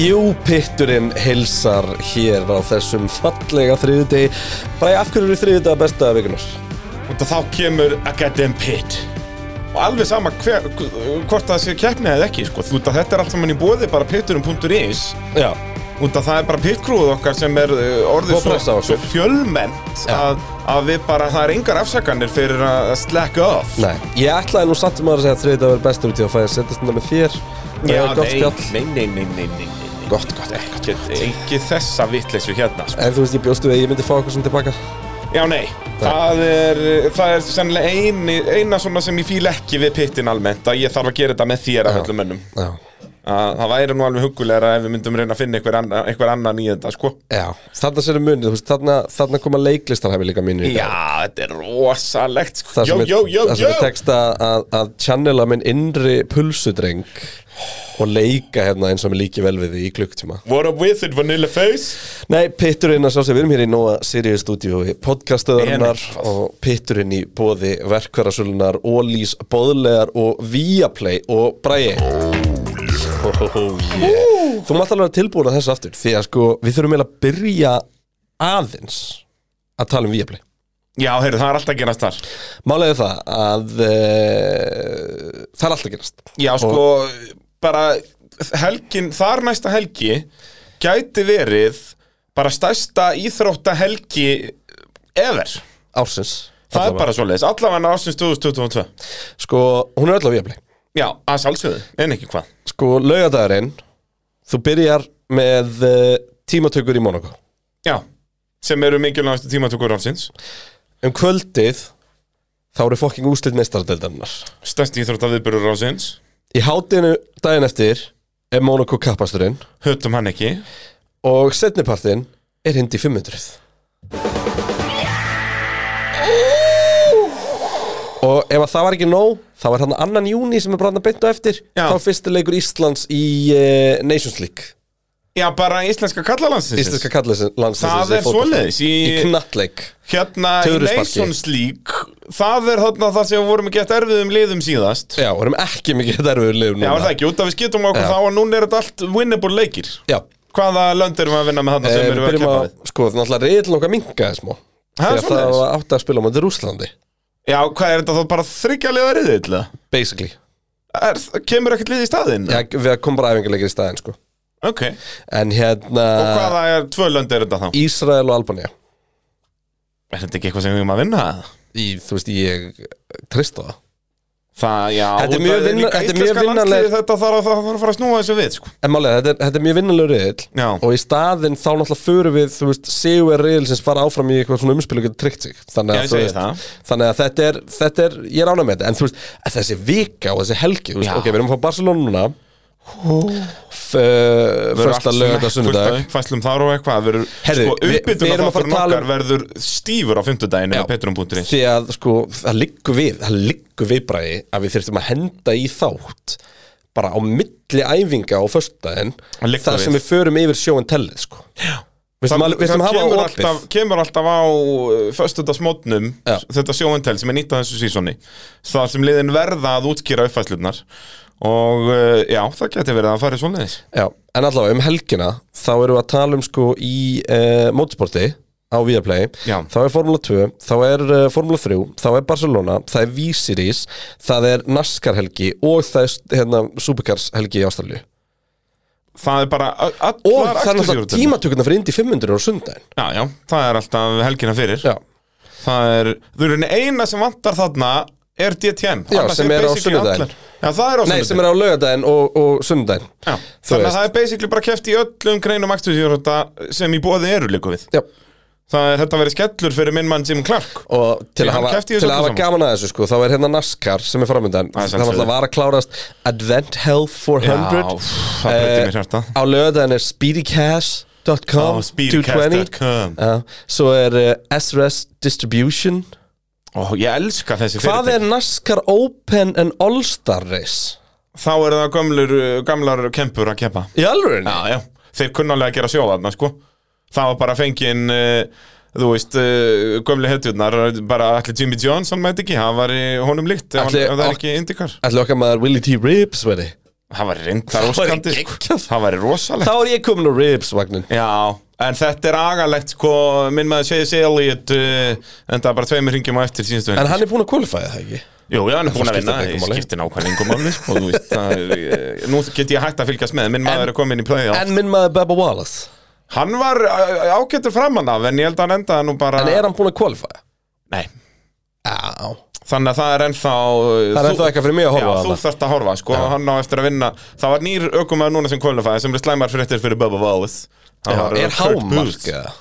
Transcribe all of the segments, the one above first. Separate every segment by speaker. Speaker 1: Jú, pitturinn hilsar hér á þessum fallega þriðudegi Bræði, af hverju eru þriðudaga besta vikunar?
Speaker 2: Og þá kemur a goddamn pit Og alveg sama hver, hvort það sé keppni eða ekki sko. Þú veit að þetta er allt saman í bóði bara pitturum.is
Speaker 1: Já,
Speaker 2: Út að það er bara pitkrúð okkar sem er uh, orðið
Speaker 1: Og pressa
Speaker 2: svo,
Speaker 1: okkur.
Speaker 2: svo fjölmennt
Speaker 1: Já.
Speaker 2: að, að við bara, það er engar afsakanir fyrir að slack off
Speaker 1: nei Ég ætlaði nú samt um aðra að segja að þriðudaga verið besta út í að fæ að setja stundar með þér Það
Speaker 2: Já,
Speaker 1: er gott spjall
Speaker 2: nei, nei, nei, nei, nei, nei, nei.
Speaker 1: Gott, gott,
Speaker 2: Ekkert- Ekki þessa vitleysu hérna sko.
Speaker 1: En þú veist, ég bjóstu við að ég myndi fá eitthvað svona tilbaka
Speaker 2: Já, nei, það er, það er sennilega eini, eina svona sem ég fíl ekki við pittin almennt að ég þarf að gera þetta með þér af öllum mönnum
Speaker 1: Já,
Speaker 2: að það væri nú alveg hugulegra ef við myndum reyna að finna einhver annan, einhver annan í þetta sko.
Speaker 1: já Þarna sér um munið, þú veist, þarna, þarna koma leiklistarhæfi líka mínu í dag.
Speaker 2: Já, þetta er rosalegt sko.
Speaker 1: Það
Speaker 2: Jó,
Speaker 1: sem
Speaker 2: jó, jó,
Speaker 1: er- það sem
Speaker 2: jó
Speaker 1: er tekst að, að- að channela minn innri pulsudreng og leika hérna eins og mér líki vel við því í klukktíma
Speaker 2: What up with it, Vanilla Face?
Speaker 1: Nei, pitturinn að sjá sem við erum hér í Nóa Sirius stúdíói podcastöðurnar
Speaker 2: Nei, nei.
Speaker 1: og pitturinn í bóði verkvarasölunar, Ólís, Bóðlegar og Viaplay og Bræi oh, yeah. Þú mátt alveg vera tilbúin að þessu aftur því að sko, við þurfum eiginlega að byrja aðeins að tala um Viaplay
Speaker 2: Já, heyrðu, það er alltaf að gerast þar
Speaker 1: Málega það að e, það er alltaf gerast
Speaker 2: Já, sko, bara helgin, þar næsta helgi gæti verið bara stærsta íþrótta helgi ever
Speaker 1: ársins
Speaker 2: Það er
Speaker 1: Allavega.
Speaker 2: bara svoleiðis, allavega ásins 2022
Speaker 1: Sko, hún er öll á Viaplay
Speaker 2: Já, að sálsögðu, en ekki hvað
Speaker 1: Sko, laugadagurinn þú byrjar með eh, tímatökur í Monaco
Speaker 2: Já, sem eru mikilvægastu tímatökur áfsins
Speaker 1: um kvöldið þá eru fokking úslit meistaradeildarinnar
Speaker 2: Stærsti íþrótta viðbyrður áfsins
Speaker 1: í hátinu daginn eftir er Monaco kappasturinn
Speaker 2: Hötum hann ekki
Speaker 1: og setnipartinn er hindi 500 og ef að það var ekki nóg þá er hann annan júni sem er bara hann að beinta eftir
Speaker 2: Já.
Speaker 1: þá er fyrsti leikur Íslands í uh, Nations League
Speaker 2: Já, bara íslenska kallalansins
Speaker 1: Íslenska kallinslandsins
Speaker 2: Það er svoleiðis
Speaker 1: í,
Speaker 2: í-
Speaker 1: í knattleik
Speaker 2: Hérna í
Speaker 1: Töfrasparki.
Speaker 2: Nations League Það er þarna það sem við vorum ekki eftir erfiðum um liðum síðast
Speaker 1: Já, við erum ekki mikið erfiður liður
Speaker 2: Já,
Speaker 1: núna
Speaker 2: er það ekki, út af við skiptum okkur
Speaker 1: Já.
Speaker 2: þá og núna er þetta allt vinnable leikir
Speaker 1: Já,
Speaker 2: Hvaða lönd erum við að vinna með þarna
Speaker 1: Eh,
Speaker 2: sem
Speaker 1: við
Speaker 2: erum við að
Speaker 1: byrjum
Speaker 2: keppa
Speaker 1: að,
Speaker 2: við?
Speaker 1: sko, það er náttúrulega reyðin okkar minkaði smá Þegar það
Speaker 2: svoleiðis.
Speaker 1: var átt að spila á möndir Rúslandi
Speaker 2: Já, hvað er þetta þá bara þryggjalega riðið illa?
Speaker 1: Basically
Speaker 2: Er, kemur ekkert lið í staðinn?
Speaker 1: Já, við komum bara æfingarleikir í staðinn, sko
Speaker 2: Ok,
Speaker 1: En
Speaker 2: og
Speaker 1: hérna,
Speaker 2: hvaða er, tvö lönd er þetta þá?
Speaker 1: Ísrael og Albanía
Speaker 2: Er þetta ekki eitthvað sem við erum að vinna?
Speaker 1: í, Þú veist, ég trist á það
Speaker 2: Það, já,
Speaker 1: Þetta er
Speaker 2: út
Speaker 1: mjög
Speaker 2: af- líka
Speaker 1: vinna- þetta er mjög
Speaker 2: íslenska
Speaker 1: vinnanleg-
Speaker 2: landsliðið, Þetta þarf að, þarf að fara að snúa þessu við, sko
Speaker 1: En málega, þetta er, þetta er mjög vinnanlegur reyðil
Speaker 2: Já,
Speaker 1: Og í staðinn þá náttúrulega förum við, þú veist, sigur reyðil sem fara áfram í eitthvað svona umspil og getur tryggt sig Þannig
Speaker 2: Já,
Speaker 1: að, þú
Speaker 2: ég segi
Speaker 1: veist,
Speaker 2: það.
Speaker 1: þannig að þetta, er, þetta er, ég er ánægð með þetta En þú veist, að þessi vika og þessi helgi, þú veist,
Speaker 2: Já.
Speaker 1: ok, við erum að fá Barcelona núna
Speaker 2: Verður
Speaker 1: Fösta
Speaker 2: allt
Speaker 1: lögða
Speaker 2: smekk fullt
Speaker 1: sunnudag
Speaker 2: af uppfærslum þar og eitthvað verður,
Speaker 1: Heyrðu,
Speaker 2: sko,
Speaker 1: við- við erum að fara
Speaker 2: uppbytun
Speaker 1: að tala
Speaker 2: okkar
Speaker 1: um-
Speaker 2: verður stífur á fimmtudaginu með petrum.is
Speaker 1: því að sko, það liggur við það liggur við bræði að við þurftum að henda í þátt bara á milli æfinga á föstudaginn
Speaker 2: Það liggur
Speaker 1: þar
Speaker 2: við.
Speaker 1: sem við förum yfir sjóin tellið sko. við þurftum
Speaker 2: Það
Speaker 1: að, við þurftum
Speaker 2: það
Speaker 1: að hafa
Speaker 2: kemur
Speaker 1: opið
Speaker 2: alltaf, kemur alltaf á föstudagsmótnum
Speaker 1: Já.
Speaker 2: þetta sjóintel sem er nýtt að þessu sísoni þar sem liðin verða að útskýra uppfærslunar og uh, já, það geti verið að fara í svoleiðis
Speaker 1: Já, en allavega um helgina þá erum við að tala um sko í uh, mótsporti á Viaplay
Speaker 2: Já.
Speaker 1: þá er Formula 2, þá er uh, Formula 3 þá er Barcelona, það er Vísirís það er NASCAR helgi og það er hérna, Supercars helgi í Ástralju
Speaker 2: Það er bara a-
Speaker 1: og
Speaker 2: allar
Speaker 1: það er náttúrulega
Speaker 2: akstursíðurnar.
Speaker 1: tímatökuna fyrir Indy 500 á sundaginn
Speaker 2: Já, já, það er alltaf helgina fyrir
Speaker 1: Já,
Speaker 2: Það er, þú eru eina sem vantar þarna er DTM
Speaker 1: Já,
Speaker 2: Annars
Speaker 1: sem er á
Speaker 2: basically
Speaker 1: sunnudaginn.
Speaker 2: allar- Já, það er á
Speaker 1: Nei, sem
Speaker 2: sunnudaginn
Speaker 1: er á laugardaginn og, og sundaginn
Speaker 2: Já,
Speaker 1: Þú
Speaker 2: þannig að
Speaker 1: veist.
Speaker 2: það er basically bara keft í öllum greinum akstursíðurhóta sem í bóði eru líka við
Speaker 1: Já,
Speaker 2: Það er þetta verið skellur fyrir minn mann Jim Clark
Speaker 1: og til
Speaker 2: Því
Speaker 1: að
Speaker 2: hann
Speaker 1: hafa,
Speaker 2: keppti
Speaker 1: til
Speaker 2: í þessu
Speaker 1: að hafa
Speaker 2: öllu saman.
Speaker 1: gaman að þessu sko, þá er hérna NASCAR sem er framöndan Það
Speaker 2: Það er
Speaker 1: var
Speaker 2: sjálfsögðu.
Speaker 1: alltaf var að klárast Advent Health 400
Speaker 2: Já, úff, það breytir
Speaker 1: Eh,
Speaker 2: mér hjarta.
Speaker 1: Á laugardaginn er speedycast.com
Speaker 2: Á speedcast.com.
Speaker 1: Já, Svo er uh, SRS Distribution
Speaker 2: Ó, ég elska þessi
Speaker 1: Hvað er NASCAR Open and All-Star Race?
Speaker 2: Þá er það gömlur, uh, gamlar kempur að keppa
Speaker 1: Í alveg?
Speaker 2: Já, já, þeir kunnalega að gera sjóðarna, sko Það var bara fengin, uh, þú veist, uh, gömlu hetjurnar Bara allir Jimmy Johnson mætti ekki, hann var í honum líkt Ef, hann,
Speaker 1: Ætli-
Speaker 2: ef það
Speaker 1: ok.
Speaker 2: er ekki indikar
Speaker 1: Ætli okkar maður Willie T. Ribbs veri
Speaker 2: Það var reyndar
Speaker 1: væri
Speaker 2: óskandi sko.
Speaker 1: geggjað.
Speaker 2: Það var rosalegt
Speaker 1: Þá er ég komin á ribs-vagnin
Speaker 2: Já, en þetta er agalegt sko, minn maður Chase Elliott uh, en það er bara tveimur ringjum á eftir síðustu
Speaker 1: En
Speaker 2: vinna
Speaker 1: hann er búin að kvalifæða það ekki?
Speaker 2: Jú, já, hann er búin
Speaker 1: það
Speaker 2: að vinna,
Speaker 1: skiptir ekki
Speaker 2: það
Speaker 1: máli.
Speaker 2: skiptir nákvæmlega yngum máli sko, þú veist, það er, eh, nú get ég hægt að fylgjast með, minn maður er komin í play
Speaker 1: En minn maður Bebba Wallace
Speaker 2: Hann var eh, ágætur framann af, en ég held að hann endaði nú bara
Speaker 1: En er hann búin að kvalifæða?
Speaker 2: Nei,
Speaker 1: Já
Speaker 2: þannig að það er ennþá
Speaker 1: Það er ennþá eitthvað fyrir mig að
Speaker 2: Já,
Speaker 1: horfa á
Speaker 2: þú
Speaker 1: hana.
Speaker 2: þarft að horfa, sko, hann á eftir að vinna Það var nýr ökumæður núna sem kvölufaði sem er slæmar fréttir fyrir Bubba Wallace Það var,
Speaker 1: Já,
Speaker 2: eh,
Speaker 1: Er
Speaker 2: Kurt
Speaker 1: hámark
Speaker 2: Busch.
Speaker 1: eða?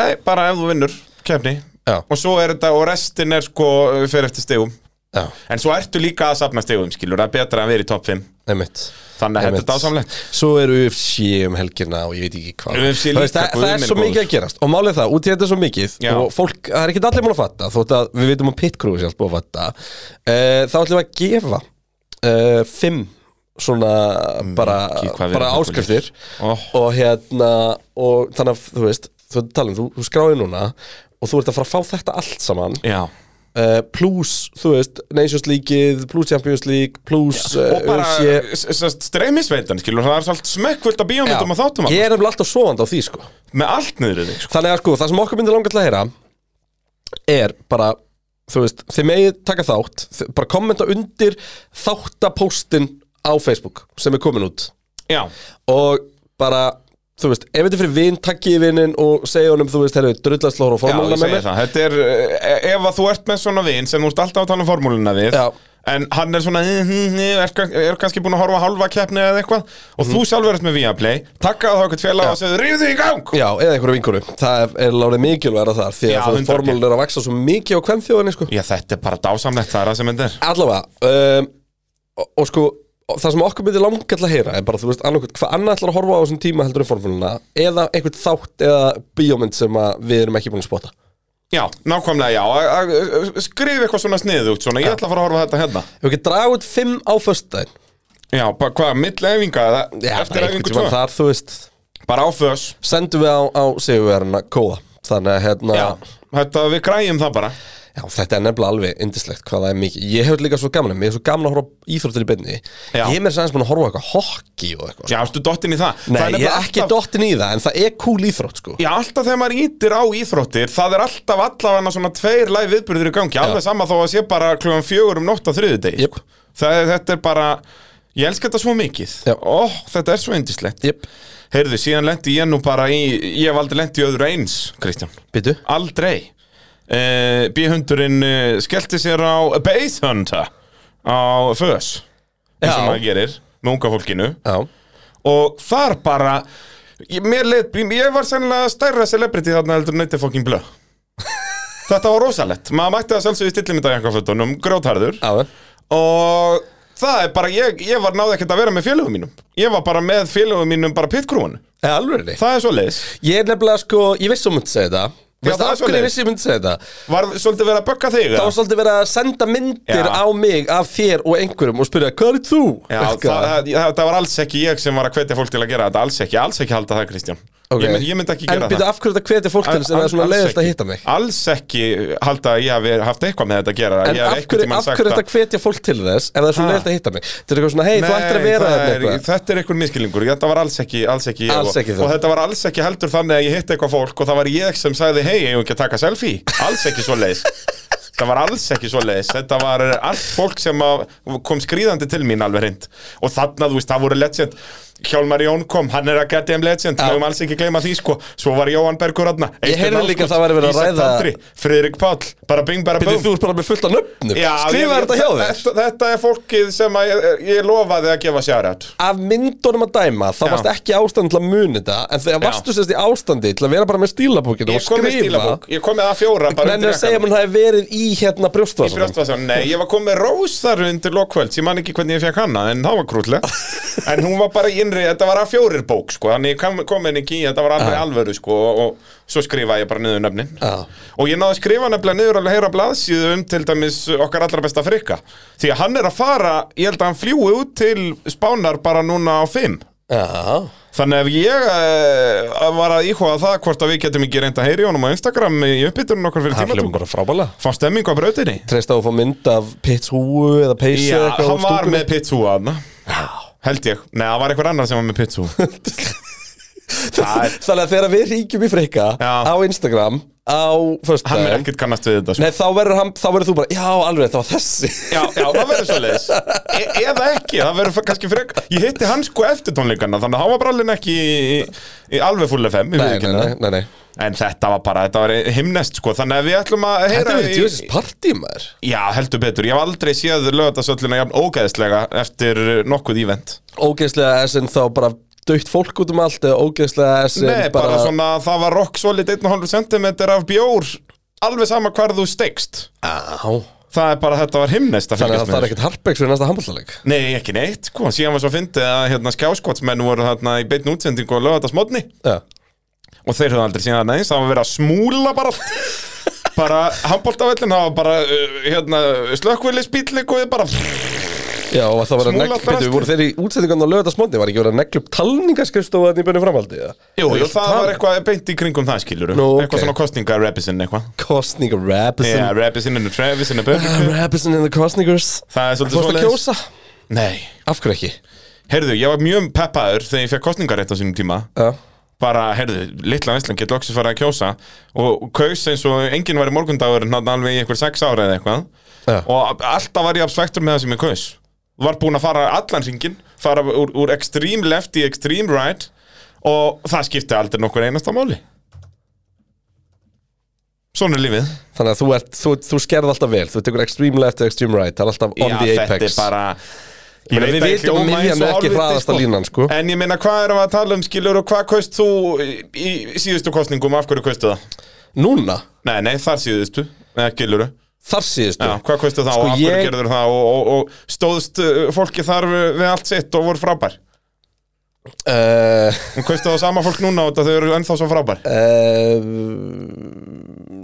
Speaker 2: Nei, bara ef þú vinnur kefni
Speaker 1: Já.
Speaker 2: Og svo er þetta, og restin er sko fyrir eftir stegum
Speaker 1: Já,
Speaker 2: En svo ertu líka að safna stegum, skilur Það er betra að vera í topp 5
Speaker 1: einmitt
Speaker 2: Þannig að þetta er
Speaker 1: Einmitt.
Speaker 2: dásamlegt
Speaker 1: Svo er UFC um helgina og ég veit ekki hvað
Speaker 2: UFC
Speaker 1: Það, veist,
Speaker 2: líka,
Speaker 1: það, það er
Speaker 2: guð minn
Speaker 1: svo mikið
Speaker 2: góður.
Speaker 1: að gerast Og málið er það, út í þetta er svo mikið
Speaker 2: Já.
Speaker 1: Og fólk, það er ekki allir múin að fatta Þótt að við veitum að pitkrúi sjálf búið að fatta uh, Þá ætlum við að gefa uh, Fimm svona bara,
Speaker 2: Mikið, Mm, hvað við
Speaker 1: bara
Speaker 2: erum
Speaker 1: áskriftir
Speaker 2: Oh.
Speaker 1: Og hérna og Þannig að þú veist, þú ert að tala um Þú, þú skráði núna og þú ert að fara að fá þetta allt saman
Speaker 2: Já
Speaker 1: uh, plus, þú veist, Nations League plus Champions League, plus uh,
Speaker 2: Og bara
Speaker 1: UFC.
Speaker 2: s- s- streymisveitan, skilur Það er svolítið smekkvöld af bíómyndum og þáttum
Speaker 1: ég er nefnilega alltaf sofandi á því sko
Speaker 2: Með allt niður í þig, sko
Speaker 1: Þannig að sko, það sem okkur myndi langa til að heyra er bara, þú veist, þið megið taka þátt, þið- bara kommenta undir þáttapóstin á Facebook sem er komin út
Speaker 2: Já,
Speaker 1: og bara, þú veist, ef þetta er fyrir vinn, takkið vinnin og segja honum, þú veist, herru, drullastlóður og
Speaker 2: já, ég
Speaker 1: formálina með
Speaker 2: segi
Speaker 1: mér.
Speaker 2: það Þetta er, eh, ef að þú ert með svona vin sem þú ert alltaf að tala um formúluna við
Speaker 1: Já.
Speaker 2: En hann er svona, eh, hm, eh, er, kann- er kannski búin að horfa á hálfa keppni eða eitthvað Og
Speaker 1: Mhm.
Speaker 2: þú sjálfur ert með Viaplay Takkaðu þá eitthvað félag og segðu, rífðu þig í gang
Speaker 1: Já, eða einhverju vinkuru, það er- er lárið mikilværa þar því
Speaker 2: Já,
Speaker 1: að þú veist,
Speaker 2: 100%.
Speaker 1: formálin er að vaksa svo mikið á kvennþjóðinni sko.
Speaker 2: Já, þetta er bara dásamlegt, það er það sem þetta er
Speaker 1: Allavega um, og, og sko og það sem okkur myndi langa til að heyra er bara, þú veist, annarkvæmt, hvað annað ætlar að horfa á þessum tíma heldur um formúluna eða einhvern þátt eða bíómynd sem að við erum ekki búin að spotta
Speaker 2: Já, nákvæmlega, já, a- a- a- skrif eitthvað svona sniðugt svona, ég ætla að fara að horfa á þetta hérna
Speaker 1: Ef ekki draga út fimm á föstudaginn
Speaker 2: Já, bara hvað, mill efinga, eftir
Speaker 1: bara
Speaker 2: efingu
Speaker 1: einhvern tímann
Speaker 2: tvö
Speaker 1: þar, þú veist
Speaker 2: Bara á fös,
Speaker 1: sendum við á, á sigurverðina kóða þannig að hérna
Speaker 2: já, þetta við græjum það bara
Speaker 1: Já, þetta er nefnilega alveg indislegt hvað það er mikið Ég hef líka svo gaman, mér er svo gaman að horfa á íþróttir í beinni
Speaker 2: Já.
Speaker 1: Ég er mér sæðans búin að horfa á eitthvað hokki og eitthvað
Speaker 2: Já, ertu dottinn í það það
Speaker 1: Nei, ég
Speaker 2: nefnilega
Speaker 1: er ekki
Speaker 2: alltaf-
Speaker 1: dottin í það, en það er cool íþrótt sko
Speaker 2: Já, alltaf þegar maður ítir á íþróttir Það er alltaf allavega svona tveir læg viðbyrður í gangi Alveg sama þó að sé bara klukkan fjögur um nótt á þriðudegi
Speaker 1: Jep.
Speaker 2: Það er, þetta er bara Ég elska þetta svo mikið
Speaker 1: Já.
Speaker 2: Ó, þetta er svo indislegt
Speaker 1: Jep,
Speaker 2: Heyrðu, síðan lendi ég nú bara í Ég hef aldrei lent í öðru eins, Kristján
Speaker 1: býtu
Speaker 2: Aldrei uh, B-hundurinn uh, skellti sér á Base Hunter Á Fös eins og
Speaker 1: Já.
Speaker 2: maður gerir Með unga fólkinu
Speaker 1: Já,
Speaker 2: og þar bara ég, mér leið, ég var sennilega stærra celebrity þarna heldur nöytið fokkin blöð þetta var rosalett maður mætti það sjálfsögðu í stillimyndajankafötunum grótharður
Speaker 1: já,
Speaker 2: og það er bara, ég, ég var náði ekkert að vera með félögum mínum ég var bara með félögum mínum bara pitkrúan
Speaker 1: eða alveg niður
Speaker 2: það er svo leiðis,
Speaker 1: Ég er nefnilega sko, ég vissi að hún myndi segja þetta Veist
Speaker 2: það er
Speaker 1: af hverju ég
Speaker 2: svoleiðis.
Speaker 1: vissi að ég myndi segja þetta?
Speaker 2: var svolítið verið að bögga þig
Speaker 1: Það
Speaker 2: eða?
Speaker 1: var svolítið verið að senda myndir
Speaker 2: Já.
Speaker 1: á mig af þér og einhverjum og spyrja, hvað er þú?
Speaker 2: Já, það,
Speaker 1: Eitthvað.
Speaker 2: það, það var alls ekki ég sem var að hvetja fólk til að gera þetta, alls ekki, alls ekki halda það Kristján
Speaker 1: Ok.
Speaker 2: ég, mynd, ég myndi ekki gera
Speaker 1: En býtu,
Speaker 2: það
Speaker 1: af hverju þetta hveti fólk til sem er
Speaker 2: Alls-
Speaker 1: svona
Speaker 2: alls
Speaker 1: leiðist að
Speaker 2: ekki.
Speaker 1: hitta mig?
Speaker 2: Alls ekki halda að ég hafi haft eitthvað með þetta að gera
Speaker 1: En
Speaker 2: Ég hef
Speaker 1: af
Speaker 2: einhvern
Speaker 1: hverju,
Speaker 2: tímann
Speaker 1: af
Speaker 2: sagt
Speaker 1: hverju
Speaker 2: að-
Speaker 1: þetta hvetja fólk til þess ef það er svona
Speaker 2: Ha.
Speaker 1: leiðist að hitta mig? Þetta er eitthvað svona, hei, þú ættir að
Speaker 2: Nei,
Speaker 1: vera
Speaker 2: það
Speaker 1: þetta
Speaker 2: er-
Speaker 1: eitthvað
Speaker 2: Þetta er einhver miskilningur, þetta var alls ekki, alls ekki ég
Speaker 1: Alls
Speaker 2: og,
Speaker 1: ekki þú.
Speaker 2: og þetta var alls ekki heldur þannig að ég hitti eitthvað fólk og það var ég sem sagði hei, ég ekki að taka selfie Alls ekki svo leiðis Það var alls ekki svo leiðis, þetta var allt fólk sem að, kom skrýðandi til mín alveg hreint Og þarna, þú veist, það voru legend Hjálmar Jón kom, hann er að geta um legend, mögum alls ekki gleyma því sko Svo var Jóhann Bergur aðna
Speaker 1: Ég heyrði líka að það væri verið að ræða-
Speaker 2: Friðrik Páll, bara bing bara
Speaker 1: Býtu,
Speaker 2: bum
Speaker 1: þú ert bara með fullt af nöfnum
Speaker 2: Já, ég-
Speaker 1: Skrifa þetta hjá þér
Speaker 2: þetta, þetta er fólkið sem að ég, ég lofaði að gefa sjárat
Speaker 1: Af myndunum að dæma, þá
Speaker 2: Já.
Speaker 1: varst ekki í ástandi til að muni þetta En þegar
Speaker 2: Já.
Speaker 1: varstu sérst í ástandi til að vera bara með stílabókina og
Speaker 2: Ég kom með
Speaker 1: skrifa
Speaker 2: stílabók, ég kom með að fjóra bara
Speaker 1: Menn er að
Speaker 2: jakkanum.
Speaker 1: segja að hann hafi verið í hérna
Speaker 2: Í
Speaker 1: brjóstvasanum
Speaker 2: brjóstvasanum. Nei, ég var komið með rós þar undir lokkvöld Ég man ekki hvernig ég fekk hana, en það var krútlega En hún var bara í innri, þetta var að fjórir bók sko. Þannig ég kom, kom henni ekki í, þetta var alveg alvöru sko, og, og svo skrifaði ég bara niður nöfnin
Speaker 1: Já.
Speaker 2: Og ég náði að skrifa nefnilega niður alveg heyra blaðsíðu um til dæmis okkar allra besta frikka Því að hann er að fara, ég held að hann fljúi út til Spánar bara núna á fimm
Speaker 1: Já,
Speaker 2: Þannig ef ég uh, var að íhuga það hvort að við getum ekki reynd að heyri honum á Instagram í uppbytunum okkur fyrir
Speaker 1: hann hljóðum
Speaker 2: tímatúk
Speaker 1: bara frábæla
Speaker 2: Fá stemming á brautinni
Speaker 1: Treysta á að fá mynd af pitshúu eða peysu
Speaker 2: Já,
Speaker 1: eitthvað á
Speaker 2: hann var
Speaker 1: stúkunni.
Speaker 2: með pizza hana Held ég, nei það var einhver annar sem var með pitsu er-
Speaker 1: Þannig að þegar við ríkjum í frikka
Speaker 2: Já.
Speaker 1: á Instagram á
Speaker 2: Hann er
Speaker 1: föstudaginn
Speaker 2: ekkert kannast við þetta sko.
Speaker 1: Nei, þá verður, hann, þá verður þú bara, já, alveg, það var þessi
Speaker 2: Já, já, það verður svo leiðis e Eða ekki, það verður f- kannski frek Ég hitti hann sko eftir tónleikana Þannig að hann var brallin ekki í, í, í alveg full FM ég
Speaker 1: Nei, nei,
Speaker 2: viðurkenni
Speaker 1: nei,
Speaker 2: það.
Speaker 1: nei, nei.
Speaker 2: En þetta var bara, þetta var himnest sko Þannig að við ætlum að
Speaker 1: Þetta
Speaker 2: heyra
Speaker 1: er
Speaker 2: í-
Speaker 1: djúsins partí, maður
Speaker 2: Já, heldur betur, ég hef aldrei séð lögatarsöllina jafn ógæðislega eftir nokkuð ívent
Speaker 1: Ógeðslega essin þá bara dögt fólk út um allt eða ógeðslega essin
Speaker 2: Nei, bara, svona, það var rock solid 1,5 cm af bjór Alveg sama hvar þú steikst
Speaker 1: Á,
Speaker 2: Það er bara, þetta var himnest að
Speaker 1: Þannig að það
Speaker 2: fylgjast með
Speaker 1: er
Speaker 2: þessu.
Speaker 1: ekkert harpegs fyrir næsta handbóltaleg
Speaker 2: Nei, ekki neitt, sko, síðan var svo fyndið að hérna, skjáskotsmenn voru þarna í beitn útsendingu og lögða þetta smotni
Speaker 1: Já
Speaker 2: og þeir höfðu aldrei síðan aðeins, það var verið að smúla bara allt bara handbóltavellin, það var bara uh, hérna, slökkvillisbíll eitthvað bara,
Speaker 1: Já, og það var að
Speaker 2: Smúla
Speaker 1: negl,
Speaker 2: alltaf
Speaker 1: byrju,
Speaker 2: allt.
Speaker 1: voru þeir í útsendingan á lögðarsmóndi, var ekki verið að neglu upp talningaskristofaðan í bönni framhaldi, eða?
Speaker 2: jú,
Speaker 1: Eða
Speaker 2: jú, það
Speaker 1: tal-
Speaker 2: var eitthvað beint í kringum það skilur
Speaker 1: Nú, ok.
Speaker 2: eitthvað svona kostninga-repisinn eitthvað
Speaker 1: Kostninga
Speaker 2: Já,
Speaker 1: rapism
Speaker 2: repisinn and Travisinn and Burger
Speaker 1: Rapism in Ah, the Kostningers
Speaker 2: Það er svolítið
Speaker 1: Fórst að
Speaker 2: svoleiðis.
Speaker 1: kjósa?
Speaker 2: Nei,
Speaker 1: Af hverju ekki?
Speaker 2: heyrðu, ég var mjög peppaður þegar ég fekk kostningarétt á sínum tíma
Speaker 1: Já
Speaker 2: bara, heyrðu, litla Veslan getur loksins farið að kjósa og kaus eins og enginn var í morgundagur en hann alveg í einhver sex ára eða eitthvað
Speaker 1: Já.
Speaker 2: og alltaf var ég abspektur með það sem ég kaus var búin að fara allan hringin fara úr, úr extreme left í extreme right og það skipti aldrei nokkur einasta máli Svona er lífið
Speaker 1: Þannig að þú, ert, þú, þú skerð alltaf vel, þú tekur extreme left og extreme right, það er alltaf on the apex
Speaker 2: þetta er bara
Speaker 1: Ég meina, við
Speaker 2: að
Speaker 1: vitum að
Speaker 2: hljóma
Speaker 1: miðjan
Speaker 2: eins og
Speaker 1: er ekki
Speaker 2: hálfviti,
Speaker 1: hraðasta línan, sko.
Speaker 2: En ég meina, hvað erum við að tala um skilur og hvað kaust þú í, í síðustu kostningum, af hverju kaustu það?
Speaker 1: Núna,
Speaker 2: Nei, nei, þar síðustu, eða skilur
Speaker 1: þar síðustu
Speaker 2: Já, hvað kaustu það
Speaker 1: Sko,
Speaker 2: og af hverju
Speaker 1: ég-
Speaker 2: gerður það og, og, og stóðst uh, fólki þar við við allt sitt og voru frábær
Speaker 1: uh,
Speaker 2: Hún kaustu það sama fólk núna og þau eru ennþá svo frábær
Speaker 1: uh,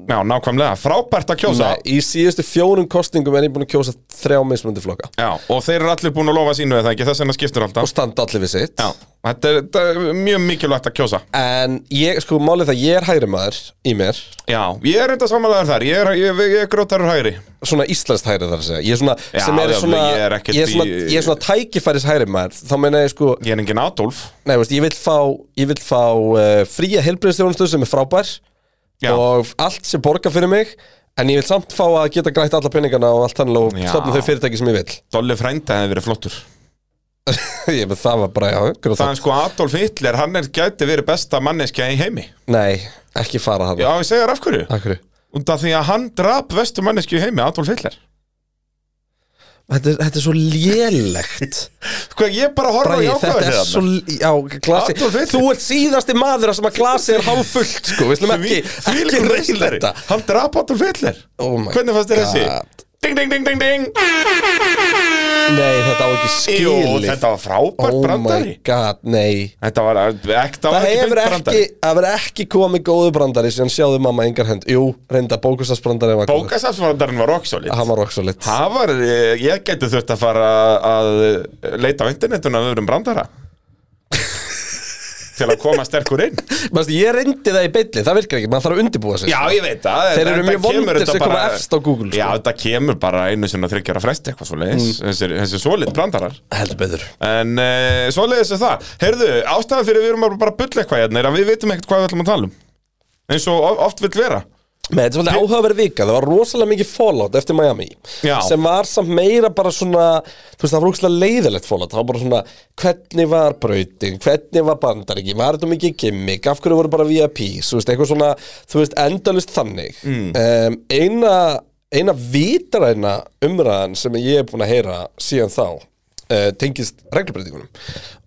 Speaker 2: Já, nákvæmlega, frábært að kjósa
Speaker 1: Nei, í síðustu fjórum kostningum er ég búin að kjósa þrjá mismunandi flokka
Speaker 2: Já, og þeir eru allir búin að lofa sínu eða ekki, þess vegna skiptur
Speaker 1: og
Speaker 2: alltaf
Speaker 1: standa allir við sitt
Speaker 2: Já, þetta er, þetta er mjög mikilvægt að kjósa
Speaker 1: En ég, sko, málið það, ég er hægri maður í mér
Speaker 2: Já, ég er enda samanlegaður þar, ég er, ég, ég er grótarur hægri
Speaker 1: Svona íslenskt hægri þar að segja Ég er svona,
Speaker 2: Já,
Speaker 1: sem er
Speaker 2: já,
Speaker 1: svona
Speaker 2: ég er ekkert
Speaker 1: ég er svona,
Speaker 2: í-
Speaker 1: ég er svona tækifæris hægri maður Þá meina ég sko,
Speaker 2: Ég er engin Adolf
Speaker 1: nei, veist, ég vil fá Ég vil fá uh, fría helbriðstjónustu sem er frábær
Speaker 2: Já.
Speaker 1: Og allt sem borgar fyrir mig En ég vil samt fá að geta grætt alla peningana og allt þannig og
Speaker 2: Já.
Speaker 1: stofna þau fyrirtæki sem ég vil
Speaker 2: Dolly frænda hefði verið flottur
Speaker 1: Ég með það var bara, já, hvernig
Speaker 2: Það
Speaker 1: það
Speaker 2: er sko Adolf Hitler, hann er gæti verið besta manneskja í heimi
Speaker 1: Nei, ekki fara hann
Speaker 2: Já, ég segja þér af hverju
Speaker 1: Akkur
Speaker 2: Undan því að hann drap vestu manneskju í heimi, Adolf Hitler
Speaker 1: Þetta er, þetta er svo lélegt
Speaker 2: Sko, ég bara horfa
Speaker 1: Bragi,
Speaker 2: á
Speaker 1: þetta er
Speaker 2: ákvæður
Speaker 1: svo Já, glasi
Speaker 2: Adolf Hitler.
Speaker 1: Þú ert síðasti maður þar sem að glasi er hálffullt Sko, við slum ekki Ekki reyna þetta
Speaker 2: Hann drap Adolf Hitler
Speaker 1: Oh my
Speaker 2: Hvernig fannst þér þessi?
Speaker 1: God.
Speaker 2: Ding, ding, ding, ding, ding
Speaker 1: Nei, þetta á ekki
Speaker 2: Jú,
Speaker 1: skilið
Speaker 2: þetta var frábært
Speaker 1: Oh my
Speaker 2: brandari
Speaker 1: god, nei
Speaker 2: Þetta var ekta
Speaker 1: Það hefur ekki, það hefur ekki komið góðu brandari síðan sjáðu mamma engar hend Jú, reynda bókusafsbrandari var góður.
Speaker 2: Bókasafsvarandaren var rock solid
Speaker 1: Hann var rock solid
Speaker 2: Það var, eh, ég geti þurft að fara að eh, leita á internetuna að öðrum brandara til að koma sterkur inn
Speaker 1: Manstu, Ég reyndi það í bylli, það virkar ekki, maður þarf að undirbúa sig
Speaker 2: Já, ég veit það
Speaker 1: Þeir
Speaker 2: en
Speaker 1: eru
Speaker 2: þetta
Speaker 1: mjög
Speaker 2: kemur
Speaker 1: vondir
Speaker 2: þetta
Speaker 1: sem
Speaker 2: bara-
Speaker 1: koma efst á Google, sko. Mm.
Speaker 2: Já, þetta kemur bara einu sinna þryggjara fresti eitthvað svoleiðis þessi, þessi svoleitt brandarar
Speaker 1: Heldur betur
Speaker 2: En uh, svoleiðis er það Heyrðu, ástæðan fyrir við erum að bara að bulla eitthvað hérna er að við veitum ekkert hvað við ætlum að tala um eins og of- oft vill vera
Speaker 1: Með þetta er svolítið áhugaverð vika, það var rosalega mikið fallout eftir Miami
Speaker 2: Já.
Speaker 1: sem var samt meira bara svona þú veist það var ógstlega leiðilegt fallout það var bara svona hvernig var brautin hvernig var bandaríki, var þetta mikið gimmick af hverju voru bara VIPs, þú veist eitthvað svona þú veist endalist þannig um, eina, eina vitræna umræðan sem ég er búin að heyra síðan þá uh, tengist reglubreitingunum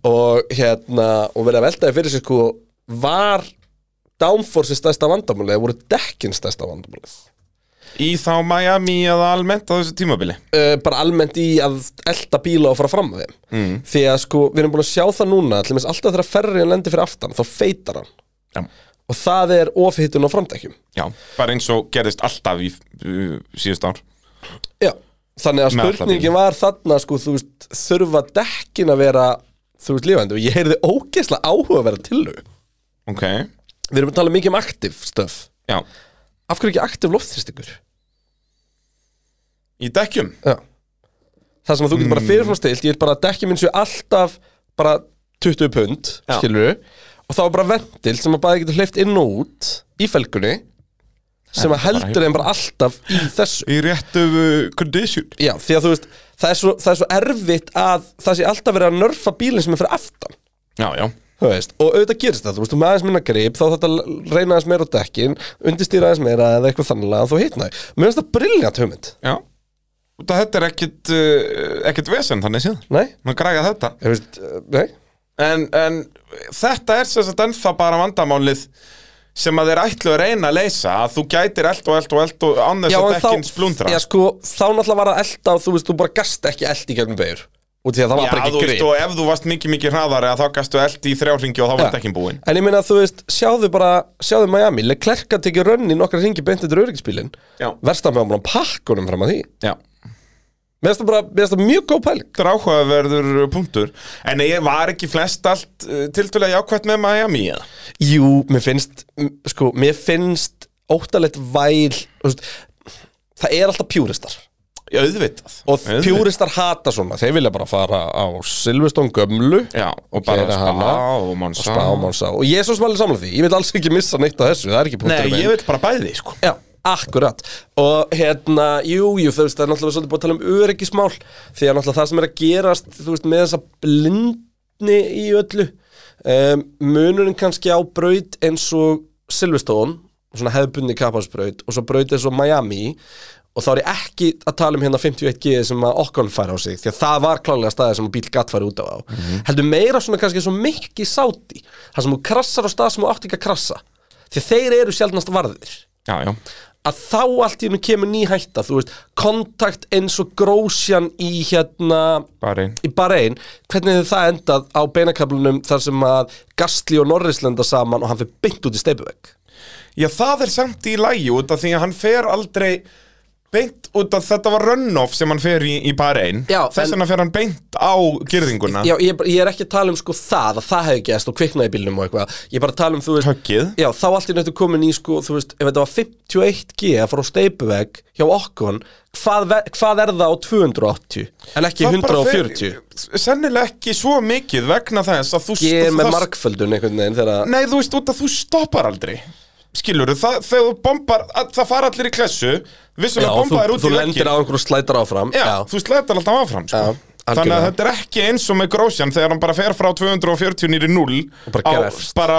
Speaker 1: og hérna og verið að veltaði fyrir sig sko var downforce er stærsta vandamálið eða voru dekkin stærsta vandamálið
Speaker 2: Í þá Miami eða almennt á þessu tímabili
Speaker 1: uh, bara almennt í að elda bíla og fara fram með þeim mm. því að sko við erum búin að sjá það núna til dæmis alltaf þegar ferriðin lendir fyrir aftan þá feitar hann
Speaker 2: Já,
Speaker 1: og það er ofhittun á framdækjum
Speaker 2: Já bara eins og gerðist alltaf í uh, síðust ár
Speaker 1: Já. þannig að
Speaker 2: Með alla
Speaker 1: spurningin
Speaker 2: bíla.
Speaker 1: var þarna sko þú veist þurfa dekkin að vera þú veist lífandi og ég heyrði ógeðslega áhuga að vera tillu
Speaker 2: Ok,
Speaker 1: við erum að tala mikið um aktiv stöf
Speaker 2: já
Speaker 1: af hverju ekki aktiv loftþristingur
Speaker 2: Í dekkjum?
Speaker 1: Já. það sem að þú getur bara fyrirframstilt ég vil bara að dekki minn séu alltaf bara 20 pund,
Speaker 3: Já.
Speaker 1: skilur og þá er bara ventil sem að bæði getur hleyft inn og út í felgunni sem að heldur þeim bara alltaf í þessu
Speaker 2: Í réttu uh, condition
Speaker 1: já, því að þú veist, það er svo, það er svo erfitt að það sé alltaf verið að nörfa bílinn sem er fyrir aftan
Speaker 2: Já, já
Speaker 1: Þú veist, og auðvitað gerist það, þú veist, þú með aðeins minna grip þá þetta reyna aðeins meira á dekkin undirstýra aðeins meira eða eitthvað þannlega að þú hitnaði mér finnst það briljant hugmynd,
Speaker 2: Já Út af þetta er ekkit, uh, ekkit vesen þannig séð
Speaker 1: nei?
Speaker 2: Maður græða þetta
Speaker 1: Ég veist, eh, nei?
Speaker 2: en, en þetta er sem sagt ennþá bara vandamálið sem að þeir ætlu að reyna að leysa að þú gætir eld og eld og eld og án þess að
Speaker 1: en
Speaker 2: dekkin splundra
Speaker 1: já, sko, þá náttúrulega var að elda og þú veist, þú bara gast ekki eld í gegnum beigur og því að það var sko, bara
Speaker 2: þú
Speaker 1: ekki grip
Speaker 2: og ef þú varst mikið mikið hraðari að þá gastu eld í þrjáringi og þá var
Speaker 1: Já.
Speaker 2: dekkin búin
Speaker 1: en ég meina að þú veist, sjáðu bara sjáðu Miami, Leclerc að tekja rönni nokkra ringi beintið til öryggisbílinn
Speaker 2: Já.
Speaker 1: versta með hann búin að pakkunum fram að því
Speaker 2: Já.
Speaker 1: mér finnst það bara, mér finnst það mjög góð pæling
Speaker 2: Þetta er áhugaverður uh, punktur en ég var ekki flest allt uh, tildulega jákvætt með Miami eða?
Speaker 1: jú, mér finnst, m- sko, mér finnst óttalegt væl þú veist, það er alltaf pjúristar
Speaker 2: Já, auðvitað
Speaker 1: og
Speaker 2: Auðvitað.
Speaker 1: pjúristar hata svona þeir vilja bara fara á Silveston gömlu
Speaker 2: Já, og bara
Speaker 1: Gera
Speaker 2: spá
Speaker 1: hana.
Speaker 2: og mann
Speaker 1: Spá, Monsa og ég er svo smálega samla því, ég vil alls ekki missa neitt af þessu, það er ekki punktur
Speaker 2: Nei, ég vil bara bæði sko
Speaker 1: Já, akkurat og hérna, jú, jú, þú veist, það er náttúrulega svolítið búið að tala um öryggismál því að náttúrulega það sem er að gerast, þú veist, með þessa blindni í öllu um, munurinn kannski á braut eins og Silveston svona hefðbundni kapasbraut og svo braut eins og Miami og þá er ég ekki að tala um hérna 51G sem að Okkon fær á sig því að það var klálega staði sem að bíl gatt fari út af á heldur meira svona kannski svo mikki sáti þar sem þú krassar á stað sem þú átt ekki að krassa því að þeir eru sjaldnast varðir
Speaker 2: Já, já
Speaker 1: að þá allt í hennu kemur ný hætta þú veist, kontakt eins og grósjan í hérna
Speaker 2: Bara einn
Speaker 1: í Bahrein, hvernig hefði það endað á beinakablunum þar sem að Gastli og Norris lenda saman og hann fyrir beint út í steipuvegg
Speaker 2: Já, það er samt í lægi út af því að hann fer aldrei beint út af þetta var runoff sem hann fer í, í Bahrein
Speaker 1: Já,
Speaker 2: Þess
Speaker 1: en-
Speaker 2: vegna fer hann beint á girðinguna
Speaker 1: Já, ég, ég er ekki að tala um sko það að það hefði gæst og kviknaði í bílnum og eitthvað ég er bara að tala um, þú veist,
Speaker 2: Höggið
Speaker 1: já, þá allt í hennu komin í sko, þú veist, ef þetta var 51G að fara á steipuvegg hjá okkon hvað, ve- hvað er það á 280 en ekki
Speaker 2: Það bara
Speaker 1: 140
Speaker 2: fer- Sennilega ekki svo mikið vegna þess að þú
Speaker 1: Ég er með
Speaker 2: Sko, það-
Speaker 1: markföldun einhvern veginn þegar
Speaker 2: Nei, þú veist út að þú stoppar aldrei Skilur, það, þegar þú bombar, að, það fara allir í klessu
Speaker 1: Já,
Speaker 2: Vissulega
Speaker 1: þú,
Speaker 2: bomba er út
Speaker 1: þú
Speaker 2: í
Speaker 1: lendir
Speaker 2: vekkir
Speaker 1: á einhverju slætar áfram
Speaker 2: Já, þú slætar alltaf áfram sko.
Speaker 1: Já,
Speaker 2: Þannig að
Speaker 1: algjörlega.
Speaker 2: þetta er ekki eins og með Grósjan þegar hann bara fer frá 240 nýri 0
Speaker 1: Og bara
Speaker 2: á
Speaker 1: grefst.
Speaker 2: bara,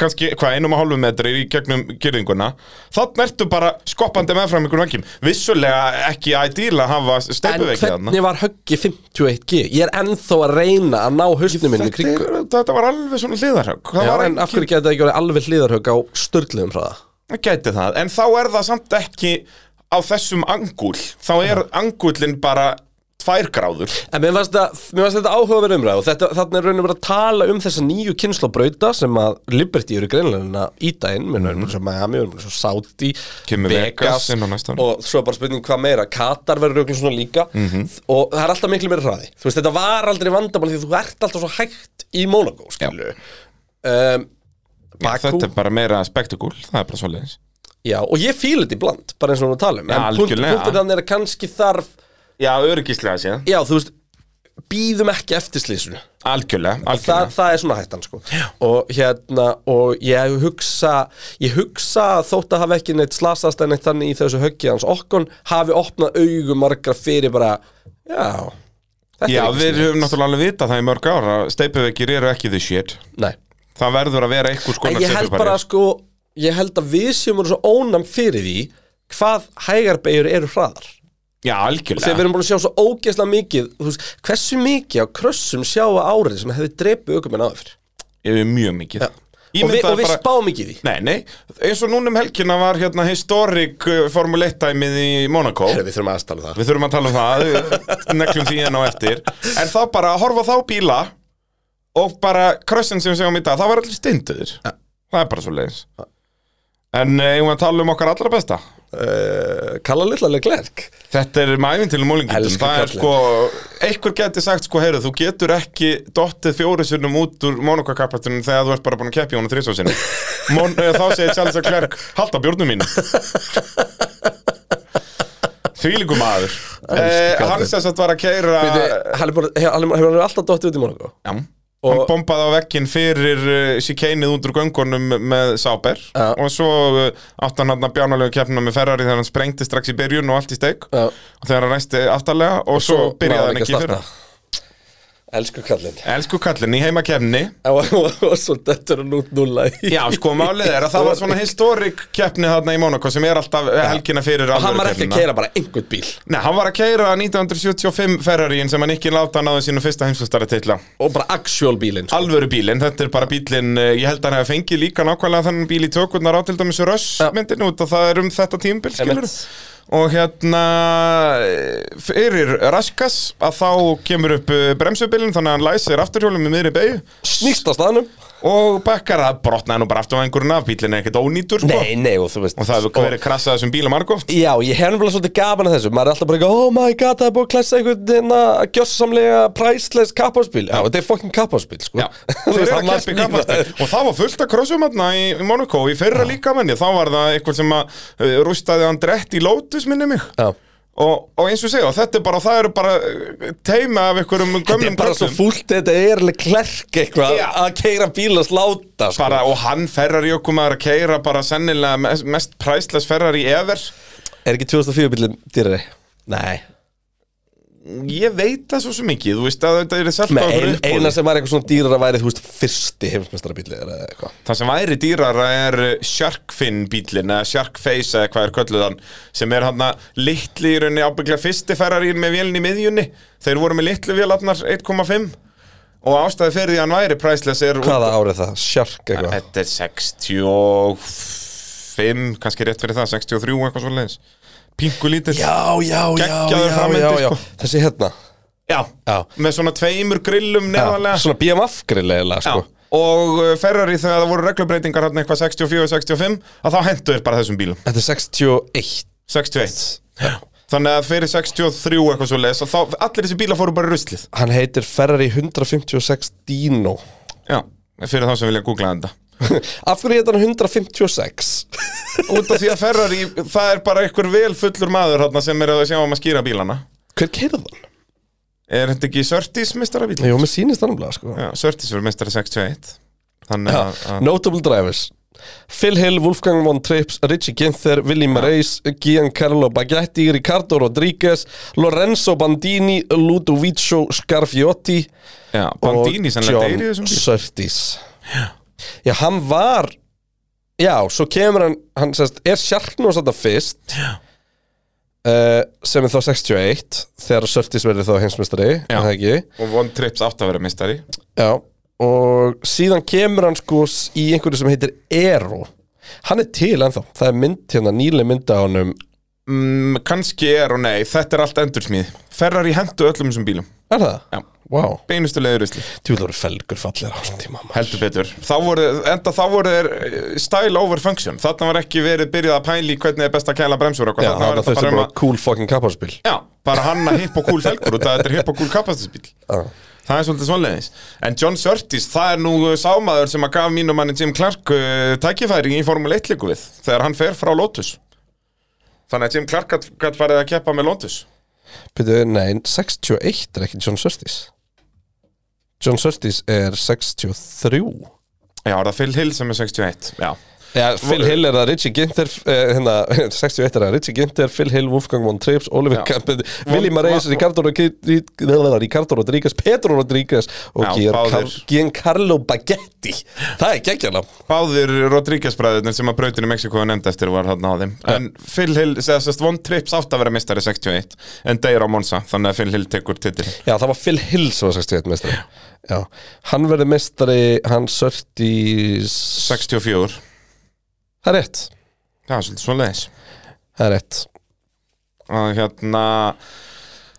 Speaker 2: kannski, hvað, einum og hálfum metri í gegnum gyrðinguna Þannig ertu bara skoppandi meðfram ykkur vekkjum Vissulega ekki ideal að hafa
Speaker 1: En
Speaker 2: steipuveikið
Speaker 1: hvernig var höggi 51G? Ég er ennþá að reyna að ná hausnum minni í kringu
Speaker 2: þetta, þetta var alveg svona hliðarhögg Það
Speaker 1: Já,
Speaker 2: var
Speaker 1: en af hverju gæti það ekki verið alveg hliðarhögg á störluðum hraða?
Speaker 2: Það gæti það, en þá er það samt ekki á þessum angúl Þá er angúlinn bara tvær gráður
Speaker 1: En mér fannst þetta, mér fannst þetta áhugaverð umræð og þetta, þarna er raunum verið að tala um þessa nýju kynnslóbrauta sem að Liberty eru greinlega í daginn, mér erum svo Miami, við erum svo Saudi,
Speaker 2: Mhm. Kemur Vegas inn á næsta ári.
Speaker 1: og svo er bara spurning hvað meira, Katar verður rauglega svona líka
Speaker 2: Mhm.
Speaker 1: og það er alltaf miklu meira hraði. Þú veist, þetta var aldrei vandamál því að þú ert alltaf svo hægt í Monaco, skilju. Um, Bakú.
Speaker 2: Þetta er bara meira spektakúl, það er bara svoleiðis
Speaker 1: Já, og ég fíl þetta í bland, bara eins og hún að tala um
Speaker 2: Já,
Speaker 1: En punkt-
Speaker 2: algjörlega.
Speaker 1: punktur þannig er að kannski þarf
Speaker 2: Já, öryggislega séð
Speaker 1: Já, þú veist, býðum ekki eftir slísinu
Speaker 2: Algjörlega,
Speaker 1: það,
Speaker 2: algjörlega
Speaker 1: það er svona hættan, sko Og hérna, og ég hugsa Ég hugsa að þótt að hafa ekki neitt slasast en neitt þannig í þessu höggi hans okkon hafi opnað augu margra fyrir bara Já, þetta er
Speaker 2: Já,
Speaker 1: ekki
Speaker 2: við
Speaker 1: sniðugt.
Speaker 2: höfum náttúrulega alveg vitað það í mörg ára Steipuveikir eru ekki the shit
Speaker 1: Nei,
Speaker 2: Það verður að vera einhvers
Speaker 1: en
Speaker 2: konar
Speaker 1: ég held bara,
Speaker 2: steypubarrier.
Speaker 1: sko Ég held að við séum voru svo ónam fyrir því hvað hægarbegjur eru hraðar
Speaker 2: Já,
Speaker 1: þegar
Speaker 2: algjörlega
Speaker 1: við erum búin að sjá svo ógeðslega mikið þú veist, hversu mikið á krössum sjá á árið sem hefði drepið aukumenn áður fyrr?
Speaker 2: Við erum mjög mikið
Speaker 1: og við, og við
Speaker 2: bara-
Speaker 1: spáum ekki því
Speaker 2: Nei, nei, eins og núna um helgina var hérna historic uh, Formule 1-dæmið í Monaco
Speaker 1: Herra, við þurfum að aðstala það
Speaker 2: Við þurfum að tala um það, við neglum því enn á eftir En þá bara að horfa á þá bíla Og bara krössin sem við segjum í dag, það var allir stinduður Það er bara svo leiðis En eh, eigum við að tala um okkar allra besta
Speaker 1: uh, Kalla litlalega glerk
Speaker 2: Þetta er mæfin til múlingindum
Speaker 1: Elsku
Speaker 2: Það er
Speaker 1: kallinn.
Speaker 2: sko, einhver geti sagt sko, heyrðu, þú getur ekki dottið fjórisunum út úr monokakapastunum þegar þú ert bara búin að keppi honum þrísásinu Mon, eh, Þá segir Charles Leclerc, halda bjórnum mínu Þvílíku maður Eh, hann sem sagt var að keira
Speaker 1: Ah. Hefur hann er alltaf dottið út í Monaco
Speaker 2: Hann
Speaker 1: Og-
Speaker 2: bombaði á vekkin fyrir uh, síkeinið út úr göngunum með Sáber
Speaker 1: Já.
Speaker 2: og svo uh, átti hann hann að bjánalegu keppna með Ferrari þegar hann sprengti strax í byrjun og allt í steik
Speaker 1: Já.
Speaker 2: og þegar hann ræsti aftarlega og, svo byrjaði hann ekki fyrir
Speaker 1: Elsku kallinn
Speaker 2: Elsku kallin í heimakefni
Speaker 1: Og og svo dettur hann út núla í
Speaker 2: Já, sko, málið er að það var svona historik keppni þarna í Monaco sem er alltaf eh, helgina fyrir
Speaker 1: Og hann var ekki að
Speaker 2: alvörukeppnina.
Speaker 1: keira bara einhvern bíl
Speaker 2: Nei, hann var að keira 1975 Ferraríin sem hann ekki láta náðu sínu fyrsta heimsfustari titla
Speaker 1: Og bara actual bílinn sko.
Speaker 2: Alvöru bílinn, þetta er bara bílinn eh, Ég held að hann hefði fengið líka nákvæmlega þannig bíl í tökurnar á til dæmis Röss
Speaker 1: Já.
Speaker 2: myndin út og það er um þetta tímbil skilur
Speaker 1: Einmitt.
Speaker 2: Og hérna eh, fyrir Raskas að þá kemur upp eh, bremsubilinn þannig að hann læsir afturhjólum í miðri beigju
Speaker 1: Snýst á staðnum
Speaker 2: og bekkar að brotnaði nú bara afturvængurinn af bílinn er ekkert ónýtur sko.
Speaker 1: Nei, Sko. nei, og þú veist
Speaker 2: og það hefur verið krassað þessum bílum margóft
Speaker 1: Já, ég hef nefnilega svolítið gaman að þessu Maður er alltaf bara ekki, oh my god, það er búið að klessa einhvern hérna gjössamlega priceless kapphásbíl Já, þetta er fucking kapphásbíl, sko Þú
Speaker 2: Þeir
Speaker 1: veist,
Speaker 2: eru
Speaker 1: hann
Speaker 2: að
Speaker 1: var
Speaker 2: keppa í
Speaker 1: smíðaður.
Speaker 2: kappakstri Og það var fullt af krossum hérna í í Monaco Í fyrra líka menni, þá var það eitthvað sem að uh, Rústaði hann drett í Lotus minni mig
Speaker 1: Já.
Speaker 2: og, og eins og segja, og þetta er bara Það eru bara uh, teima af einhverjum
Speaker 1: Þetta er
Speaker 2: gömlum
Speaker 1: bara svo
Speaker 2: krossum
Speaker 1: fúlt, þetta er alveg klerk eitthvað
Speaker 2: Já.
Speaker 1: að keira bíl að sláta sko.
Speaker 2: bara, Og hann ferrar í okkur maður að keira Bara sennilega mest, mest præslas ferrar í ever
Speaker 1: Er ekki 2004 bílum dýrari? Nei
Speaker 2: Ég veit það svo sem ekki Þú veist að þetta er selt á
Speaker 1: Með
Speaker 2: einhverju
Speaker 1: ein,
Speaker 2: uppboði.
Speaker 1: Eina sem var eitthvað svona dýrara væri, þú veist, fyrsti heimsmeistarabíli eða eitthvað
Speaker 2: Það sem væri dýrara er uh, Shark Fin bílinn eða Shark Face eða hvað er kölluðan sem er hann að litli í rauninni ábygglega fyrsti ferrarín með vélni í miðjunni þeir voru með litlu vélarnar 1,5 og ástæði fyrir því að hann væri præsles er
Speaker 1: Hvaða árið það? Shark eitthvað
Speaker 2: Þetta er 65 kannski rétt fyrir það, 63 eitthvað svo leiðis Pingu lítill
Speaker 1: Já, já, já,
Speaker 2: Geggjaður
Speaker 1: já, já,
Speaker 2: framvindir,
Speaker 1: já
Speaker 2: sko.
Speaker 1: Þessi hérna
Speaker 2: Já.
Speaker 1: Já.
Speaker 2: með svona tveimur grillum
Speaker 1: Já,
Speaker 2: nefalega
Speaker 1: Svona BMF-grill eða
Speaker 2: Já,
Speaker 1: sko
Speaker 2: og uh, Ferrari þegar það voru reglubreitingar hann eitthvað 64-65 að þá hendur bara þessum bílum
Speaker 1: Þetta er 61
Speaker 2: 61 Þannig að fyrir 63 eitthvað svo leis þá, Allir þessi bílar fóru bara í ruslið
Speaker 1: Hann heitir Ferrari 156 Dino
Speaker 2: Já, fyrir þá sem vilja googla þetta
Speaker 1: Af hverju heitir hann 156?
Speaker 2: Út af því að Ferrari, það er bara einhver vel fullur maður hátna, sem er að sjá um að skýra bílana
Speaker 1: Hver keirði hann?
Speaker 2: Er þetta ekki Sörtis mistara bíl?
Speaker 1: Jó, mér sýnist hann umlega sko
Speaker 2: Já, Sörtis verður mistara 61 Þannig að, að
Speaker 1: Notable drivers Phil Hill, Wolfgang von Trips, Richie Ginther, Willy Marais, Giancarlo Baghetti, Ricardo Rodriguez, Lorenzo Bandini, Ludovico Scarfiotti
Speaker 2: já, Bandini
Speaker 1: og
Speaker 2: sannlega deyri
Speaker 1: John
Speaker 2: þessum bíl
Speaker 1: Surtees Já, hann var Já, svo kemur hann, hann sest, er Sjarknós þetta fyrst uh, sem er þá 61 þegar Surtees verður þá heimsmeistari
Speaker 2: Já.
Speaker 1: er það ekki?
Speaker 2: Og Von Trips átt að vera mistari
Speaker 1: Já, og síðan kemur hann sko s- í einhverju sem heitir Ero Hann er til ennþá, það er mynd hérna, nýlega mynda á honum
Speaker 2: mm, Kanski er og nei, þetta er allt endursmíð Ferrari hendu öllum þessum bílum
Speaker 1: Er það?
Speaker 2: Já.
Speaker 1: Vá, wow.
Speaker 2: Beinustu leiður ruslið
Speaker 1: þú voru felgur fallir á þessum tíma maður.
Speaker 2: Heldur betur Þá voru, enda þá voru þeir eh, style over function Þarna var ekki verið byrjað að pæli hvernig er best að kæla bremsur og
Speaker 1: Já,
Speaker 2: eitthvað Þarna
Speaker 1: þannig
Speaker 2: var
Speaker 1: að þau
Speaker 2: þetta bara
Speaker 1: sem
Speaker 2: um
Speaker 1: bara
Speaker 2: að
Speaker 1: cool fucking kapparspil
Speaker 2: Já, bara hanna hipp og cool felgur út að þetta er hipp og cool kapastisbíl
Speaker 1: Já
Speaker 2: Það er svolítið svoleiðis En John Surtees, það er nú sámaður sem að gaf mínum manni Jim Clark uh, tækifæri í Formule 1 líku við Þegar hann fer frá Lotus Þannig að Jim Clark gat- gat farið að keppa með Lotus
Speaker 1: Pítu, nei, 61 er ekki John Surtees John Surtees er 63
Speaker 2: Já, er það Phil Hill sem er 61 Já,
Speaker 1: Já, Phil Hill er það Richie Ginter eh, hérna, 61 er það Richie Ginter Phil Hill, Wolfgang von Trips, Oliver
Speaker 2: Já.
Speaker 1: Campbell Willy Marais,
Speaker 2: von-
Speaker 1: Ricardo, Rodri- Ri- Ricardo Rodríguez Pedro Rodríguez og
Speaker 2: Já,
Speaker 1: Gian-
Speaker 2: báðir.
Speaker 1: Giancarlo Baghetti Það er geggjala
Speaker 2: Báðir Rodríguez-bræðirnir sem að brautinu Mexiko er nefnd eftir var hann á þeim En Phil Hill, segja sérst, von Trips átt að vera mistari 61 En Deir á Monsa, þannig að Phil Hill tekur titil
Speaker 1: Já, það var Phil Hill sem var 61 mestari Já, hann verði mestari hann Surtees
Speaker 2: 64,
Speaker 1: Það er rétt,
Speaker 2: það er svolítið svoleiðis
Speaker 1: það er rétt
Speaker 2: Og hérna,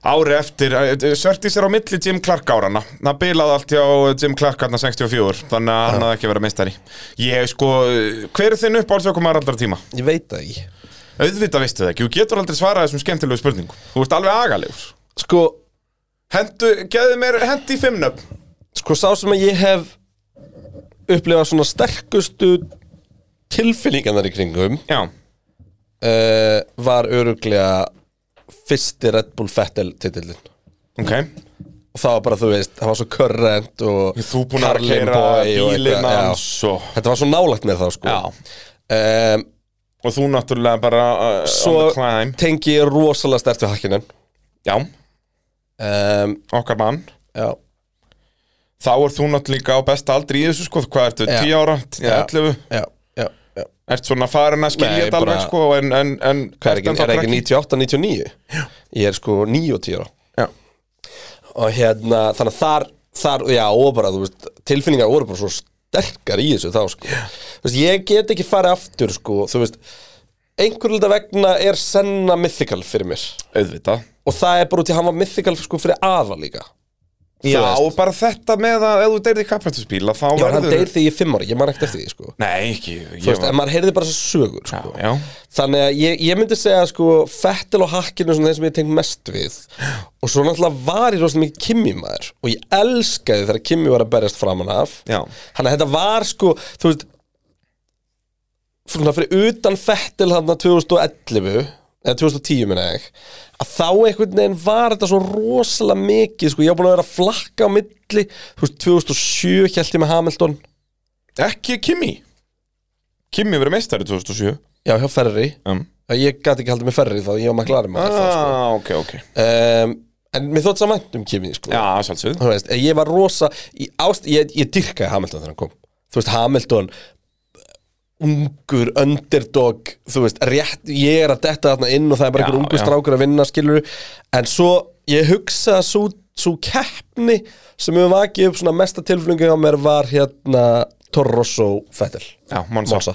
Speaker 2: ári eftir, Sörtis er á milli Jim Clark árana Það bilaði allt hjá Jim Clark hann 64 Þannig að hann hafði ekki verið mistari Ég sko, hver er þinn upp álsökumar allra tíma?
Speaker 1: Ég veit það ekki
Speaker 2: Auðvitað veistu það ekki, þú getur aldrei svarað þessum skemmtilegu spurningum Þú ert alveg agalegur
Speaker 1: Sko,
Speaker 2: Hentu, geðu mér, hendi í fimm nöfn
Speaker 1: sko sá sem að ég hef upplifað svona sterkustu tilfinningarnar í kringum
Speaker 2: Já
Speaker 1: uh, var öruglega eh, fyrsti Red Bull Fettel titillin
Speaker 2: Ok
Speaker 1: og það var bara, þú veist, það var svo current og
Speaker 2: Þú búin að
Speaker 1: Carlin
Speaker 2: kera
Speaker 1: Boy og
Speaker 2: bílinn
Speaker 1: eitthvað, já.
Speaker 2: hans og,
Speaker 1: Þetta var svo nálægt með það sko
Speaker 2: Já.
Speaker 1: Ehm,
Speaker 2: og þú náttúrulega bara uh, on the
Speaker 1: Svo
Speaker 2: climb
Speaker 1: tengi ég rosalega stert við hakkinin
Speaker 2: Já,
Speaker 1: um,
Speaker 2: okkar mann
Speaker 1: Já
Speaker 2: Þá er þú náttúrulega líka á besta aldri í þessu sko Hvað ertu,
Speaker 1: Já.
Speaker 2: 10 ára, 11
Speaker 1: Já, já, já
Speaker 2: Ert svona farin að skilja
Speaker 1: Nei,
Speaker 2: þetta alveg
Speaker 1: bara-
Speaker 2: sko En, en, en
Speaker 1: Hvað er ekki,
Speaker 2: ennþá
Speaker 1: er ekki
Speaker 2: krakki.
Speaker 1: 98, 99? Já Ég er sko 9 og 10 ára
Speaker 2: Já.
Speaker 1: Og hérna, þannig að þar, þar, já, og bara, þú veist Tilfinningar voru bara svo sterkar í þessu þá sko Þú veist, ég get ekki farið aftur sko Þú veist, einhverjulega vegna er senna mythical fyrir mér
Speaker 2: Auðvitað
Speaker 1: Og það er bara út í að hann var mythical sko fyrir afa líka Þú
Speaker 2: Já,
Speaker 1: veist.
Speaker 2: og bara þetta með að ef þú deyrði kapprættusbíla þá
Speaker 1: Já, hann
Speaker 2: verður
Speaker 1: deyr því ég er 5 ára, ég man ekkert eftir því sko
Speaker 2: Nei, ekki
Speaker 1: Þú veist, en maður heyrði bara þessar sögur
Speaker 2: Já,
Speaker 1: sko.
Speaker 2: já
Speaker 1: Þannig að ég, ég myndi segja sko Fettel og Hakkinu svona þeir sem ég tengt mest við Og svo náttúrulega var ég rosalega mikið Kimi maður Og ég elskaði þegar Kimi var að berjast framan af
Speaker 2: Já.
Speaker 1: Þannig að þetta var sko, þú veist Svona fyrir utan Fettel hann 2011 Eða 2010 minna ég Að þá einhvern veginn var þetta svo rosalega mikið Sko ég var búin að vera að flakka á milli Þú veist, 2007 held ég með Hamilton
Speaker 2: Ekki Kimi Kimi verið meistari 2007
Speaker 1: Já, hjá Ferri
Speaker 2: um.
Speaker 1: að ég gæti ekki haldið með ferri þá ég var maklari maður þá, sko.
Speaker 2: ah, Ok, ok
Speaker 1: um, en mér þótt saman um Kimi sko.
Speaker 2: Já, sjálfsögð
Speaker 1: Þú veist, ég var rosa ég, ást, ég, ég dyrkaði Hamilton þegar hann kom þú veist Hamilton ungur, underdog þú veist, rétt, ég er að detta þarna inn og það er bara
Speaker 2: Já,
Speaker 1: einhver ungur
Speaker 2: já.
Speaker 1: strákur að vinna skilur en svo ég hugsa að svo, svo keppni sem hefur vakið upp svona mesta tilflungi á mér var hérna Toro Rosso Fettel
Speaker 2: Já, Monza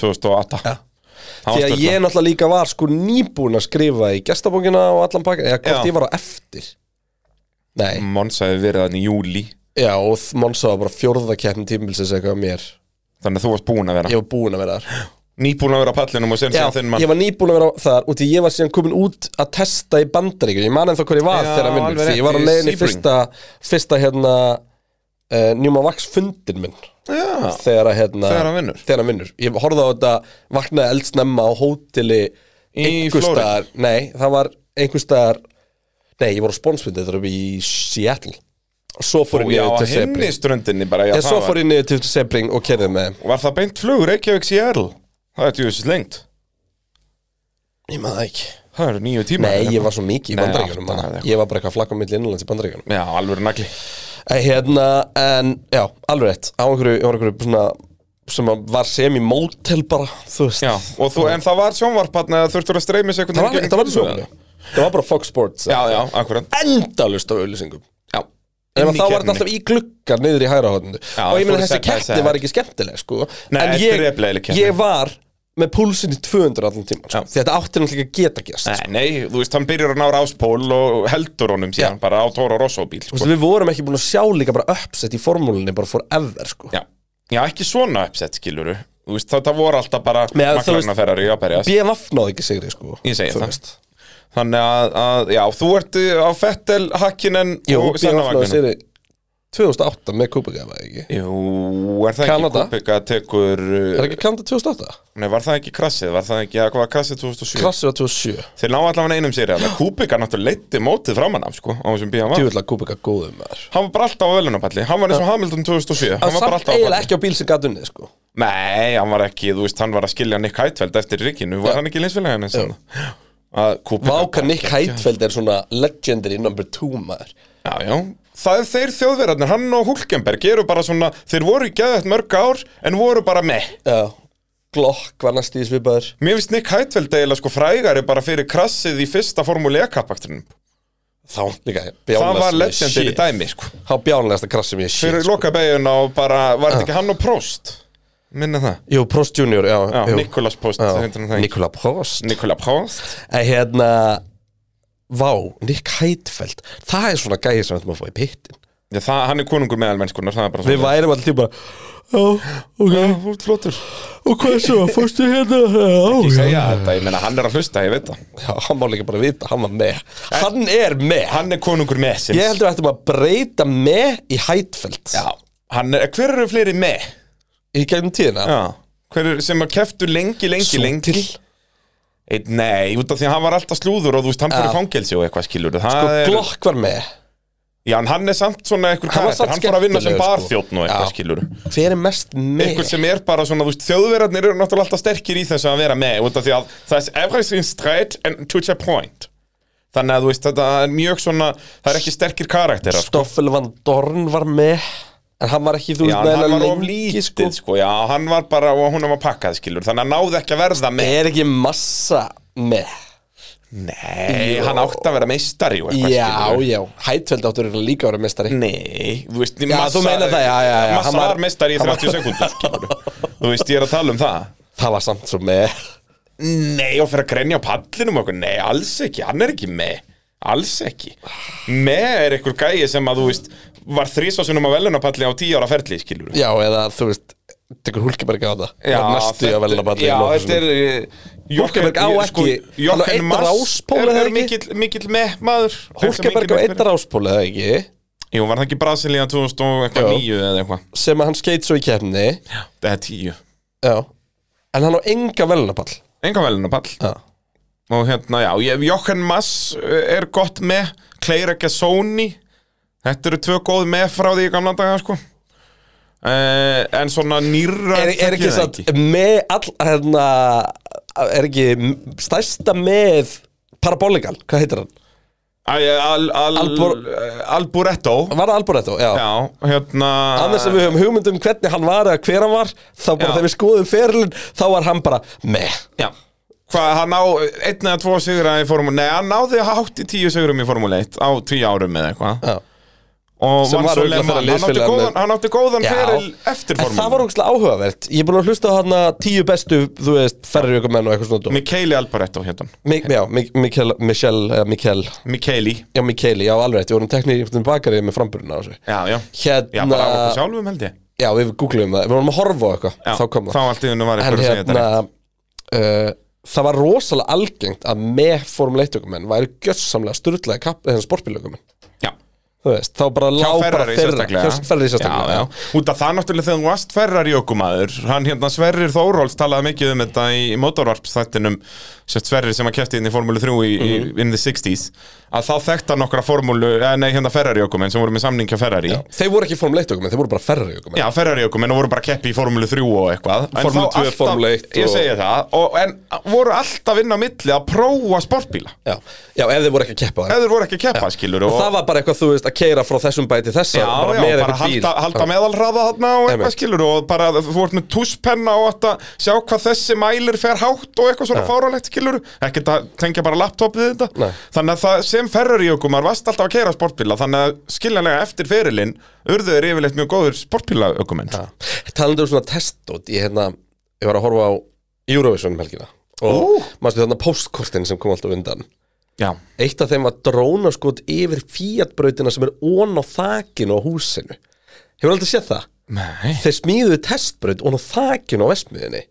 Speaker 2: 2008
Speaker 1: Já.
Speaker 2: Það
Speaker 1: Því
Speaker 2: var
Speaker 1: að
Speaker 2: stjórna.
Speaker 1: ég náttúrulega líka var sko nýbúin að skrifa í gestabókina og allan pakkan Eða hvort
Speaker 2: Já.
Speaker 1: ég var á eftir Nei,
Speaker 2: Monza hefði verið þannig í júli
Speaker 1: já og þ- Monza var bara fjórða keppn tímbilsins eitthvað að mér
Speaker 2: Þannig að þú varst búin að vera
Speaker 1: Ég var búin að vera þar
Speaker 2: Nýbúin að vera á pallinum og sem
Speaker 1: Já,
Speaker 2: sem þinn mann
Speaker 1: ég var nýbúin að vera þar út í ég var síðan komin út að testa í bandaríkun Ég man ennþá hvað ég var
Speaker 2: Já,
Speaker 1: þegar að
Speaker 2: alveg
Speaker 1: vinnur Því
Speaker 2: rétt,
Speaker 1: ég var
Speaker 2: í
Speaker 1: að leiðin í
Speaker 2: Sebring.
Speaker 1: fyrsta, fyrsta hérna uh, Njúma Vax fundin minn
Speaker 2: Já,
Speaker 1: Þegar að hérna
Speaker 2: Þegar hann vinnur.
Speaker 1: Þegar hann vinnur Ég horfði á þetta vaknaði eldsnemma á hóteli
Speaker 2: Í
Speaker 1: einhvers
Speaker 2: Flórída.
Speaker 1: staðar- Nei, það var einhvers staðar Nei, ég voru á sponsfundið þegar upp í Seattle Og svo fór
Speaker 2: og
Speaker 1: ég
Speaker 2: já,
Speaker 1: niður til
Speaker 2: henni
Speaker 1: Sebring
Speaker 2: ströndinni bara já,
Speaker 1: Ég
Speaker 2: það
Speaker 1: svo
Speaker 2: var-
Speaker 1: fór ég niður til Sebring og kerði með
Speaker 2: Var það beint flug, Reykjavík, Seattle? Það er tjóðis lengt
Speaker 1: Ég maður það ekki
Speaker 2: Það eru nýju tíma
Speaker 1: Nei, ég var svo mikið í
Speaker 2: Nei,
Speaker 1: bandaríkjunum
Speaker 2: átta eða
Speaker 1: maður.
Speaker 2: eitthvað.
Speaker 1: Ég var bara eitthvað að flakka á milli innanlands í bandaríkjunum
Speaker 2: Já, alveg nagli
Speaker 1: En hérna, en, já, alveg rétt Á einhverju, ég var á einhverju svona sem að var sem í mótel bara þú veist,
Speaker 2: Já, og þú, en það var sjónvarparna eða þurftur að streymi sig
Speaker 1: það var, það var í sjónu það var bara Fox Sports
Speaker 2: Já, já, akkurat
Speaker 1: endalust af auðlýsingum
Speaker 2: Já
Speaker 1: En þá var þetta alltaf í gluggar niður í hæra hóðinu Og ég
Speaker 2: fóru
Speaker 1: meina þessi
Speaker 2: side by
Speaker 1: keppni
Speaker 2: side.
Speaker 1: var ekki skemmtileg sko.
Speaker 2: Nei,
Speaker 1: En
Speaker 2: þetta er drepleg
Speaker 1: ég,
Speaker 2: keppni.
Speaker 1: ég var með púlsinn í 200 allan tíma sko.
Speaker 2: Já.
Speaker 1: Því þetta átti náttúrulega ekki að geta gæst sko.
Speaker 2: Nei, nei, þú veist, hann byrjar að nára áspól og heldur honum síðan bara á Toro Rosso bíl
Speaker 1: Þú
Speaker 2: sko.
Speaker 1: veist, Við vorum ekki búin að sjá líka bara uppsett í formúlinni bara forever sko.
Speaker 2: já. já, ekki svona uppsett, skiluru Þú veist, þetta voru alltaf bara
Speaker 1: Nei, þú veist-
Speaker 2: maklarna ferðar í að berjast
Speaker 1: BMF náði ekki sigri sko.
Speaker 2: Ég segi
Speaker 1: Þú
Speaker 2: það.
Speaker 1: veist.
Speaker 2: Þannig að, að, já, þú ert eh, á Fettel, Hakkinen
Speaker 1: Jú, BMF
Speaker 2: og
Speaker 1: náði
Speaker 2: Sennavagninum
Speaker 1: sigri 2008 með Kupagefa ekki
Speaker 2: Jú, er það ekki
Speaker 1: Kanada?
Speaker 2: Kupika tekur uh,
Speaker 1: Er ekki Kanda 2008?
Speaker 2: Nei, var það ekki krassið, var það ekki, eða hvað var krassið 2007?
Speaker 1: Krassi var 2007
Speaker 2: Þeir ná allavega einum sér, eða Kúbika náttúrulega leiti mótið framann af, sko, á þessum bíðan var.
Speaker 1: Tjúvill að Kupega góðum maður
Speaker 2: Hann var bara alltaf á velunapalli, hann var eins og Hamilton 2007, hann var bara
Speaker 1: Samt
Speaker 2: alltaf á
Speaker 1: eiginlega
Speaker 2: palli.
Speaker 1: ekki á bíl sem gat unnið sko.
Speaker 2: Nei, hann var ekki, þú veist, hann var að skilja Nick Heidfeld eftir Rikinu, var hann ekki linsfélagin eins og það? Kúbika,
Speaker 1: Váka Nick Heitfeld er svona legendary number two maður
Speaker 2: já, já. Það er þeir þjóðverðarnir, hann og Hulkenberg eru bara svona, þeir voru í geðvægt mörg ár, en voru bara með.
Speaker 1: Já, Glock var næst í svipaður
Speaker 2: Mér finnst Nick Heidfeld eiginlega sko frægari bara fyrir krassið í fyrsta formule E-kappaktunum.
Speaker 1: Þá líka
Speaker 2: Það
Speaker 1: bjánlegasta
Speaker 2: var legendir í
Speaker 1: shit.
Speaker 2: dæmi, sko.
Speaker 1: Þá bjánlegasta krassi mér shit
Speaker 2: fyrir
Speaker 1: sko.
Speaker 2: loka beiguna og bara, var þetta ekki hann og Prost? Minna það?
Speaker 1: Jú, Prost Junior, já,
Speaker 2: Já,
Speaker 1: jú.
Speaker 2: Nikolas Prost,
Speaker 1: Já,
Speaker 2: heitir hann það ekki?
Speaker 1: Nikola Prost
Speaker 2: Nikola Prost?
Speaker 1: En hérna Vá, Nick Heitfeld Það er svona gæði sem við ætlum að fá í pittin
Speaker 2: Já, það, hann er konungur meðal mennskunar, það er bara
Speaker 1: Við
Speaker 2: svona.
Speaker 1: værum alltaf bara Já, ok,
Speaker 2: Þú ert flottur.
Speaker 1: og hvað svo, fórstu hérna Já,
Speaker 2: Ég
Speaker 1: já
Speaker 2: segja þetta, ég meina, hann er að hlusta, ég veit það.
Speaker 1: Já, hann má líka bara vita, hann var með Hann er með
Speaker 2: Hann er konungur með sinns.
Speaker 1: Ég heldur að ættum að breyta með í Heitfeld
Speaker 2: Já, hann er, hver eru fleiri með?
Speaker 1: Í gegnum tíðina
Speaker 2: Já. Hver er, sem að keftu lengi, lengi, lengi?
Speaker 1: Sútil
Speaker 2: Eitt, nei, út af því að hann var alltaf slúður og þú veist, hann fór
Speaker 1: Já.
Speaker 2: í fangelsi og eitthvað skilur
Speaker 1: sko,
Speaker 2: það er,
Speaker 1: Glock var með
Speaker 2: Já, en hann er samt svona einhver
Speaker 1: Hann var
Speaker 2: karakter,
Speaker 1: samt
Speaker 2: hann fór að vinna sem
Speaker 1: skemmtilegur, sko.
Speaker 2: barþjófn og eitthvað
Speaker 1: Já.
Speaker 2: skilur
Speaker 1: Hver er mest með?
Speaker 2: Einhver sem er bara svona, þú veist, þjóðverðarnir eru náttúrulega alltaf sterkir í þessu að vera með út af því að það er everything straight and to the point Þannig að þú veist, þetta er mjög svona, það er ekki sterkir karakterar sko.
Speaker 1: Stoffel van Dorn var með En hann var ekki, þú
Speaker 2: Já,
Speaker 1: veist,
Speaker 2: en
Speaker 1: með hennar
Speaker 2: hann var of
Speaker 1: lengi,
Speaker 2: lítið, sko. já, hann var bara, og hún var pakkað, skilur Þannig að náði ekki að verða með
Speaker 1: Er ekki massa með?
Speaker 2: Nei,
Speaker 1: Jú.
Speaker 2: hann átti að vera meistari og eitthvað
Speaker 1: Já,
Speaker 2: skilurðu.
Speaker 1: já, hættveld áttur er líka að vera mestari
Speaker 2: Nei, þú veist,
Speaker 1: Já, þú meinar það, já, já, já,
Speaker 2: Massa
Speaker 1: hann var-
Speaker 2: var meistari í
Speaker 1: hann var-
Speaker 2: 30 sekundur, skilur Þú veist, ég er að tala um það
Speaker 1: Það var samt svo með
Speaker 2: Nei, og fyrir að grenja á pallinum okkur Nei, alls ekki, hann er ekki með Alls ekki Með er einhver gæi sem að, þú veist Var þrísvásunum að veluna palli á 10 ára ferli, skilur
Speaker 1: Já, eða þú veist, tekur Hulkeberg á það Það er Hérna næstu að velna bara
Speaker 2: Já, þetta er eh,
Speaker 1: Hulkenberg á
Speaker 2: Jochen-
Speaker 1: ekki- hann á
Speaker 2: Jochen
Speaker 1: einn
Speaker 2: Mass
Speaker 1: ráspól,
Speaker 2: er,
Speaker 1: eða
Speaker 2: er
Speaker 1: ekki?
Speaker 2: mikill, mikill með maður
Speaker 1: sko. Hulkeberg á einn ráspól eða ekki
Speaker 2: Jú, var það ekki Brasilia 2009 eða eitthvað
Speaker 1: sem að hann skeit svo í kefni Já.
Speaker 2: Það er 10
Speaker 1: en hann á enga velnapall
Speaker 2: Enga velina pall
Speaker 1: Já.
Speaker 2: og hérna, já, ég, Jochen Mass eh, er gott með, Kleira Gassoni þetta eru tvö góð með frá því í gamla daga, sko uh, en svona nýrra
Speaker 1: er, er
Speaker 2: þekki
Speaker 1: ekki
Speaker 2: ég það
Speaker 1: satt með all, hérna, er ekki m- stærsta með Parabolical, hvað heitir hann?
Speaker 2: Æ, eh, al, al,
Speaker 1: Albor-
Speaker 2: eh, Alboreto
Speaker 1: Var það Alboreto? Já,
Speaker 2: já, hérna
Speaker 1: annars sem við höfum hugmyndum hvernig hann var eða hver hann var þá bara
Speaker 2: Já.
Speaker 1: þegar við skoðum ferilinn þá var hann bara með
Speaker 2: já. Hvað, hann á einn eða tvo sigra í formúli, nei, hann náði hátt í tíu sigrum í formúli 1 á tíu árum eða eitthvað
Speaker 1: Já.
Speaker 2: og
Speaker 1: Sem
Speaker 2: vann
Speaker 1: var
Speaker 2: svo
Speaker 1: örugglega
Speaker 2: Le Mans.
Speaker 1: þeirra
Speaker 2: hann átti
Speaker 1: liðsfélagi
Speaker 2: góðan,
Speaker 1: með-
Speaker 2: hann átti góðan
Speaker 1: Já.
Speaker 2: feril eftir
Speaker 1: En það var
Speaker 2: formúli
Speaker 1: ógæslega áhugavert Ég er búin að hlusta á þarna tíu bestu Þú veist, ferriökumenn og eitthvað svona dót.
Speaker 2: Mikaeli Alboreto hérna,
Speaker 1: Mi- Já, Mi- Mikel, Michel, eða Mikel
Speaker 2: Mikaeli
Speaker 1: Já, Mikeli, já, alveg rétt, Við vorum teknir í bakarið með framburðina á þessu
Speaker 2: já, já Já,
Speaker 1: Hérna,
Speaker 2: bara á okkur sjálfum held ég
Speaker 1: já, við googluðum það Við vorum að horfa á
Speaker 2: Já,
Speaker 1: eitthvað, þá kom
Speaker 2: Þá
Speaker 1: það
Speaker 2: allt í hennu var
Speaker 1: En
Speaker 2: eitthvað að segja
Speaker 1: hérna
Speaker 2: þetta
Speaker 1: uh, Það var rosalega algengt að með Formule 1-ökumenn væri gjössamlega styrlaði kapp, þennan sportbílökumenn
Speaker 2: Já,
Speaker 1: Þú veist, þá bara lá
Speaker 2: hjá
Speaker 1: bara
Speaker 2: Ferrari sérstaklega
Speaker 1: Hjá Ferrari sérstaklega,
Speaker 2: já, já. Út af það náttúrulega þegar þú varst Ferrari okkumaður Hann hérna Sverrir Þóróls talaði mikið um þetta í motorvarpstættinum Sérst Sverrir sem að kæfti inn í Formúlu 3 í,
Speaker 1: Mhm.
Speaker 2: í, in the 60s Að þá þekkta nokkra Formúlu, eh, nei hérna Ferrari okkumenn sem voru með samning hjá Ferrari Já,
Speaker 1: Þeir voru ekki Formule 1-ökumenn, þeir voru bara Ferrari-ökumenn
Speaker 2: Ferrari okkumenn og voru bara að keppi í Formúlu 3 og eitthvað En
Speaker 1: Formúlu
Speaker 2: þá
Speaker 1: 2,
Speaker 2: alltaf-
Speaker 1: Formúlu 1
Speaker 2: Ég
Speaker 1: og-
Speaker 2: segi það, og, en voru alltaf inn á milli að prófa sportbíla
Speaker 1: Já, já ef þeir voru ekki að keppa á þeim
Speaker 2: Eður voru ekki að keppa, skilur
Speaker 1: Og það var bara eitthvað, þú veist, að keira frá þessum bæti þessa
Speaker 2: Já,
Speaker 1: bara
Speaker 2: já,
Speaker 1: með
Speaker 2: bara
Speaker 1: einhvern bíl.
Speaker 2: halda, halda meðalraða þarna og eitthvað
Speaker 1: Einmitt.
Speaker 2: skilur og bara þú ert með túspenna og átt að sjá hvað þessi mælir fer hátt og eitthvað svona fáralegt skilur ekkert að tengja bara laptopið við þetta
Speaker 1: Nei.
Speaker 2: þannig að það sem ferrar í okkur maður varst alltaf að keira sportbíla þannig að skiljanlega eftir ferilinn urðu þeir yfirleitt mjög góður sportbíla ökumenn
Speaker 1: Já. Talandi um svona testdót Ég hérna, ég var að horfa á Eurovision um helgina
Speaker 2: Ú.
Speaker 1: Og maður þarna postkortin sem kom alltaf undan
Speaker 2: Já,
Speaker 1: Eitt af þeim var drónaskot yfir fíatbrautina sem er ón á þakinu á húsinu Hefur aldrei séð það?
Speaker 2: nei,
Speaker 1: Þeir smíðuðu testbraut ón á þakinu á vestmiðinni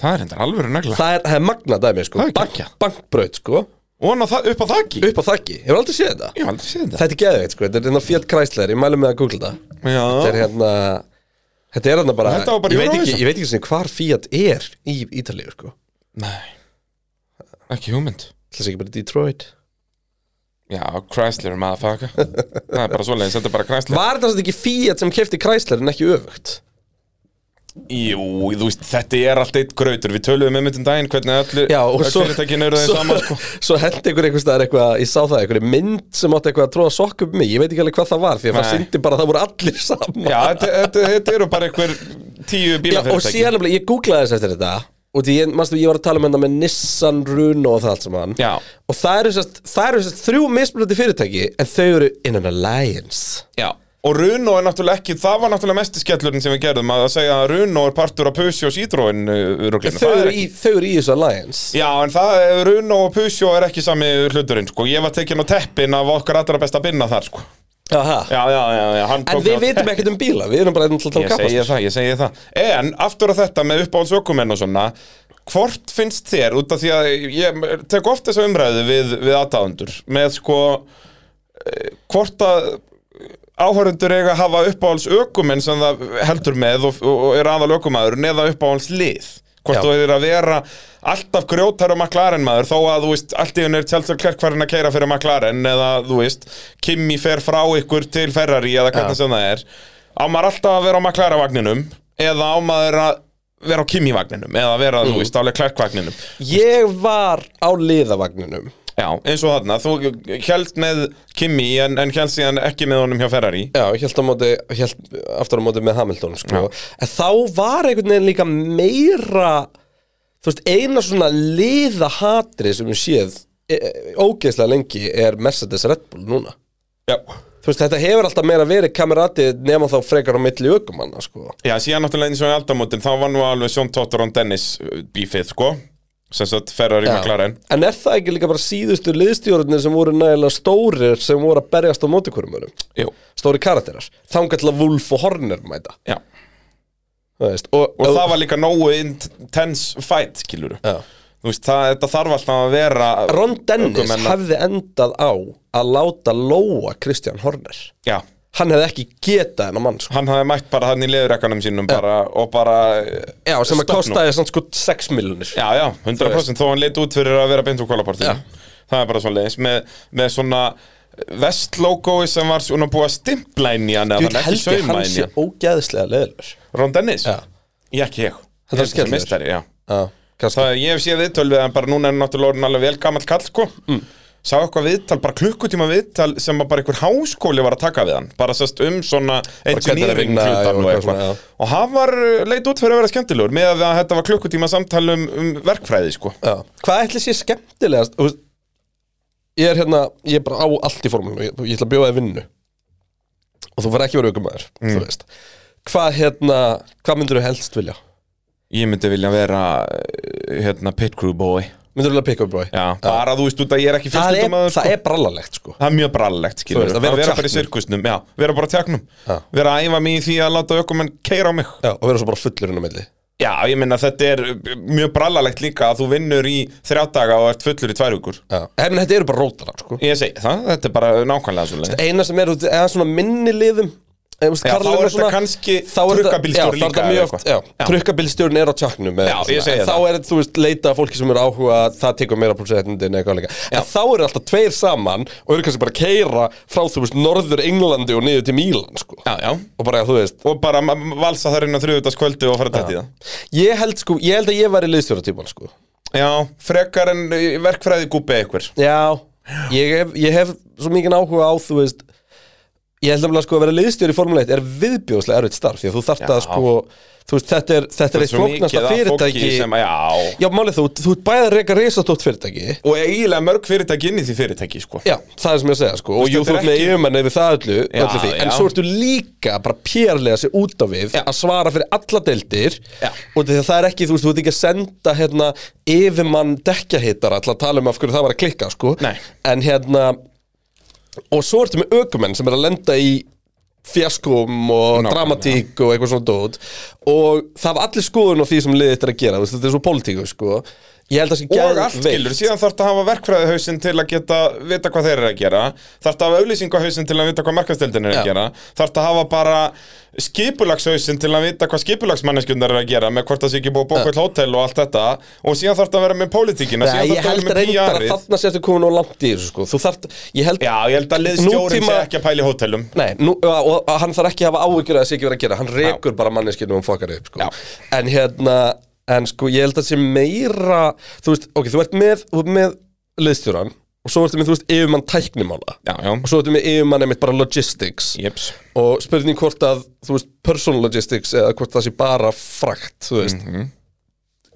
Speaker 2: það er endur alvöru negla
Speaker 1: Það er, það er magna dæmi sko
Speaker 2: Það er
Speaker 1: Bank,
Speaker 2: geggjað.
Speaker 1: Bankbraut sko,
Speaker 2: Og hann á það upp á þakki
Speaker 1: upp á þaki Hefur aldrei séð þetta?
Speaker 2: Ég hef aldrei séð þetta
Speaker 1: Þetta er geðveikt sko, þetta er hérna Fiat Chrysler, ég mælu með að googla þetta þetta er
Speaker 2: Já,
Speaker 1: hérna þetta er hérna bara,
Speaker 2: Þetta var bara
Speaker 1: ég, veit ekki,
Speaker 2: Eurovision.
Speaker 1: ég veit ekki sem hvar Fiat er í Ítalíu sko
Speaker 2: nei Ekki hugmynd
Speaker 1: Það sé ekki bara í Detroit
Speaker 2: Já, Chrysler, maður Það er bara svoleiðis, þetta er bara Chrysler
Speaker 1: Var þetta samt ekki Fiat sem kefti Chrysler en ekki öfugt?
Speaker 2: Jú, þú veist, þetta er allt eitt grautur Við töluðum um þetta um daginn hvernig öllu
Speaker 1: Já, og svo,
Speaker 2: fyrirtækin eru þeim
Speaker 1: svo,
Speaker 2: saman sko.
Speaker 1: svo hendi ykkur einhvers staðar eitthvað, ég sá það, einhver mynd sem átti eitthvað að tróða sokk upp mig, ég veit ekki alveg hvað það var því að það
Speaker 2: Nei.
Speaker 1: syndi bara að það voru allir saman
Speaker 2: Já, þetta, þetta, þetta eru bara einhver tíu
Speaker 1: Já, og
Speaker 2: bílafyrirtæki
Speaker 1: síðan nefnilega, ég googlaði þess eftir þetta og því, ég, manstu, ég var að tala um hérna með Nissan, Runo og það allt saman
Speaker 2: Já.
Speaker 1: og það eru sérst, það eru sérst þrjú mismunandi fyrirtæki en þau eru in an alliance
Speaker 2: Já. Og Runo er náttúrulega ekki, það var náttúrulega mesti skellurinn sem við gerðum að segja að Runo er partur af Pusio og uh, Citroen
Speaker 1: Þau eru, í, þau eru í þessu alliance
Speaker 2: Já, en það, Runo og Pusio er ekki sami hluturinn sko. Ég var tekin á teppin af okkar allra besta binna þar sko.
Speaker 1: Aha.
Speaker 2: Já, já, já, já hann
Speaker 1: En
Speaker 2: tók mig
Speaker 1: við
Speaker 2: á
Speaker 1: vitum
Speaker 2: teppinn.
Speaker 1: ekkert um bíla, við erum bara einn til að tala um
Speaker 2: Ég segi
Speaker 1: kapastur
Speaker 2: það, ég segi það En aftur að þetta með uppáhaldsökumenn og svona Hvort finnst þér, út af því að ég tek oft þessa umræðu við, við aðdáðundur með sko eh, hvort að áhörundur eiga að hafa uppáhaldsökumenn sem það heldur með og, og er aðal ökumæður neða uppáhaldslið hvort
Speaker 1: Já.
Speaker 2: þú er að vera alltaf grjótar og McLaren maður þó að þú veist, allt í hún er Tjálsar Klerk farin að keira fyrir McLaren eða þú veist, Kimi fer frá ykkur til Ferrari eða hvernig sem það er á maður alltaf að vera á McLaren vagninum eða á maður að vera á Kimi vagninum eða vera, þú veist, álega Klerk vagninum
Speaker 1: Ég var á liðavagninum
Speaker 2: Já, eins og þarna, þú held með Kimi en, en held síðan ekki með honum hjá Ferrari
Speaker 1: Já, ég held, á móti, ég held aftur á móti með Hamilton sko. En þá var einhvern veginn líka meira Þú veist, eina svona liðahatri sem við séð e, e, ógeðslega lengi er Mercedes Red Bull núna
Speaker 2: Já,
Speaker 1: Þú veist, þetta hefur alltaf meira verið kamerati nema þá frekar á milli ökumanna sko.
Speaker 2: Já, síðan náttúrulega eins og í aldamótin þá var nú alveg Sjón Tóttur og Dennis uh, bífið, sko sem sagt Ferrari
Speaker 1: Já.
Speaker 2: McLaren
Speaker 1: En er það ekki líka bara síðustu liðstjórnir sem voru nægilega stórir sem voru að berjast á móti hverjum örum?
Speaker 2: Jú,
Speaker 1: Stóri karakterar. Þangar til að Wolf og Horner mæta.
Speaker 2: já
Speaker 1: það Veist, og
Speaker 2: Og það var líka nógu intense fight, skilur
Speaker 1: Já.
Speaker 2: Þú veist, það, þetta þarf alltaf að vera
Speaker 1: Ron Dennis
Speaker 2: Ökumenn-
Speaker 1: hefði endað á að láta lóa Kristján Horner.
Speaker 2: Já,
Speaker 1: Hann hefði ekki getað hennar mann, sko.
Speaker 2: hann hafði mætt bara hann í leðurekkanum sínum bara, og bara
Speaker 1: Já, sem að
Speaker 2: Stopp nú.
Speaker 1: kostaði samt sko 6 miljonir.
Speaker 2: Já, já, 100% þó hann lit út fyrir að vera beint úr kólapartíð Það er bara svona leins með, með svona vestlógói sem var svona búið að stimpla inn í hann eða
Speaker 1: Ég
Speaker 2: hann ekki
Speaker 1: held ég
Speaker 2: sauma
Speaker 1: hann
Speaker 2: inn í
Speaker 1: sé
Speaker 2: hann
Speaker 1: ógeðslega leðilur.
Speaker 2: Ron Dennis?
Speaker 1: Já.
Speaker 2: Ég ekki ég
Speaker 1: Þetta er
Speaker 2: Ég held þessi
Speaker 1: skemmtilegur.
Speaker 2: meistari, já
Speaker 1: Já, kannski.
Speaker 2: Það, ég hef séð viðtöl við hann bara núna er hann náttúrulega orðin alveg vel gamall kall sko.
Speaker 1: Mm.
Speaker 2: Sá eitthvað viðtal, bara klukkutíma viðtal sem að bara einhver háskóli var að taka við hann bara sérst um svona
Speaker 1: hvernig er að
Speaker 2: engineering
Speaker 1: vinna, já,
Speaker 2: hlutan og
Speaker 1: eitthvað
Speaker 2: eitthvað
Speaker 1: svona, já.
Speaker 2: og hann var uh, leit út fyrir að vera skemmtilegur með að þetta var klukkutíma samtal um, um verkfræði sko.
Speaker 1: Já. Hvað ætli sé skemmtilegast? Þú veist, Ég er hérna, ég er bara á allt í formum Ég, ég ætla að bjóða þér vinnu Og þú verð ekki verið aukumæður Þú veist Hvað hérna, hvað myndirðu helst vilja?
Speaker 2: Ég myndi vilja vera uh, hérna, pit crew boy
Speaker 1: Myndirðu vilja pick up boy?
Speaker 2: já, bara þú veist út að ég er ekki
Speaker 1: Það er,
Speaker 2: fjölskyldumæður
Speaker 1: það er brallalegt sko
Speaker 2: Það er mjög brallegt,
Speaker 1: Þú
Speaker 2: skilur
Speaker 1: veist,
Speaker 2: Að
Speaker 1: að vera á
Speaker 2: vera, bara í
Speaker 1: tjakknum.
Speaker 2: sirkusnum, já, vera bara á tjáknum
Speaker 1: Já.
Speaker 2: Vera að æfa mig í því að láta ökumenn keira á mig
Speaker 1: Já, og vera svo bara fullur inn á milli
Speaker 2: Já, ég minna þetta er uh, mjög brallalegt líka að þú vinnur í þrjá daga og ert fullur í tvær hugur
Speaker 1: Já, en þetta eru bara rótarar sko
Speaker 2: Ég segi það, þetta er bara nákvæmlega svolítið
Speaker 1: Eina sem eru, eða svona minni liðum eða, þú veist,
Speaker 2: Já, þá
Speaker 1: Karlinn
Speaker 2: er
Speaker 1: og
Speaker 2: þetta kannski
Speaker 1: þá er þetta-
Speaker 2: trukkabílstjóri
Speaker 1: já, þá er þetta mjög
Speaker 2: líka eða
Speaker 1: oft-
Speaker 2: eitthvað.
Speaker 1: já,
Speaker 2: Já.
Speaker 1: Trukkabílstjórn er á tjakknum eða
Speaker 2: Já,
Speaker 1: eitthvað
Speaker 2: ég
Speaker 1: svona.
Speaker 2: segi
Speaker 1: En Þá
Speaker 2: það.
Speaker 1: er þetta, þú veist, leita að fólki sem eru áhuga Það tekur meira prósentin eitthvað líka En þá eru alltaf tveir saman Og eru kannski bara að keira frá, þú veist, norður Englandi Og niður til Mílan, sko
Speaker 2: Já, já
Speaker 1: Og bara, þú veist
Speaker 2: Og bara ma- ma- valsa þar inn á þriðutaskvöldu og fara dætt í það
Speaker 1: Ég held, sko, ég held að ég var í liðstjóratýpan, sko
Speaker 2: Já, frekar en eh, í verkfræði gúbi eitthver
Speaker 1: Já, ég hef, ég hef svo mikið áhuga á, þú veist Ég held að sko að vera liðstjóri í Formule 1 er viðbjóðslega erfitt starf Því að þú þarft að
Speaker 2: Já.
Speaker 1: sko, þú veist, þetta er, þetta er eitt flóknasta fyrirtæki
Speaker 2: sem, Já,
Speaker 1: Já, málið þú, þú ert bæði að reyka reisastótt fyrirtæki
Speaker 2: og eiginlega mörg fyrirtæki inn í því fyrirtæki, sko
Speaker 1: Já, það er sem ég að segja, sko Og
Speaker 2: veist,
Speaker 1: jú, þú
Speaker 2: þetta er
Speaker 1: ert með
Speaker 2: ekki-
Speaker 1: yfirmenn yfir það öllu,
Speaker 2: Já,
Speaker 1: öllu því En
Speaker 2: já.
Speaker 1: svo ertu líka bara pérlega sér út á við
Speaker 2: Já.
Speaker 1: Að svara fyrir alla deildir
Speaker 2: Já.
Speaker 1: Og því að það er ekki, þú veist, þú ert ekki að senda hérna, Yfirmann dekkjahittara Til að tala um af hverju það var að klikka, sko
Speaker 2: Nei.
Speaker 1: En hérna Og svo ertu með ökumenn sem er að lenda í fjaskum og
Speaker 2: Nákvæmlega.
Speaker 1: dramatík og eitthvað svona dót og það hafa allir skoðun á því sem liðið þetta er að gera þú veist, þetta er svo pólitíku sko ég held að það sé
Speaker 2: og
Speaker 1: geðveikt.
Speaker 2: allt skilur, síðan þarf það að hafa verkfræðihausin til að geta vita hvað þeir eru að gera þarf það að hafa auðlýsingahausin til að vita hvað markastildin eru
Speaker 1: Já.
Speaker 2: að gera þarf það að hafa bara skipulagshausin til að vita hvað skipulagsmanneskjundar eru að gera með hvort það sé ekki búið að bóka all hótel og allt þetta og síðan þarf það að vera með pólitíkina
Speaker 1: Nei,
Speaker 2: síðan
Speaker 1: ég
Speaker 2: þarf það
Speaker 1: held
Speaker 2: að vera
Speaker 1: reyndar
Speaker 2: með
Speaker 1: að
Speaker 2: PR-ið
Speaker 1: þarna sérstu komin og langt í þessu sko Þú þarft, ég held
Speaker 2: Já, ég held að liðstjórin sé
Speaker 1: Nútíma-
Speaker 2: ekki að pæli hótelum
Speaker 1: Nei, nú, og, og, og hann þarf ekki að hafa áhyggjur að þessi ekki verið að gera Hann rekur bara manneskinu og fokkar upp sko.
Speaker 2: Já.
Speaker 1: En hérna, en sko ég held að sé meira Þú veist, ok, þú ert með, þú ert með liðstjóran Og svo ertu með, þú veist, yfirmann tæknimála
Speaker 2: Já,
Speaker 1: Og
Speaker 2: já,
Speaker 1: svo ertu með yfirmann einmitt bara logistics
Speaker 2: jeps
Speaker 1: Og spurning hvort að, þú veist, personal logistics Eða hvort það sé bara frakt, þú veist
Speaker 2: Mhm.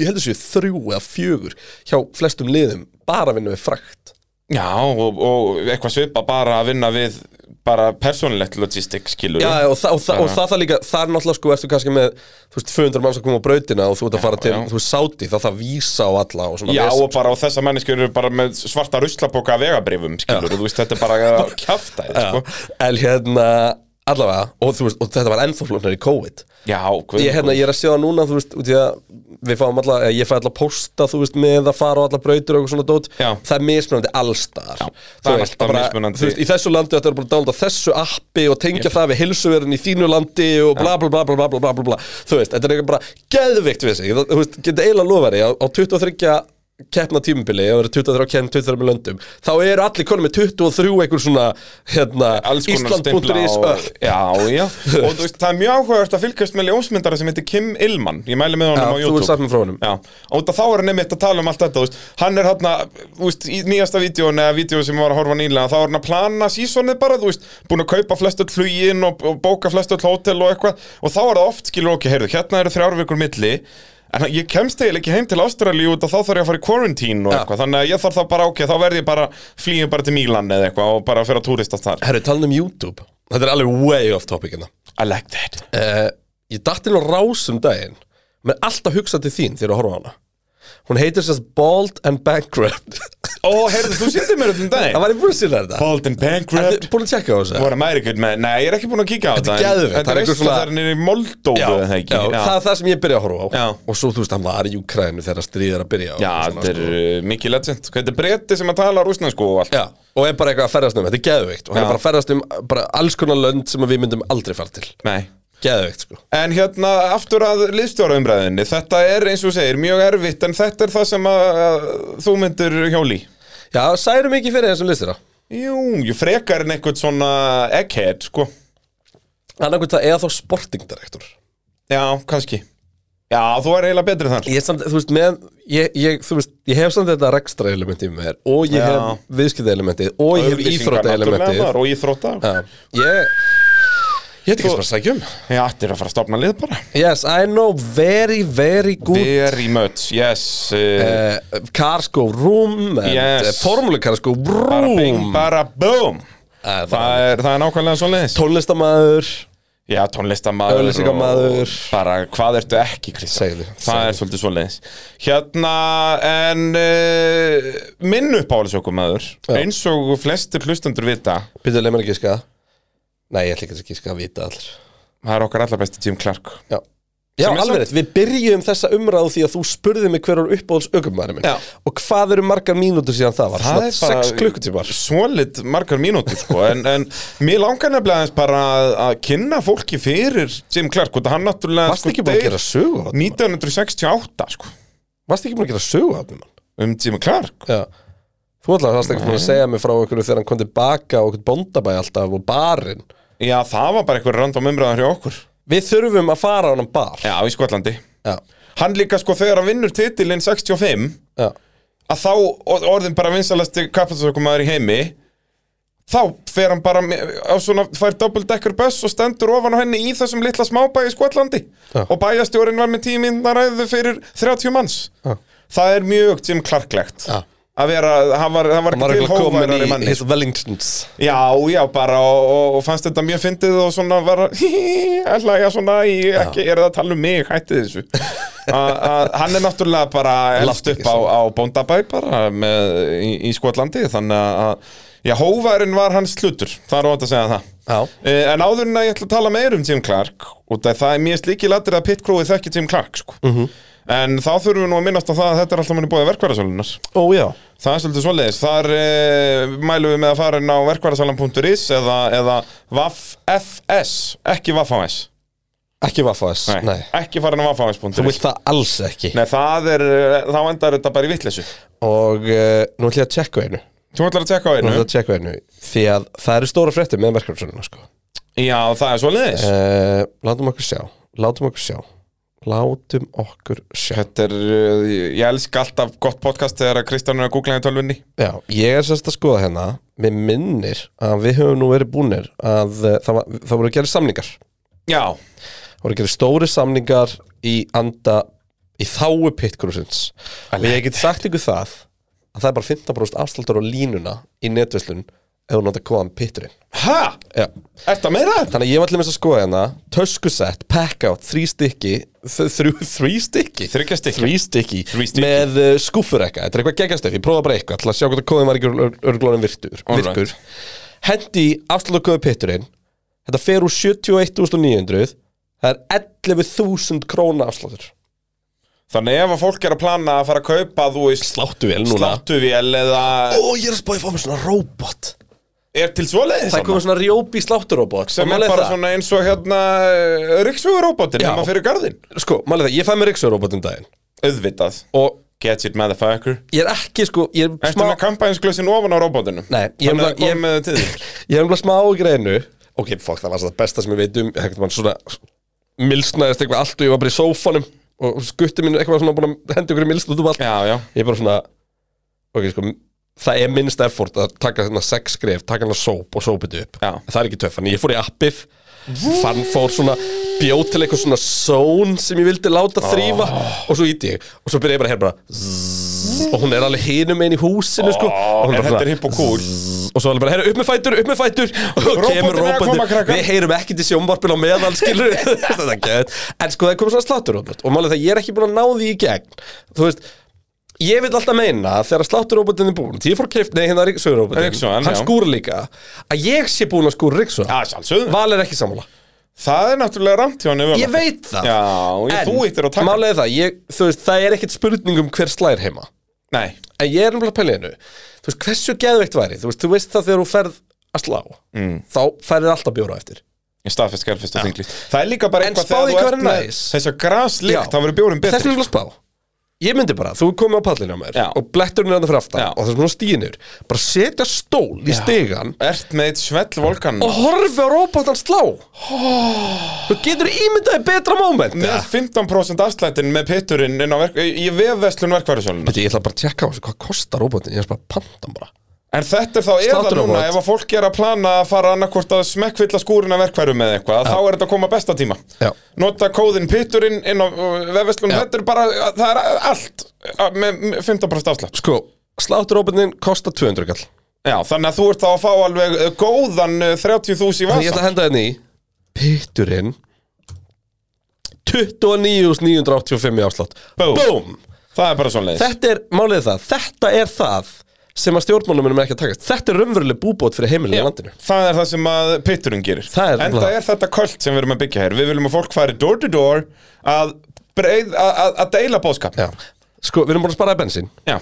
Speaker 1: Ég held að sé þrjú eða fjögur Hjá flestum liðum, bara vinna við frakt
Speaker 2: Já, og, og eitthvað svipa bara að vinna við bara persónlegt logistik skilur
Speaker 1: Já, já, og, þa og, þa og það það líka, það er náttúrulega sko, ertu kannski með, þú veist, 200 manns að koma á brautina og þú ert að fara til,
Speaker 2: já.
Speaker 1: þú veist, sáti, þá það vísa á alla og svona
Speaker 2: Já
Speaker 1: vesen.
Speaker 2: og bara og þessar menneskur eru bara með svarta ruslaboka af vegabrifum skilur þú veist þetta er bara að kjafta þér sko.
Speaker 1: En hérna, allavega, og, þú veist, og þetta var ennþá flóknar í COVID
Speaker 2: Já, hvað
Speaker 1: ég, hérna, ég er að sjá það núna, þú veist, út í að við fáum alla, eða ég fæ alla posta, þú veist, með að fara á alla brautur og eitthvað svona dót
Speaker 2: Já.
Speaker 1: það er mismunandi allstar Já,
Speaker 2: það er alltaf mismunandi.
Speaker 1: Þú veist, í þessu landi þetta er bara að dálunda þessu appi og tengja það við hilsuverin í þínu landi og bla bla bla bla bla bla bla bla bla þú veist, þetta er eitthvað bara geðvikt við sig, Það- þú veist, geta eiginlega lofari á, á 23 keppna tímubili, ef það eru 23 keppn 23 löndum, þá eru allir konum með 23 einhver svona, hérna
Speaker 2: alls konar stimpla
Speaker 1: Ísland.is
Speaker 2: og,
Speaker 1: öll
Speaker 2: já, já. og þú veist, það er mjög áhugavert að fylgjast með ljósmyndara sem heitir Kim Illman ég mæli með honum
Speaker 1: Já,
Speaker 2: á
Speaker 1: þú
Speaker 2: YouTube
Speaker 1: ert saman frá honum.
Speaker 2: já. og út af þá er hann einmitt að tala um allt þetta þú veist. hann er hann að nýjasta vídjón eða vídjón sem ég var að horfa á nýlega þá er hann að plana sísonið bara þú veist, búin að kaupa flest öll flugin og, og bóka flest öll hótel og eitthvað og þá er það oft skilur okkur, heyrðu, hérna eru þrjár vikur milli En ég kemst eiginlega ekki heim til Ástralíu út að þá þarf ég að fara í quarantine og
Speaker 1: Já.
Speaker 2: eitthvað Þannig að ég þarf þá bara ok, þá verð ég bara, flýjum bara til Mílan eða eitthvað og bara fyrir að túristast þar
Speaker 1: Herru, talað um YouTube Þetta er alveg way off topic hérna
Speaker 2: I like that
Speaker 1: uh, Ég datt inn á rás um daginn Mér er alltaf hugsað til þín þegar ég horfa á hana Hún heitir sérst Bald and Bankrupt
Speaker 2: Ó, heyrðu, þú sýndir mér þetta um
Speaker 1: Það
Speaker 2: daginn
Speaker 1: var ég búin að sína þér þetta
Speaker 2: Bald and
Speaker 1: Ertu
Speaker 2: bankrupt
Speaker 1: Búin að tjekka á þessu
Speaker 2: What am I good man? Nei, ég er ekki búin að kíka á
Speaker 1: Þetta
Speaker 2: þetta
Speaker 1: er
Speaker 2: en-
Speaker 1: geðveikt,
Speaker 2: Þetta
Speaker 1: það er
Speaker 2: er
Speaker 1: einhver
Speaker 2: veist
Speaker 1: svona-
Speaker 2: að það er nýri Moldófu
Speaker 1: Já,
Speaker 2: eða
Speaker 1: já,
Speaker 2: ekki
Speaker 1: það er það sem ég byrja að horfa á
Speaker 2: Já.
Speaker 1: Og svo þú veist, hann var í Ukraínu þegar stríðir að byrja
Speaker 2: Já,
Speaker 1: og, sko.
Speaker 2: þetta er uh, mikið legend Hvað Þetta er bretti sem að tala rúsnansku og allt
Speaker 1: já, og er bara eitthvað að ferðast um, þetta er geðveikt Og hann
Speaker 2: Já.
Speaker 1: er bara að ferðast um bara alls konar lönd sem við myndum aldrei fara til
Speaker 2: Nei
Speaker 1: Geðveikt, sko
Speaker 2: En hérna, aftur að liðstjóraumræðinni Þetta er, eins og þú segir, mjög erfitt En þetta er það sem að, að þú myndir hjóli
Speaker 1: Já, særum ekki fyrir þessum listir á
Speaker 2: Jú, jú frekar en eitthvað svona egghead, sko
Speaker 1: Annarkvæmt það eða þá sportingdirektor
Speaker 2: Já, kannski Já, þú er eiginlega betri þar
Speaker 1: ég, er samt, þú veist, með, ég, ég, þú veist, ég hef samt þetta rekstra elementi með mér og ég
Speaker 2: Já.
Speaker 1: hef viðskipta elementið og ég hef íþrótta elementið
Speaker 2: Auglýsingar náttúrulega Sko- Og íþrótta
Speaker 1: ég ég heit ekki sem að sækja um
Speaker 2: Já, þetta er að fara að stopna lið bara
Speaker 1: yes, I know very, very good
Speaker 2: Very much, yes uh,
Speaker 1: uh, Carsko room and,
Speaker 2: Yes.
Speaker 1: uh, formule Carsko
Speaker 2: Bara bing,
Speaker 1: room
Speaker 2: bara boom
Speaker 1: Eh, það-
Speaker 2: Það er, það er nákvæmlega svo leiðis
Speaker 1: tónlistamaður
Speaker 2: Já, tónlistamaður
Speaker 1: Auglýsingamaður.
Speaker 2: og Bara, hvað ertu ekki, Kristján?
Speaker 1: Segðu,
Speaker 2: Það er svolítið svo leiðis Hérna, en uh, minn uppáhaldsökumæður
Speaker 1: Já.
Speaker 2: Eins og flestir hlustendur vita
Speaker 1: Pítur leið mér að gíska Nei, ég ætla ekki að gíska að vita allir
Speaker 2: Það er okkar allar besti Jim Clark
Speaker 1: Já, já
Speaker 2: Sem er
Speaker 1: alveg
Speaker 2: samt-
Speaker 1: rétt, við byrjum þessa umræðu því að þú spurði mig hver er uppáhalds aukumæri minn
Speaker 2: Já.
Speaker 1: Og hvað eru margar mínútur síðan það var?
Speaker 2: Það
Speaker 1: Svona
Speaker 2: er bara- Sko,
Speaker 1: 6 klukkutímar
Speaker 2: Svolít margar mínútur sko En, en mér langar nefnilega aðeins bara að, að kynna fólki fyrir Jim Clark Og hann náttúrulega sko,
Speaker 1: Varst ekki búin að
Speaker 2: deyr
Speaker 1: gera sögu á þetta?
Speaker 2: 1968 sko
Speaker 1: Varst ekki búin að gera sögu á þetta?
Speaker 2: Um Jim Clark
Speaker 1: Já Þú ætlaði varst ekki búin að segja mig frá okkur þegar hann kom tilbaka og okkur bóndabæ alltaf og barinn
Speaker 2: Já, það var bara eitthvað random umræðan hjá okkur
Speaker 1: Við þurfum að fara á hann bar
Speaker 2: Já, í Skotlandi
Speaker 1: Já,
Speaker 2: Hann líka sko þegar hann vinnur titilinn 65
Speaker 1: já,
Speaker 2: Að þá or- orðin bara vinsalasti kappatasökumæður í heimi Þá fer hann bara með- á svona, fær doppeldekkar buss og stendur ofan á henni í þessum litla smábæ í Skotlandi
Speaker 1: Já.
Speaker 2: Og bæjastjórinn var með tíminn að ræðu fyrir 30 manns
Speaker 1: já.
Speaker 2: Það er mjög Jim Clarklegt
Speaker 1: Já.
Speaker 2: Að vera, hann var, hann var
Speaker 1: Hann var
Speaker 2: ekki til
Speaker 1: eitthvað komin
Speaker 2: hófærari
Speaker 1: í
Speaker 2: manni
Speaker 1: his Wellingtons
Speaker 2: Já, já, bara og, og, og fannst þetta mjög fyndið og svona var að ætla ég svona, ég ekki, er það að tala um mig, hætti þessu a, a, Hann er náttúrulega bara elst
Speaker 1: Láttu ekki
Speaker 2: upp á, á bóndabæ bara með, í, í Skotlandi þannig að, já, hóvarinn var hans slutur, það er ótt að segja það
Speaker 1: Já,
Speaker 2: Eh, En áður en að ég ætla að tala meir um Jim Clark og það, það er mjög slíkilatir að pitcrúið þekki Jim Clark sko.
Speaker 1: Mhm.
Speaker 2: En þá þurfum við nú að minnast á það að þetta er alltaf manni búið að verkværasölunar
Speaker 1: ó já
Speaker 2: Það er svolítið svoleiðis, þar e, mælum við með að fara inn á verkværasalan.is eða, eða vaffs, ekki vaffs
Speaker 1: Ekki vaffas, nei,
Speaker 2: Ekki fara inn á
Speaker 1: Þú vilt
Speaker 2: vaffs.is
Speaker 1: það alls ekki
Speaker 2: Nei, það er, eh, þá endar þetta bara í vitleysu
Speaker 1: Og uh, nú ætlum ég að tjekka á einu
Speaker 2: Þú ætlar að tjekka á
Speaker 1: Nú
Speaker 2: einu?
Speaker 1: ætlum ég að tjekka á einu Því að það eru stóra fréttir með verkefnsöluna sko.
Speaker 2: Já, það er svoleiðis
Speaker 1: uh, Látum okkur sjá Látum okkur sjá Látum okkur sjá
Speaker 2: Þetta er, eh, ég elska alltaf gott podcast þegar að Kristján er að googla henni tölvunni
Speaker 1: Já, ég er sérst að skoða hérna Mér minnir að við höfum nú verið búnir að eh, það, var, það voru að gera samningar Það
Speaker 2: Já,
Speaker 1: voru að gera stóri samningar í anda í þáu pitkurusins og ég get sagt ykkur það að það er bara 15% afsláttur á línuna í netverslun ef hún átt að koma pitturinn
Speaker 2: ha?
Speaker 1: Já.
Speaker 2: Ertu að meira?
Speaker 1: Þannig að ég var til með að skoða hérna Töskusett, pack-out, þrý stykki þ- þrjú, Þrý stykki?
Speaker 2: Þriggja stykki.
Speaker 1: Þrý stykki
Speaker 2: Þrý stykki.
Speaker 1: Með uh, skúffurekka Þetta er eitthvað geggastöf Ég prófa bara eitthvað Til að sjá hvort að kóðin var ekki örglóðin virkur,
Speaker 2: Alright.
Speaker 1: virkur. Hendi afslutu kóðu pitturinn Þetta fer úr 71.900 Það er 11.000 króna afsláttur
Speaker 2: Þannig ef að fólk er að plana að fara að kaupa þú veist
Speaker 1: Sláttu vel núna
Speaker 2: sláttuvél eða
Speaker 1: Ó, ég er að spáði að fá mér svona robot
Speaker 2: er til svoleiðis
Speaker 1: Það er
Speaker 2: annað?
Speaker 1: komið svona rjópi slátturobot
Speaker 2: sem er bara svona eins og hérna ryggsugurróbotin
Speaker 1: Já.
Speaker 2: nema fyrir garðin
Speaker 1: Sko, málið það, ég fæ mér ryksurobot um daginn
Speaker 2: auðvitað
Speaker 1: Og
Speaker 2: Gadget motherfucker
Speaker 1: ég er ekki, sko, ég er
Speaker 2: Ertu með kampænsglössin ofan á róbotinu?
Speaker 1: Nei, ég er
Speaker 2: Þannig að
Speaker 1: bara- ég-
Speaker 2: koma með það til þín
Speaker 1: Ég hef umlað smá greinu Ok, fuck, það var svo það besta sem ég veit um Ekkert mann svona Milsnaðist eitthvað allt og ég var bara í sófanum Og skutti mín eitthvað svona búin að henda ykkur milsn út um allt
Speaker 2: Já, já
Speaker 1: Ég er bara svona Ok, sko, það er minnst effort að taka þarna sex skref Taka hana sóp og sópið upp
Speaker 2: Já.
Speaker 1: Það er ekki töff, þannig ég fór í appið Fann fór svona bjó til eitthvað svona zone sem ég vildi láta þrýfa
Speaker 2: Ah.
Speaker 1: Og svo íti ég Og svo byrja ég bara hér bara zzz, Og hún er alveg hinum einn í húsinu sko, og hún
Speaker 2: Ah, En
Speaker 1: bara
Speaker 2: þetta
Speaker 1: svona-
Speaker 2: er hipp og cool
Speaker 1: og svo er bara, herru, upp með fætur, upp með fætur og
Speaker 2: Róbotinn
Speaker 1: kemur
Speaker 2: er að koma,
Speaker 1: rópandi,
Speaker 2: krakkar.
Speaker 1: við heyrum ekki til sjónvarpin á meðal, skilur þetta er gett, en sko það kom svona slátturóbot og málið það, ég er ekki búin að ná því í gegn þú veist, ég vil alltaf meina að þegar slátturóbotin er búin, því ég fór kreift nei, hérna
Speaker 2: Ryksugan,
Speaker 1: Ríksugan, hann
Speaker 2: já.
Speaker 1: skúr líka að ég sé búin að skúra Ríksugan
Speaker 2: Já, sjálfsögðu
Speaker 1: Val er ekki sammála
Speaker 2: Það er náttúrulega ramt hjá henni vel
Speaker 1: Ég
Speaker 2: okkar.
Speaker 1: veit það
Speaker 2: Já, ég, þú eittir að taka
Speaker 1: Málið er það, ég, þú veist, það er ekkit spurning um hver slær heima
Speaker 2: Nei,
Speaker 1: En ég er nefnilega pæliðinu Þú veist, hversu geðveikt væri Þú veist, þú veist það þegar þú ferð að slá mm. Þá færið alltaf bjóra á eftir
Speaker 2: ég staðfest skjálfest að þingli Það er líka bara
Speaker 1: En
Speaker 2: eitthvað
Speaker 1: spáðu í hvað er
Speaker 2: með
Speaker 1: næs.
Speaker 2: Þessi graslikt, þá verður bjórum
Speaker 1: Þess
Speaker 2: betri
Speaker 1: vegna er að spá Ég myndi bara, þú er komið á pallinu á mér
Speaker 2: Já.
Speaker 1: Og bletturinn er andan fyrir aftan
Speaker 2: Já.
Speaker 1: Og þessum hún stíðinur Bara setja stól í stigan
Speaker 2: Ert með eitt svell volkan
Speaker 1: Og horfi á róbóttan slá Þú getur ímyndaði betra moment
Speaker 2: Með
Speaker 1: eða?
Speaker 2: 15% afslættin með pitturinn inn á verk Í vefveslun verkværisöluna
Speaker 1: Veitu, Ég ætla bara að tjekka á þessu Hvað kostar róbóttin? Ég ætla bara að panta hann bara
Speaker 2: En þetta er þá eða
Speaker 1: Sláturrobot.
Speaker 2: núna ef að fólk er að plana að fara annarkvort að smekkvilla skúruna verkværum eða eitthvað þá er þetta að koma besta tíma
Speaker 1: Já.
Speaker 2: Nota kóðin pitturinn inn á vefveslun þetta er bara, uh, það er allt uh, með með 15% afslátt
Speaker 1: Sko, sláttur róbóttin kostar 200 kall
Speaker 2: Já, þannig að þú ert þá að fá alveg uh, góðan uh, 30.000
Speaker 1: Þannig ég
Speaker 2: í
Speaker 1: ætla
Speaker 2: vasa
Speaker 1: að henda henni í Pitturinn 29.985 í afslátt
Speaker 2: Búm.
Speaker 1: Búm
Speaker 2: Það er bara svona leið
Speaker 1: Þetta er, málið er það, þetta er það sem að stjórnmálumunum er ekki að takast Þetta er raunveruleg búbót fyrir heimilin í landinu
Speaker 2: Það er það sem að pitturinn gerir
Speaker 1: Það er
Speaker 2: Enda
Speaker 1: nefnilega-
Speaker 2: er þetta kvöld sem við erum að byggja hér Við viljum að fólk fari door to door að, breið, að, að, að deila bóðskap
Speaker 1: Já Sko, við erum búin að sparaði bensin
Speaker 2: Já.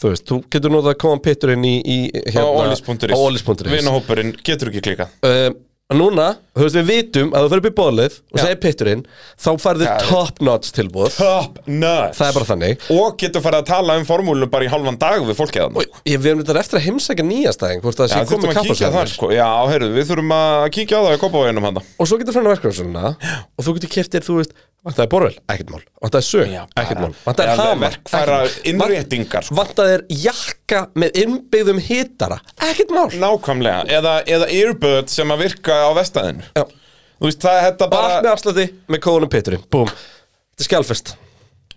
Speaker 1: Þú veist, þú getur notað að koma pitturinn í, í
Speaker 2: Á
Speaker 1: hérna,
Speaker 2: olis.is
Speaker 1: Ólis.is
Speaker 2: Vinahópurinn getur ekki klikað
Speaker 1: uh, Núna, þú veist, við vitum að þú fyrir upp í bóðlið og
Speaker 2: Já.
Speaker 1: segir pitturinn Þá færðu top notch tilbúð
Speaker 2: Top notch
Speaker 1: Það er bara þannig
Speaker 2: Og getur farið að tala um formúlunum bara í halvan dag við fólkið þarna.
Speaker 1: Og ég verðum þetta eftir að heimsækja nýjastæðing Hvort það
Speaker 2: Já,
Speaker 1: sé
Speaker 2: þurfum
Speaker 1: komið
Speaker 2: að kíkja
Speaker 1: kappasöðum
Speaker 2: þar sko. Já, heyrðu, við þurfum að kíkja á það í Kópavæginum handa
Speaker 1: og svo getur þú fann verkvæmsöluna og þú getur keft þér, þú veist, vantaði borvel, ekkert mál vantaði sög,
Speaker 2: Já, bara-
Speaker 1: ekkert mál, vantaði
Speaker 2: Eða
Speaker 1: hama
Speaker 2: verkfæra
Speaker 1: ekkert mál.
Speaker 2: innréttingar, sko.
Speaker 1: vantaði þér jakka með innbyggðum hitara, ekkert mál
Speaker 2: Nákvæmlega, eða, eða earbud sem að virka á vestæðinu
Speaker 1: Já.
Speaker 2: Þú veist, það er þetta
Speaker 1: bara allt
Speaker 2: bara
Speaker 1: með afsluti með kóðunum Petri, búm þetta er skjálfest,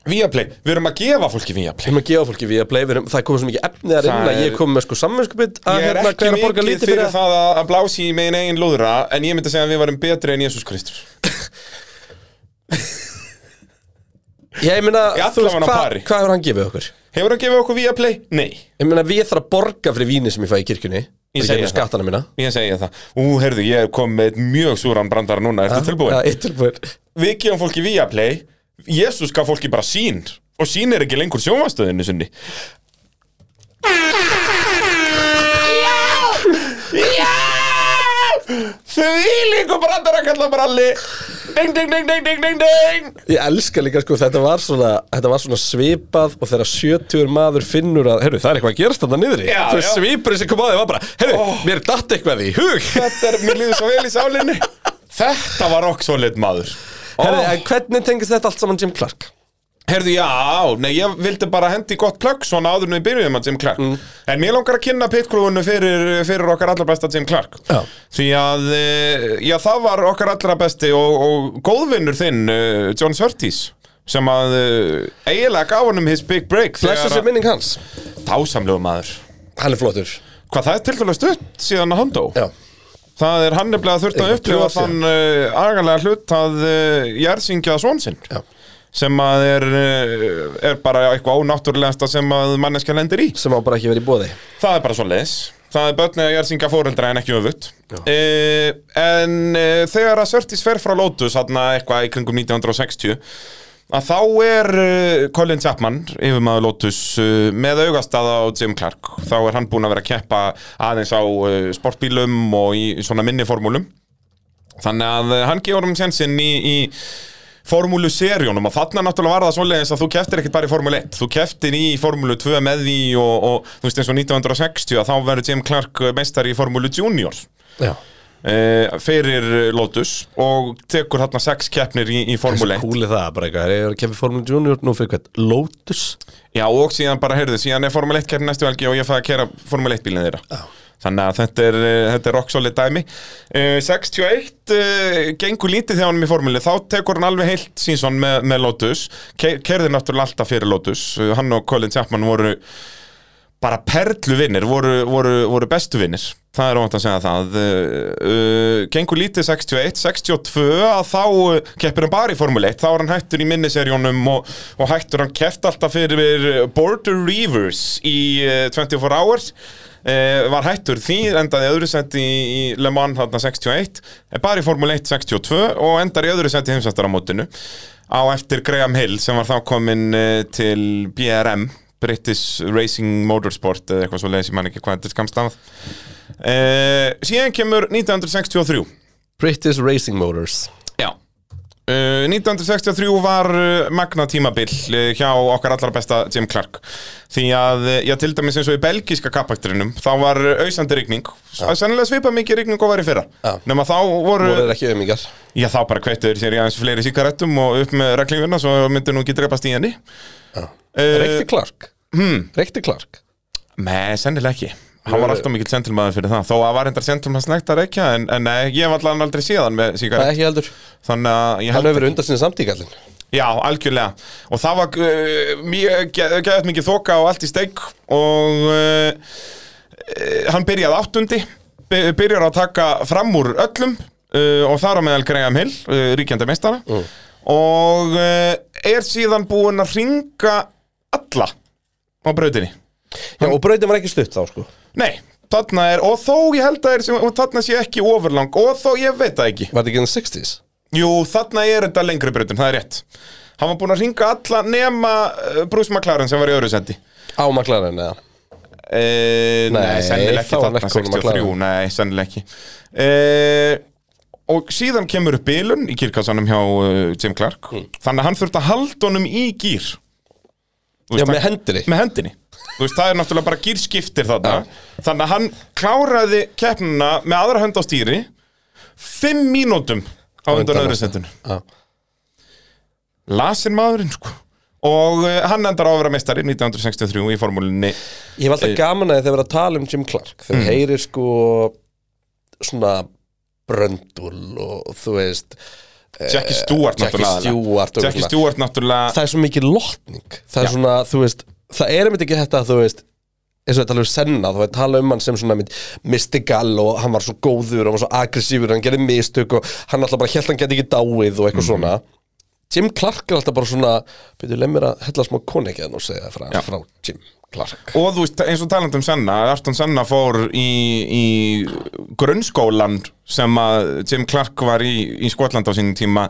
Speaker 2: Viaplay, við erum að gefa fólki
Speaker 1: við
Speaker 2: Viaplay
Speaker 1: erum að gefa fólki við að blei, við erum, það er komið svo mikið efni þar
Speaker 2: Það
Speaker 1: inn að
Speaker 2: er-
Speaker 1: ég kom með sko samvinskupið að
Speaker 2: Ég er
Speaker 1: hérna
Speaker 2: ekki
Speaker 1: hver að borga
Speaker 2: mikið
Speaker 1: lítið
Speaker 2: fyrir
Speaker 1: fyrir það
Speaker 2: það að að blási í megin eigin lúðra En ég myndi segja að við varum betri en Jésús Kristur
Speaker 1: ég meina,
Speaker 2: Ég
Speaker 1: þú
Speaker 2: allavega
Speaker 1: veist,
Speaker 2: á
Speaker 1: hvað
Speaker 2: pari.
Speaker 1: hvað hefur hann gefið okkur?
Speaker 2: Hefur hann gefið okkur Viaplay? Nei,
Speaker 1: ég meina, við þarf að borga fyrir víni sem ég fæ í kirkjunni bara
Speaker 2: Ég
Speaker 1: í
Speaker 2: segi
Speaker 1: gegnum
Speaker 2: það.
Speaker 1: skattana mína.
Speaker 2: ég segja það Ú, heyrðu, ég er komið með einn mjög súran brandara núna, ertu tilbúin?
Speaker 1: Já, ég er tilbúin.
Speaker 2: við gefum fólki Viaplay Jésús gaf fólki bara sín og sín er ekki lengur sjónvastöðinu sinni Því líku brandara kalla bralli Ding, ding, ding, ding, ding, ding, ding
Speaker 1: Ég elska líka sko, þetta var svona, þetta var svona svipað og þegar 70 maður finnur að, heyrðu, það er eitthvað að gerast þarna niðri.
Speaker 2: Já,
Speaker 1: Þau
Speaker 2: já.
Speaker 1: svipurinn sem kom á því var bara, heyrðu, mér datt eitthvað í hug.
Speaker 2: Þetta er, mér líður svo vel í sálinni Þetta var rock solid maður
Speaker 1: Heyrðu,
Speaker 2: Ó.
Speaker 1: en hvernig tengist þetta allt saman Jim Clark?
Speaker 2: Herðu, já, nei, ég vildi bara hendi gott plögg svona áður en við byrjuðum að Jim Clark
Speaker 1: Mm.
Speaker 2: En mér langar að kynna pitkrúinu fyrir, fyrir okkar allra besta Jim Clark
Speaker 1: Já.
Speaker 2: Því að, eh, já, það var okkar allra besti og, og góðvinnur þinn, eh, John Surtees sem að eh, eiginlega gaf honum his big break
Speaker 1: Blessu sem minning hans.
Speaker 2: Dásamlegu maður
Speaker 1: Hann er flottur.
Speaker 2: Hvað það er tilfæðlega stutt síðan að hann dó
Speaker 1: Já.
Speaker 2: Það er hann nefnilega þurft að
Speaker 1: Eitthvað tvö
Speaker 2: upplifa
Speaker 1: ár síðan.
Speaker 2: þann uh, agalega hlut að uh, jærsingja svon sinn
Speaker 1: Já.
Speaker 2: sem að er, uh, er bara eitthvað ónáttúrulegasta sem að manneskja lendir í
Speaker 1: Sem á bara ekki verið í bóði.
Speaker 2: Það er bara svo leis Það er börn eða jarðsingja fóreldra en ekki öfut uh, En uh, þegar að Sörtis fer frá Lotus Þarna eitthvað í kringum 1960 Að þá er uh, Colin Chapman, yfirmaður Lotus uh, Með augastaða á Jim Clark Þá er hann búinn að vera að keppa aðeins á uh, sportbílum Og í, í svona minniformúlum Þannig að eh, hann gefur um sjansinn í, í formúlu serjónum og þarna náttúrulega var það svoleiðis að þú keftir ekkert bara í formúlu 1 þú keftir í formúlu 2 með því og, og þú veist eins og 1960 að þá verður Jim Clark meistari í formúlu junior
Speaker 1: Já,
Speaker 2: eh, fyrir Lotus og tekur þarna 6 keppnir í, í formúlu 1
Speaker 1: kúli það bara eitthvað Ég er að kemja Formule Junior nú fyrir hvert Lotus
Speaker 2: Já, og síðan bara, heyrðu, síðan er Formule 1 keppni næstu helgi og ég fæði að kera Formule 1 bílinn þeirra. Þannig að þetta er, eh, þetta er rock solid dæmi. Uh, 61 uh, gengur lítið þjá honum í formúli, þá tekur hann alveg heilt sínsson með, með Lotus. Ke kerði náttúrulega alltaf fyrir Lotus. Eh, Hann og Colin Chapman voru bara perluvinnir, voru, voru, voru bestuvinnir. Það er óvænt að segja það. Uh, uh, gengur lítið 61, 62 að þá uh, keppir hann bara í Formule 1. Þá er hann hættur í minniserjónum og, og hættur hann keft alltaf fyrir uh, Border Reavers í uh, 24 Hours. Uh, var hættur því, endaði í öðru seti í, í Le Mans þarna 61, en bara í Formule 1 62 og endar í öðru seti í heimsættaramótinu á eftir Graham Hill sem var þá kominn uh, til BRM British Racing Motorsport eða eitthvað svo leiðis, ég man ekki hvað þetta er skamstafað uh, síðan kemur 1963
Speaker 1: British Racing Motors
Speaker 2: Já Uh, 1963 var uh, magna tímabil uh, hjá okkar allra besta Jim Clark því að, uh, já til dæmis eins og í belgíska kappakturinum, þá var uh, ausandi rigning, ja. sennilega svipað mikið rigning og var í fyrra,
Speaker 1: Já.
Speaker 2: nema þá voru
Speaker 1: Nú er ekki ömingar
Speaker 2: já þá bara kveittu þeir sér í aðeins fleiri síkarettum og upp með reglingurna svo myndu nú ekki drepast í henni Eh,
Speaker 1: Reykti Clark hmm. Reykti Clark
Speaker 2: Nei, sennilega ekki Hann var alltaf mikill sentilmaður fyrir það Þó að var hendar sentilmaðsnægt að reykja en, en nei, ég hef allan aldrei síðan með
Speaker 1: Það er
Speaker 2: síkarett
Speaker 1: ekki heldur
Speaker 2: Þannig að ég
Speaker 1: Hann
Speaker 2: held
Speaker 1: hefur undan sinni samtíkallin
Speaker 2: Já, algjörlega Og það var uh, mjög geðað mikið þoka og allt í steik Og uh, uh, hann byrjaði áttundi by- Byrjar að taka fram úr öllum uh, Og þar á meðal Graham Hill, uh, ríkjandi meistara Og uh, er síðan búinn að ringa alla á brautinni
Speaker 1: Já og brautin var ekki stutt þá sko Var
Speaker 2: Nei, þarna er, og þó ég held að er, sem- og þarna sé ekki ofurlang, og þó ég veit það ekki.
Speaker 1: þetta ekki enn 60s?
Speaker 2: Jú, þarna er þetta lengri breytin, það er rétt. Hann var búinn að ringa alla nema uh, Bruce McLaren sem var í öðru sendi.
Speaker 1: Á McLaren eða
Speaker 2: E, nei,
Speaker 1: Nei, þá
Speaker 2: sennilega ekki
Speaker 1: var hann
Speaker 2: þarna,
Speaker 1: ekki kominn
Speaker 2: 63,
Speaker 1: McLaren.
Speaker 2: nei, sennilega ekki. E, og síðan kemur upp bilun í kirkassanum hjá uh, Jim Clark.
Speaker 1: Hmm.
Speaker 2: Þannig að hann þurfti að halda honum í gýr. Þú
Speaker 1: Já
Speaker 2: veist,
Speaker 1: með hendri
Speaker 2: með hendinni Þú veist, það er náttúrulega bara gýrskiptir þarna Þannig að hann kláraði keppnuna með aðra hönd á stýri Fimm mínútum á undan
Speaker 1: undan
Speaker 2: öðru
Speaker 1: næsta.
Speaker 2: setun
Speaker 1: Já.
Speaker 2: Lasin maðurinn, sko Og eh, hann endar á að vera meistari 1963 í formúlinni
Speaker 1: Ég hef
Speaker 2: Eh.
Speaker 1: alltaf gaman að þið þegar verið að tala um Jim Clark
Speaker 2: Hmm.
Speaker 1: þegar heyrir sko svona bröndul og þú veist
Speaker 2: Eh, Jackie Stewart,
Speaker 1: Jackie
Speaker 2: náttúrulega aðallega.
Speaker 1: Stewart og
Speaker 2: Jackie
Speaker 1: svona.
Speaker 2: Stewart, náttúrulega
Speaker 1: það er svo mikið lotning það er svona, þú veist, það er einmitt ekki þetta þú veist, eins og þetta alveg senna þú veist, tala um hann sem svona mynd mystical og hann var svo góður og hann var svo aggressífur hann gerði mistök og hann alltaf bara held hann geti ekki dáið og
Speaker 2: Mhm.
Speaker 1: eitthvað svona Jim Clark er alltaf bara svona byrju, leið mér að hella smá konekjaðan og segja frá, frá Jim Clark
Speaker 2: Og þú veist, eins og talandi um Senna, Arton Senna fór í, í grunnskólan sem að Jim Clark var í, í Skotland á sínum tíma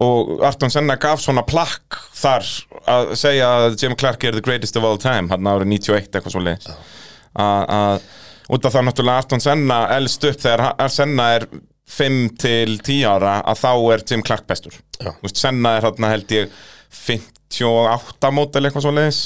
Speaker 2: og Arton Senna gaf svona plakk þar að segja að Jim Clark er the greatest of all time, hann árið 91 eitthvað svo leiðis. Út af það náttúrulega Arton Senna elst upp þegar ha- Senna er 5 til 10 ára að þá er Jim Clark bestur.
Speaker 1: Já.
Speaker 2: Þú veist, Senna er hérna held ég 58 mótel eitthvað svo leiðis.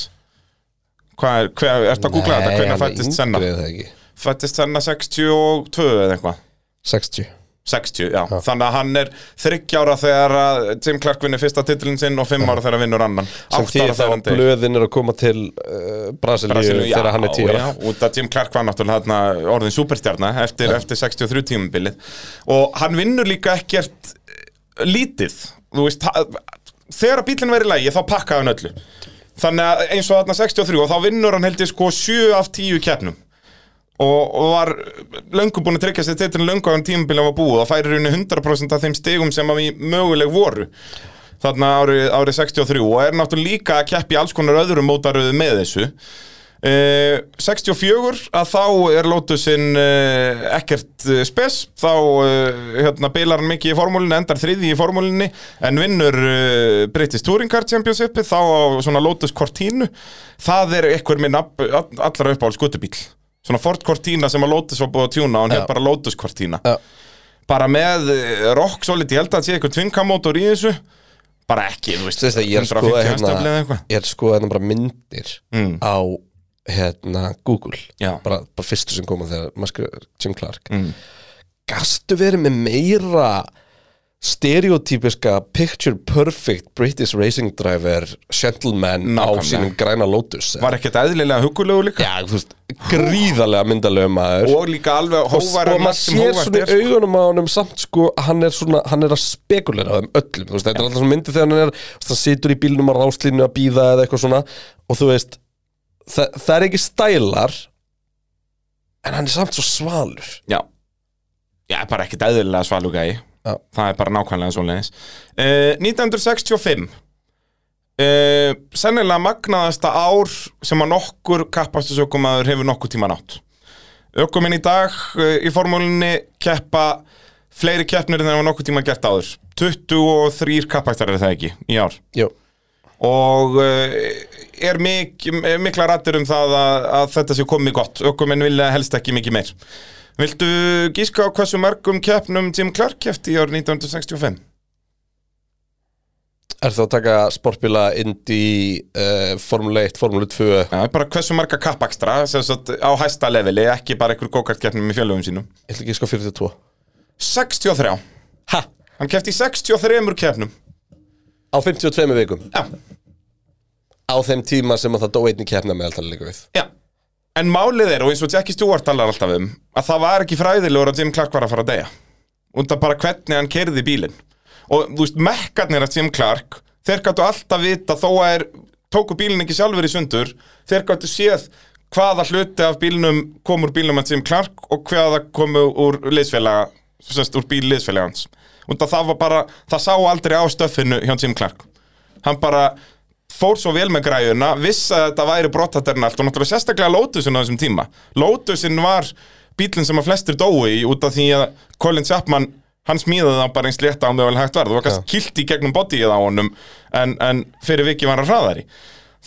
Speaker 2: Hvað er, hver, ertu að googla þetta? Hvernig fættist Senna?
Speaker 1: senna?
Speaker 2: Fættist Senna 62 eða eitthvað?
Speaker 1: 60
Speaker 2: 60, já. Þannig að hann er 30 ára þegar að Tim Clark vinnur fyrsta titlin sinn og 5 ára þegar hann vinnur annan.
Speaker 1: sem
Speaker 2: 8
Speaker 1: því
Speaker 2: ára
Speaker 1: þá
Speaker 2: þegar
Speaker 1: að
Speaker 2: hann deyr.
Speaker 1: blöðin er að koma til uh, Brasilíu
Speaker 2: Brasilíu,
Speaker 1: þegar hann er 10 ára
Speaker 2: já, út að Jim Clark var náttúrulega þarna orðin superstjarna eftir, eftir 63 tímabilið og hann vinnur líka ekkert eh, lítið þú veist, ha- þegar að bílinn verið lægi þá pakkaði hann öllu þannig að eins og þarna 63 og þá vinnur hann heldur sko 7 af 10 keppnum og, og var löngu búin að tryggja sér titlun löngu á hann tímabilið var búið og færir henni 100% af þeim stegum sem að við möguleg voru þarna árið ári 63 og er náttúrulega líka að keppi alls konar öðrum mótaröðu með þessu Uh, 64 að þá er Lotusin uh, ekkert uh, spes þá uh, hérna, bilar hann mikið í formúlinni endar þriði í formúlinni en vinnur uh, British Touring Car Championshipið þá á svona Lotus Cortina það er einhver minn ab, allra uppáhalds skutubíl svona Ford Cortina sem að Lotus var búið að tjúna hann
Speaker 1: Já.
Speaker 2: hef bara Lotus Cortina
Speaker 1: Já.
Speaker 2: bara með uh, rock solid ég held að það sé einhver tvingamótor í þessu bara ekki, þú veist
Speaker 1: Þú veist að ég er sko
Speaker 2: 150
Speaker 1: hérna,
Speaker 2: hestafli eða eitthvað.
Speaker 1: Ég er sko hérna bara myndir
Speaker 2: Mm.
Speaker 1: á hérna Google
Speaker 2: Já.
Speaker 1: bara, bara fyrstu sem koma þegar maður skrifar Jim Clark
Speaker 2: Mm.
Speaker 1: Gastu verið með meira stereotypiska picture perfect British racing driver gentleman
Speaker 2: Nákvæmlega.
Speaker 1: á sínum græna Lotus eða?
Speaker 2: var ekkert eðlilega hugulegu líka
Speaker 1: Já, þú veist, gríðarlega myndalögum maður
Speaker 2: og líka alveg hóvar
Speaker 1: og sko, maður sér svona í augunum á honum samt sko að hann er svona, hann er að spekulera á þeim öllum, þú veist, þetta er alltaf svona myndi þegar hann er þú veist, hann situr í bílnum á ráslínu að býða eða eitthvað svona og þú veist það, það er ekki stælar en hann er samt svo svalur
Speaker 2: já. já, bara ekkert eðlilega svalugægi
Speaker 1: Já.
Speaker 2: það er bara nákvæmlega svoleiðis uh, 1965 uh, sennilega magnaðasta ár sem að nokkur kappastusökumæður hefur nokkur tíma nátt ökuminn í dag uh, í formúlinni keppa fleiri keppnir en það var nokkur tíma gert áður 23 kappastar er það ekki í ár
Speaker 1: Jú,
Speaker 2: og uh, er mik er mikla rættir um það að, að þetta sé komið gott ökumenn vilja helst ekki mikið meir Viltu gíska á hversu mörgum keppnum Jim Clark keppti í ár 1965?
Speaker 1: er það að taka sportbíla Indy, uh, Formule 1, Formule 2
Speaker 2: Já, bara hversu marga kappakstra sem sagt, á hæsta leveli, ekki bara einhver gókartkeppnum í fjölöfum sínum
Speaker 1: ég ætla ekki sko 42
Speaker 2: 63
Speaker 1: Ha?
Speaker 2: Hann keppti í 63 keppnum
Speaker 1: Á 52 vikum,
Speaker 2: Já,
Speaker 1: á þeim tíma sem að það dó einni keppna með alltaf líka við
Speaker 2: já En málið er, og eins og Jackie Stewart talar alltaf um að það var ekki fræðilegur að Jim Clark var að fara að deyja undan bara hvernig hann kerði bílinn og þú veist, mekkarnir að Jim Clark þeir gætu alltaf vita þó að er tóku bílinn ekki sjálfur í sundur þeir gætu séð hvaða hluti af bílnum kom úr bílnum að Jim Clark og hvaða komu úr liðsfélaga semst úr bíl liðsfélaga hans undan það var bara, það sá aldrei á stöffinu hjá Jim Clark hann bara fór svo vel með græjuna vissi að þetta væri brotaterna allt og náttúrulega sérstaklega Lotusin á þessum tíma Lotusin var bílinn sem að flestir dói í út af því að Colin Chapman hann smíðaði það bara eins létta án þau vel hægt var það var kannski kilt í gegnum bodyið á honum en, en fyrir vikið var hann hraðari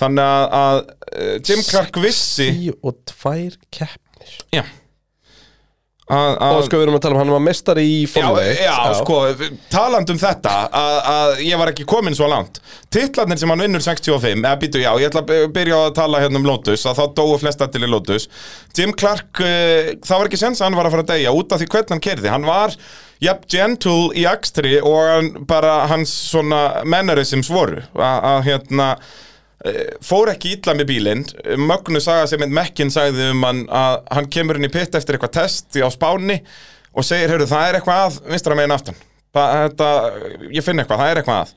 Speaker 2: þannig að, að eh, Jim Clark vissi
Speaker 1: 42 keppnir
Speaker 2: já, að, að,
Speaker 1: Og sko við erum að tala um hann var mestari í Formule 1
Speaker 2: já, já, sko, taland um þetta að, að ég var ekki komin svo langt Titlarnir sem hann vinnur 65 eða býtu, já, ég ætla að by- byrja á að tala hérna um Lotus að þá dóu flesta til í Lotus Jim Clark, uh, það var ekki sens að hann var að fara að deyja út af því hvernig hann kerði hann var, jafn, gentle í akstri og hann, bara hans svona mannerisms voru að, að hérna eh, fór ekki illa með bílinn Mögnu saga sem einn Mekkin sagði um hann að hann kemur inn í pitt eftir eitthvað test á Spáni og segir, heyrðu, það er eitthvað að vinstra megin aftan það, þetta, ég finn eitthvað, það er eitthvað að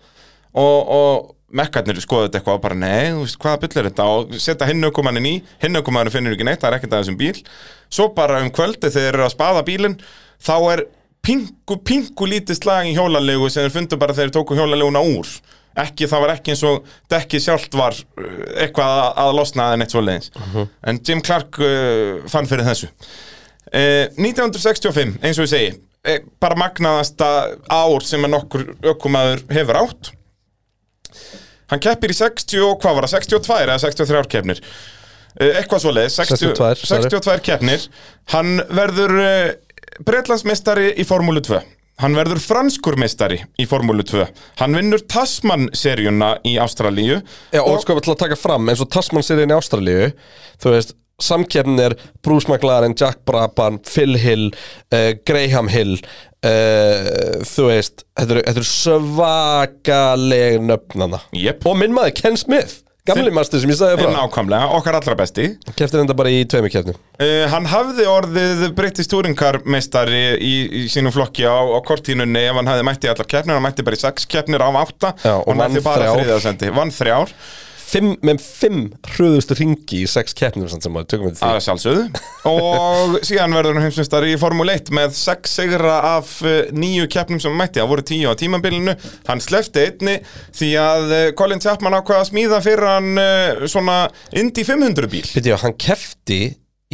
Speaker 2: og, og Mekkarnir skoðu þetta eitthvað og bara, nei, þú veist, hvaða byll er þetta og setja hinnugumannin í, hinnugumannin finnur ekki neitt það er ekkert að þessum bíl svo bara um kvöldi þegar þeir eru að spaða bílinn þá er pingu, pingu lítið slag í hjólalegu sem þeir fundu bara þegar þeir tóku hjólaleguna úr ekki, það var ekki eins og dekkið sjálft var uh, eitthvað að, að losna en eitt svo leiðins en Jim Clark uh, fann fyrir þessu uh, 1965, eins og ég segi uh, bara magnaðasta ár sem að nokkur ökumaður hefur átt hann keppir í 60, og hvað var það, 62 eða 63 keppnir uh, eitthvað svo leiðis,
Speaker 1: 62,
Speaker 2: 62,
Speaker 1: sorry.
Speaker 2: 62 keppnir hann verður uh, bretlandsmeistari í Formúlu 2 hann verður franskur meistari í Formúlu 2 hann vinnur Tasman-seríuna í Ástralíu
Speaker 1: Já, og, sko til að taka fram eins og Tasman serien í Ástralíu þú veist, samkeppnir Bruce McLaren, Jack Brabham, Phil Hill uh, Graham Hill uh, þú veist þetta eru, þetta eru svakaleg nöfnana
Speaker 2: Jep.
Speaker 1: og minn maður Ken Smith, gamli
Speaker 2: Þi-
Speaker 1: master sem ég sagði
Speaker 2: er
Speaker 1: frá
Speaker 2: nákvæmlega okkar allra besti
Speaker 1: keftir enda bara í tveimur keppnum
Speaker 2: uh, hann hafði orðið British Touring Car meistari í, í sínum flokki á, á kortínunni ef hann hafði mætti allar keppnir, hann mætti bara í sex keppnir af átta
Speaker 1: Já, og
Speaker 2: hann
Speaker 1: vann
Speaker 2: mætti bara
Speaker 1: þrjár.
Speaker 2: þriðasendi, vann þrjár
Speaker 1: fimm, með fimm hröðustu ringi í sex keppnum samt sem að tökum við
Speaker 2: að
Speaker 1: því
Speaker 2: sjálfsögðu og síðan verður hann heimsumstari í Formule 1 með 6 sigra af eh, níu keppnum sem hann mætti, það voru 10 á tímabilinu hann slefti einni því að eh, Colin Chapman ákvaða að smíða fyrir hann eh, svona Indy 500 bíl
Speaker 1: Býtti já, hann kefti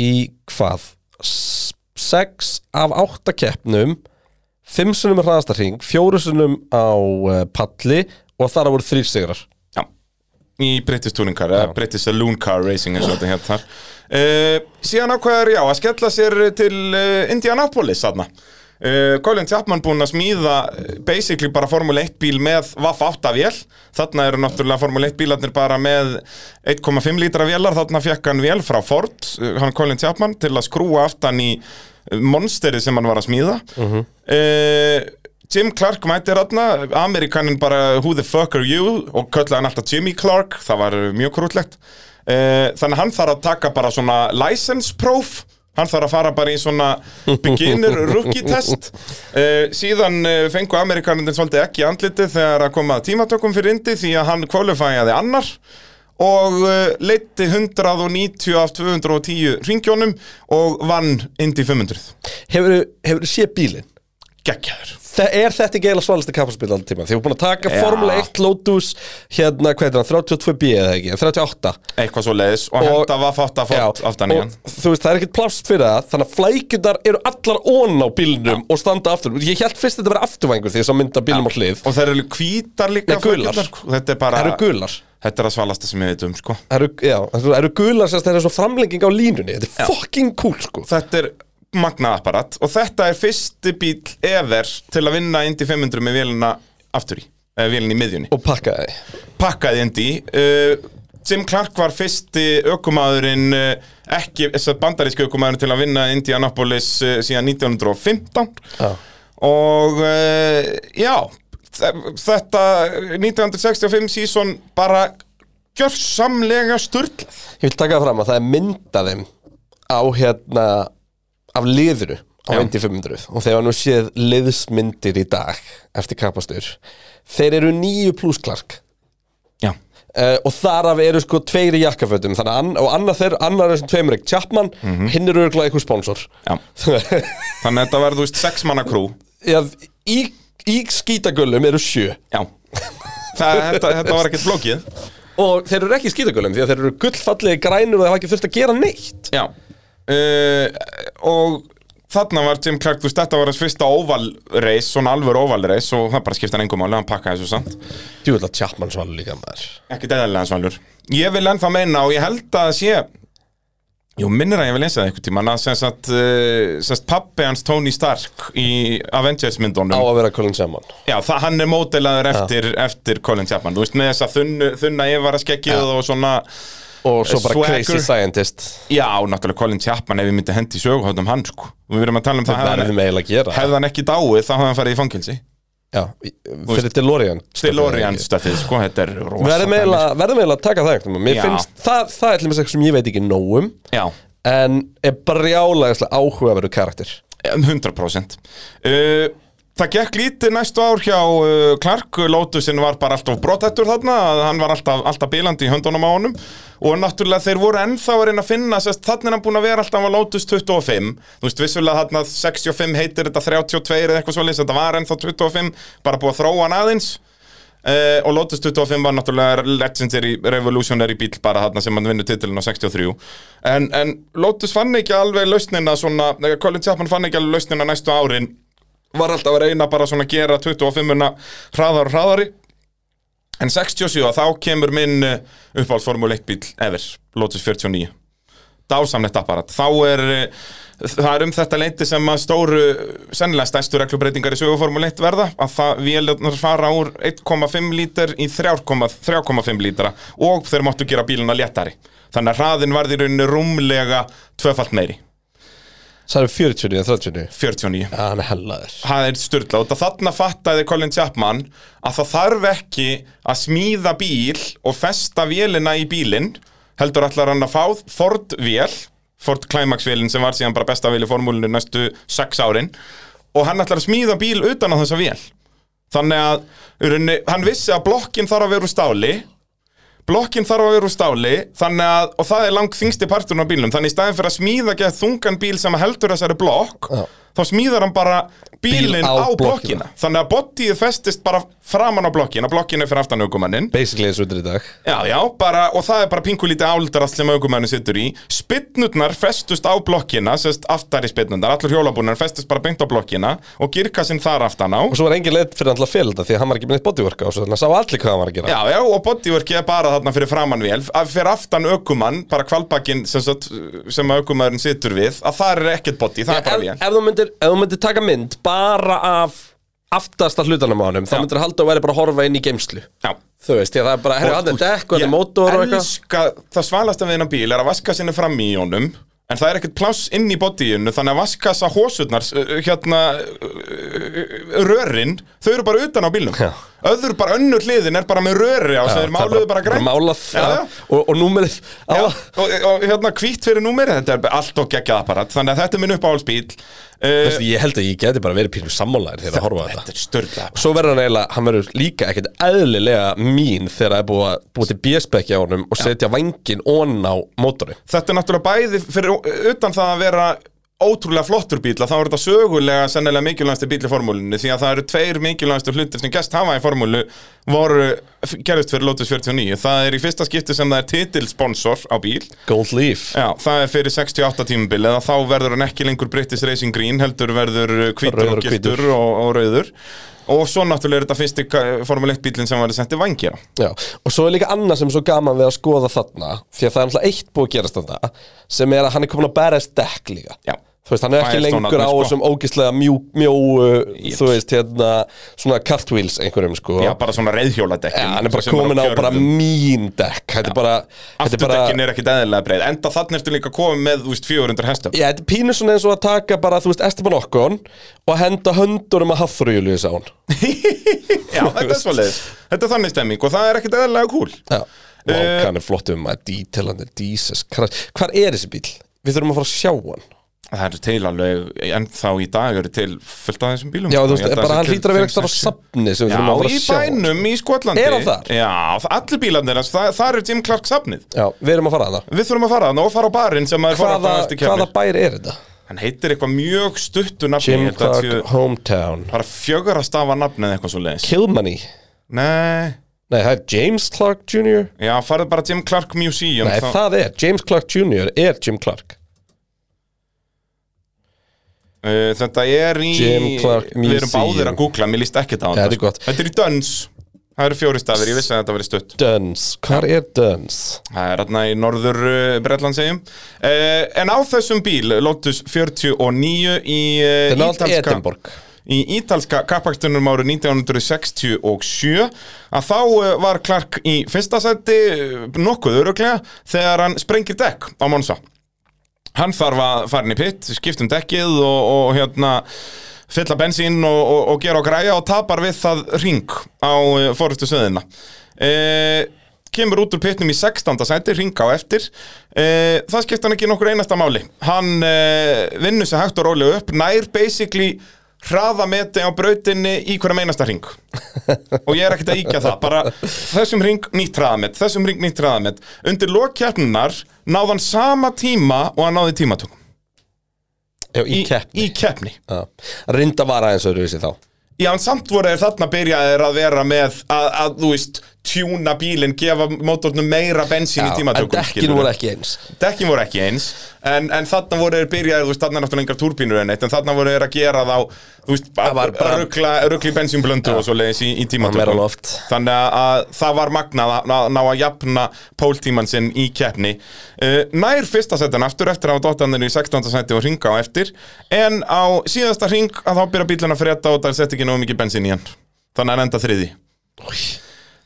Speaker 1: í hvað? S- Sex af átta keppnum Fimm sunnum hraðasta ring Fjóru sunnum á uh, palli Og þar voru þrýr sigrar
Speaker 2: Já, í British Touring Car eða British Saloon Car Racing eins og þetta hétt þar uh, Síðan ákveður, já, að skella sér til uh, Indianapolis þarna Uh, Colin Chapman búinn að smíða eh, basically bara Formule 1 bíl með Vaff 8 vél, þarna eru náttúrulega Formule 1 bílarnir bara með 1,5 lítra vélar, þarna fekk hann vél frá Ford, eh, hann Colin Chapman til að skrúa aftan í eh, monsterið sem hann var að smíða Eh, uh Jim Clark mætti ranna, Amerikanin bara who the fuck are you og kallaði hann alltaf Jimmy Clark, það var uh, mjög krútlegt uh, þannig að hann þarf að taka bara svona license proof hann þarf að fara bara í svona beginner rookie test uh, síðan uh, fengu Amerikanin svolítið ekki í andlitið þegar að koma að tímatökum fyrir indi því að hann kvalifæjaði annar og uh, leitti 190 af 210 ringjónum og vann indi 500
Speaker 1: Hefur þú séð bílinn?
Speaker 2: geggjaður
Speaker 1: Það er þetta ekki eiginlega svalasti kappaspil allir tíma Því við búin að taka
Speaker 2: Já.
Speaker 1: Formule 1 Lotus Hérna, hvað heitir hann? 32B eða ekki? 38
Speaker 2: eitthvað svo leiðis og,
Speaker 1: Og-
Speaker 2: henda vaff átt að fótt aftan í
Speaker 1: og
Speaker 2: hann
Speaker 1: þú veist, það er ekkert plást fyrir það Þannig að flækjurnar eru allar ón á bílnum Og standa aftur Ég held fyrst þetta verið afturvængur því þess að mynda bílnum á hlið
Speaker 2: og þeir eru hvítar líka
Speaker 1: Nei, gular.
Speaker 2: flækjurnar, sko. þetta er bara
Speaker 1: Það eru gular
Speaker 2: þetta er að svalasta sem ég veit um sko.
Speaker 1: Það eru, já, það eru gular sérst, það er svo framlenging á línunni Þetta er fucking cool, sko
Speaker 2: þetta er magnað apparat og þetta er fyrsti bíl ever til að vinna Indy 500 með vélina aftur í eða vélina í miðjunni
Speaker 1: Og pakka það
Speaker 2: pakkaði Indy uh, Jim Clark var fyrsti ökumaðurinn uh, ekki, þess að bandaríski ökumaðurinn til að vinna Indianapolis uh, síðan 1915
Speaker 1: Já.
Speaker 2: og uh, já þe- þetta 1965 síson bara gjörsamlega sturglað
Speaker 1: Ég vil taka það fram að það er myndaðum Á hérna Af liðuru á
Speaker 2: Já.
Speaker 1: Indy 500 Og þegar nú séð liðsmyndir í dag Eftir kapastur Þeir eru nýju plussklark
Speaker 2: já
Speaker 1: Uh, og þar af eru sko tveir í jakkafötum þannig, að ann- og annar þeir, annar er sem tveimur ekki Chapman, hinn er örgulega eitthvað sponsor
Speaker 2: Mhm. Já. Þannig að þetta verður, þú veist, sex manna krú
Speaker 1: Já, í, í skítagöllum eru sjö
Speaker 2: Já Það, þetta, þetta var ekkert flókið
Speaker 1: og þeir eru ekki í skítagöllum því að þeir eru gullfallegi grænur og þeir hafa ekki þurft að gera neitt
Speaker 2: Já uh, Og þarna var Jim Clark, þú veist, þetta var hans fyrsta óvalreis, svona alvöru óvalreis og það bara skipta hann engum máli, hann pakkaði þessu samt
Speaker 1: Djúvilega Chapman svalur líka maður
Speaker 2: Ekkert eðalega svalur Ég vil ennþá meina og ég held að sé Jú, minnir að ég vil lesa það einhvern tímann að sem sagt, uh, sem sagt pappi hans Tony Stark í Avengers myndunum
Speaker 1: á að vera Colin Chapman
Speaker 2: Já, það, hann er mótilaður eftir, eftir Colin Chapman, þú veist, með þessa þunnu, þunna yfaraskeggið og svona
Speaker 1: og svo bara
Speaker 2: Swagger.
Speaker 1: crazy scientist
Speaker 2: Já, náttúrulega Colin Chapman ef við myndi hendi söguhátt um hann, sko Við erum að tala um það,
Speaker 1: það er
Speaker 2: hefði
Speaker 1: við eiginlega að gera
Speaker 2: hefði hann ekki dáið, þá hefði hann farið í fangilsi
Speaker 1: Já, í- fyrir DeLorean
Speaker 2: DeLorean stöfið, sko, þetta er rosa
Speaker 1: verðum
Speaker 2: dæmi.
Speaker 1: eiginlega verðum eiginlega að taka það einhvern veginn. Mér
Speaker 2: Já.
Speaker 1: finnst, það, það er til mér sem ég veit ekki nóg um
Speaker 2: Já,
Speaker 1: en er brjálægislega áhugaveru karakter
Speaker 2: um 100% uh, Það gekk lítið næstu ár hjá uh, Clark, Lotusin var bara alltaf brotettur þarna, að hann var alltaf, alltaf bilandi í höndunum á honum og náttúrulega þeir voru ennþá að reyna að finna sest, þannig er hann búin að vera alltaf, hann var Lotus 25 þú veist vissulega þarna 65 heitir þetta 32 eða eitthvað svolítið, þetta var ennþá 25 bara búið að þróa hann aðeins Uh, og Lotus 25 var náttúrulega legendary revolutionary bíl bara þarna sem hann vinnur titilin á 63 en, en Lotus fann ekki alveg lausnina svona, eh, Colin Chapman fann ekki alveg lausnina næstu árin var alltaf að reyna bara svona að gera 25-una hraðar og hraðari en 67 þá kemur minn eh, uppáhaldsformule 1 bíl ever, Lotus 49 dásamlegt apparat þá er eh, það er um þetta leiti sem að stóru sennilega stærstu reglubreitingar í söguformule 1 verða að það vélarnar fara úr 1,5 lítar í 3,5 lítara og þeir máttu gera bíluna léttari þannig að hraðin varði í rauninni rúmlega tvöfalt meiri,
Speaker 1: Það eru 40 eða 30
Speaker 2: 49
Speaker 1: Já, hann er hellaður
Speaker 2: það er styrla og þarna fattaði Colin Chapman að það þarf ekki að smíða bíl og festa vélina í bílinn heldur allar hann að fá Ford vél Ford Climax vélin sem var síðan bara besta vél í formúlinu næstu 6 árin og hann ætlar að smíða bíl utan á þessa vél þannig að í rauninni, hann vissi að blokkin þarf að vera úr stáli Blokkin þarf að vera úr stáli þannig að, og það er langt þingsti parturinn á bílnum þannig í staðin fyrir að smíða gett þungan bíl sem heldur þessari blokk
Speaker 1: Já.
Speaker 2: þá smíðar hann bara bílinn
Speaker 1: Bíl á
Speaker 2: á,
Speaker 1: blokkina.
Speaker 2: blokkina. þannig að bodyið festist bara framan á blokkina blokkin er fyrir aftan aukumannin
Speaker 1: Basically eins og þetta er í dag
Speaker 2: Já, já, bara, og það er bara pinkulítið áldarast sem aukumennu situr í Spinnurnar festust á blokkina, sérst aftar í spinnurnar Allur hjólabúnar festust bara beint á blokkina Og girkasinn þar aftan á
Speaker 1: Og svo var engin leið fyrir hann til að fela þetta Því að hann var ekki með neitt bodywork á svo Þannig að sá allir hvað hann var að gera
Speaker 2: Já, já, og bodyworkið er bara þarna fyrir framann vél að Fyrir aftan aukumann, bara kvalbakinn sem, sagt, sem aukumæðurinn situr við Að þar er ekkert body, það er bara
Speaker 1: ef,
Speaker 2: vél
Speaker 1: ef þú myndir, ef þú myndir taka mynd bara af aftasta hlutanum á honum þá
Speaker 2: Já.
Speaker 1: myndir halda að vera bara að horfa inn í geimslu
Speaker 2: Já,
Speaker 1: þú veist, því að það er bara, herri, hann er dekk og hann
Speaker 2: Ég
Speaker 1: er mótor og eitthvað
Speaker 2: elska, það svalast að við innan bíl er að vaska sinni fram í honum En það er ekkert pláss inn í bodyinu, þannig að vaskasa hósurnar, hérna, uh, rörin, þau eru bara utan á bílnum.
Speaker 1: Já.
Speaker 2: Öður bara önnur hliðin er bara með röri á,
Speaker 1: Já,
Speaker 2: sem þeir
Speaker 1: það er
Speaker 2: máluðu bara grænt.
Speaker 1: Málað,
Speaker 2: Já,
Speaker 1: já,
Speaker 2: já.
Speaker 1: og, og númerið á
Speaker 2: Já,
Speaker 1: það.
Speaker 2: og, og hérna hvítt fyrir númeri, þetta er allt og geggjað apparat, þannig að þetta er minn uppáhaldsbíl.
Speaker 1: Þú
Speaker 2: Uh,
Speaker 1: veist, Ég held að ég geti bara verið pínum sammálaðir þegar að horfa á þetta
Speaker 2: þetta er störðlega.
Speaker 1: Svo verður hann eiginlega, hann verður líka ekkert eðlilega mín þegar það er búið að búið til bjöspekki á honum og setja vangin onn á mótori
Speaker 2: Þetta er náttúrulega bæði fyrir utan það að vera ótrúlega flottur bíl að þá er þetta sögulega sennilega mikilvægasti bíl í formúlunni því að það eru tveir mikilvægastu hlutir sem gæst hafa í formúlu voru gerist fyrir Lotus 49 það er í fyrsta skipti sem það er titilsponsor á bíl
Speaker 1: Gold Leaf
Speaker 2: Já, það er fyrir 68 tímubil eða þá verður hann ekki lengur British Racing Green heldur verður uh, hvítur
Speaker 1: Rauður
Speaker 2: og
Speaker 1: og hvítur.
Speaker 2: gildur og, og rauður og svo náttúrulega er þetta fyrsti ka- Formule 1 bílinn sem var settið vangja
Speaker 1: Já, og svo er líka annað sem er svo gaman við að skoða þarna því að það er alltaf eitt búið að gerast þarna sem er að hann er komin að bæra dekk líka
Speaker 2: Já.
Speaker 1: Þú veist, hann er ekki
Speaker 2: Firestone
Speaker 1: lengur á
Speaker 2: þarna, sko.
Speaker 1: þessum ógislega mjú, mjóu, þú veist, hérna, svona cartwheels einhverjum, sko
Speaker 2: Já, bara svona reyðhjóladekkin
Speaker 1: Já, hann er bara
Speaker 2: sem eru á
Speaker 1: komin á
Speaker 2: gjörðum.
Speaker 1: bara mín dekk Þetta er bara, þetta er bara
Speaker 2: Afturdekkin er ekkit eðlilega breið Enda þannig ertu líka komið með úst, 400 hestum
Speaker 1: Já, þetta er pínu svona eins og að taka bara, þú veist, Esteban Okkon og henda höndunum að hafþrújulu á hún.
Speaker 2: Já, þetta er svoleiðis Þetta er þannig stemming og það er ekkit eðlilega cool
Speaker 1: Já. Vá,
Speaker 2: Eh.
Speaker 1: hvað hann er flott um að dítelandi, Jesus Christ. Hvar er þessi bíl? Við þurfum að fara að sjá hann.
Speaker 2: Það eru til alveg Ennþá í dag eru til fullt af þessum bílum
Speaker 1: Já, þú
Speaker 2: Ég held
Speaker 1: veist, bara
Speaker 2: sé
Speaker 1: hann
Speaker 2: til
Speaker 1: hlýtur að vera
Speaker 2: 5,
Speaker 1: ekki þar á
Speaker 2: 6, 7.
Speaker 1: sapni sem við þurfum að
Speaker 2: Já,
Speaker 1: fara
Speaker 2: í
Speaker 1: að sjá hann.
Speaker 2: bænum í Skotlandi
Speaker 1: Er hann þar?
Speaker 2: Já, allir bílarnir hans, það, það eru Jim Clark safnið
Speaker 1: Já, við erum að fara að það.
Speaker 2: Við þurfum að fara þannig og fara á barinn sem maður fór
Speaker 1: Hvaða,
Speaker 2: alltaf eftir
Speaker 1: hvaða
Speaker 2: kemur
Speaker 1: bær er þetta?
Speaker 2: Hann heitir eitthvað mjög stuttu nafni
Speaker 1: Jim
Speaker 2: ég held að
Speaker 1: Clark
Speaker 2: séu-
Speaker 1: Hometown.
Speaker 2: Bara fjögur að stafa nafni eða eitthvað svo leiðis
Speaker 1: Kilmoney.
Speaker 2: Nei,
Speaker 1: Nei, það er James Clark Jr.
Speaker 2: já, farið bara Jim Clark Museum
Speaker 1: Nei,
Speaker 2: Um þá-
Speaker 1: það er, James Clark Jr. er Jim Clark.
Speaker 2: Uh, þetta er í
Speaker 1: Jim Clark
Speaker 2: Við erum
Speaker 1: Museum.
Speaker 2: báðir að googla, mér líst ekkert á
Speaker 1: Já, þetta er
Speaker 2: sko.
Speaker 1: gott.
Speaker 2: Þetta er í Duns Það eru fjóri stafir, ég vissi að þetta verið stutt
Speaker 1: Duns. Hvar er Duns?
Speaker 2: Það er hérna í norður uh, Bretlandsegjum uh, En á þessum bíl, Lotus 49 í, uh,
Speaker 1: Þetta er nátt
Speaker 2: ítalska,
Speaker 1: Edinborg.
Speaker 2: í ítalska kappakstunum áru 1967 að þá uh, var Clark í fyrsta seti uh, nokkuð öruglega þegar hann sprengir dekk á Monsa Hann þarf að fara inn í pitt, skipta um dekkið og, og hérna fylla bensín og, og, og gera og græja og tapar við það ring á uh, fórustu söðina. Uh, kemur út úr pittnum í 16. sæti, ring á eftir. Uh, það skipta hann ekki nokkur einasta máli. Hann uh, vinnur sig hægt og rólega upp, nær basically hraðameti á brautinni í hverjum einasta ring og ég er ekkert að íkja það bara þessum ring nýtt hraðamet þessum ring nýtt hraðamet undir lokkjarnar náðan sama tíma og hann náði tímatökum
Speaker 1: Já, í keppni.
Speaker 2: í keppni
Speaker 1: Já. Rinda var aðeins öðruvísi þá.
Speaker 2: Já, en samt voru þeir þarna byrjaðir að vera með að, að þú veist, tjúna bílinn, gefa mótornum meira bensín
Speaker 1: Já,
Speaker 2: í
Speaker 1: en
Speaker 2: tímatökum.
Speaker 1: dekkin voru ekki eins
Speaker 2: Dekkin voru ekki eins, en, en þarna voru þeir byrjaðir, þú veist, þarna er náttúrulega engar túrbínur en eitt, en þarna voru þeir að gera þá, þú veist,
Speaker 1: var
Speaker 2: bara,
Speaker 1: bara-
Speaker 2: ruggla, ruggli bensínblöndu og svo leiðis í, í
Speaker 1: Það meira
Speaker 2: tímatökum.
Speaker 1: loft
Speaker 2: Þannig að- að það var magnað að að ná að jafna póltíman sinn í keppni. Uh, nær fyrsta setan aftur eftir að dottanir í 16. seti og ringa á eftir en á síðasta ring að þá byrja bílun að frétta og það er sett ekki nógu mikið bensín í hann. Þannig að hann enda þriði.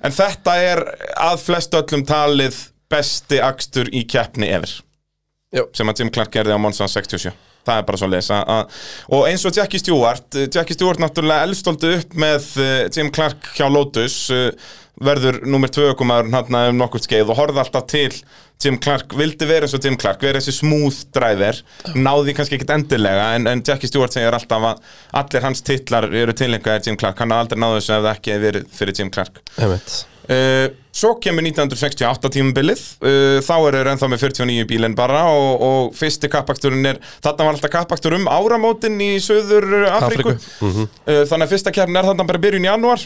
Speaker 2: En þetta er að flest öllum talið besti akstur í keppni yfir
Speaker 1: Jú.
Speaker 2: sem að Jim Clark gerði á Monza 67 það er bara svo lesa og eins og Jackie Stewart eh, Jackie Stewart náttúrulega elstóldi upp með eh, Jim Clark hjá Lotus eh, verður nummer 2 komaður hann um nokkurt skeið og horfði alltaf til Jim Clark, vildi vera eins og Jim Clark vera þessi smooth driver náði kannski ekkit endilega en, en Jackie Stewart segir alltaf að allir hans titlar eru tilengaðir Jim Clark, hann hafði aldrei náðu þessu ef það ekki hefði verið fyrir Jim Clark
Speaker 1: Einmitt.
Speaker 2: Uh, svo kemur 1968 tímabilið uh, þá eru þeir ennþá með 49 bílinn bara og, og fyrsti kappaksturinn er þarna var alltaf kappakstur um áramótin í söður Afríku
Speaker 1: Afríku,
Speaker 2: uh, þannig að fyrsta kjærn er þarna bara í byrjun í janúar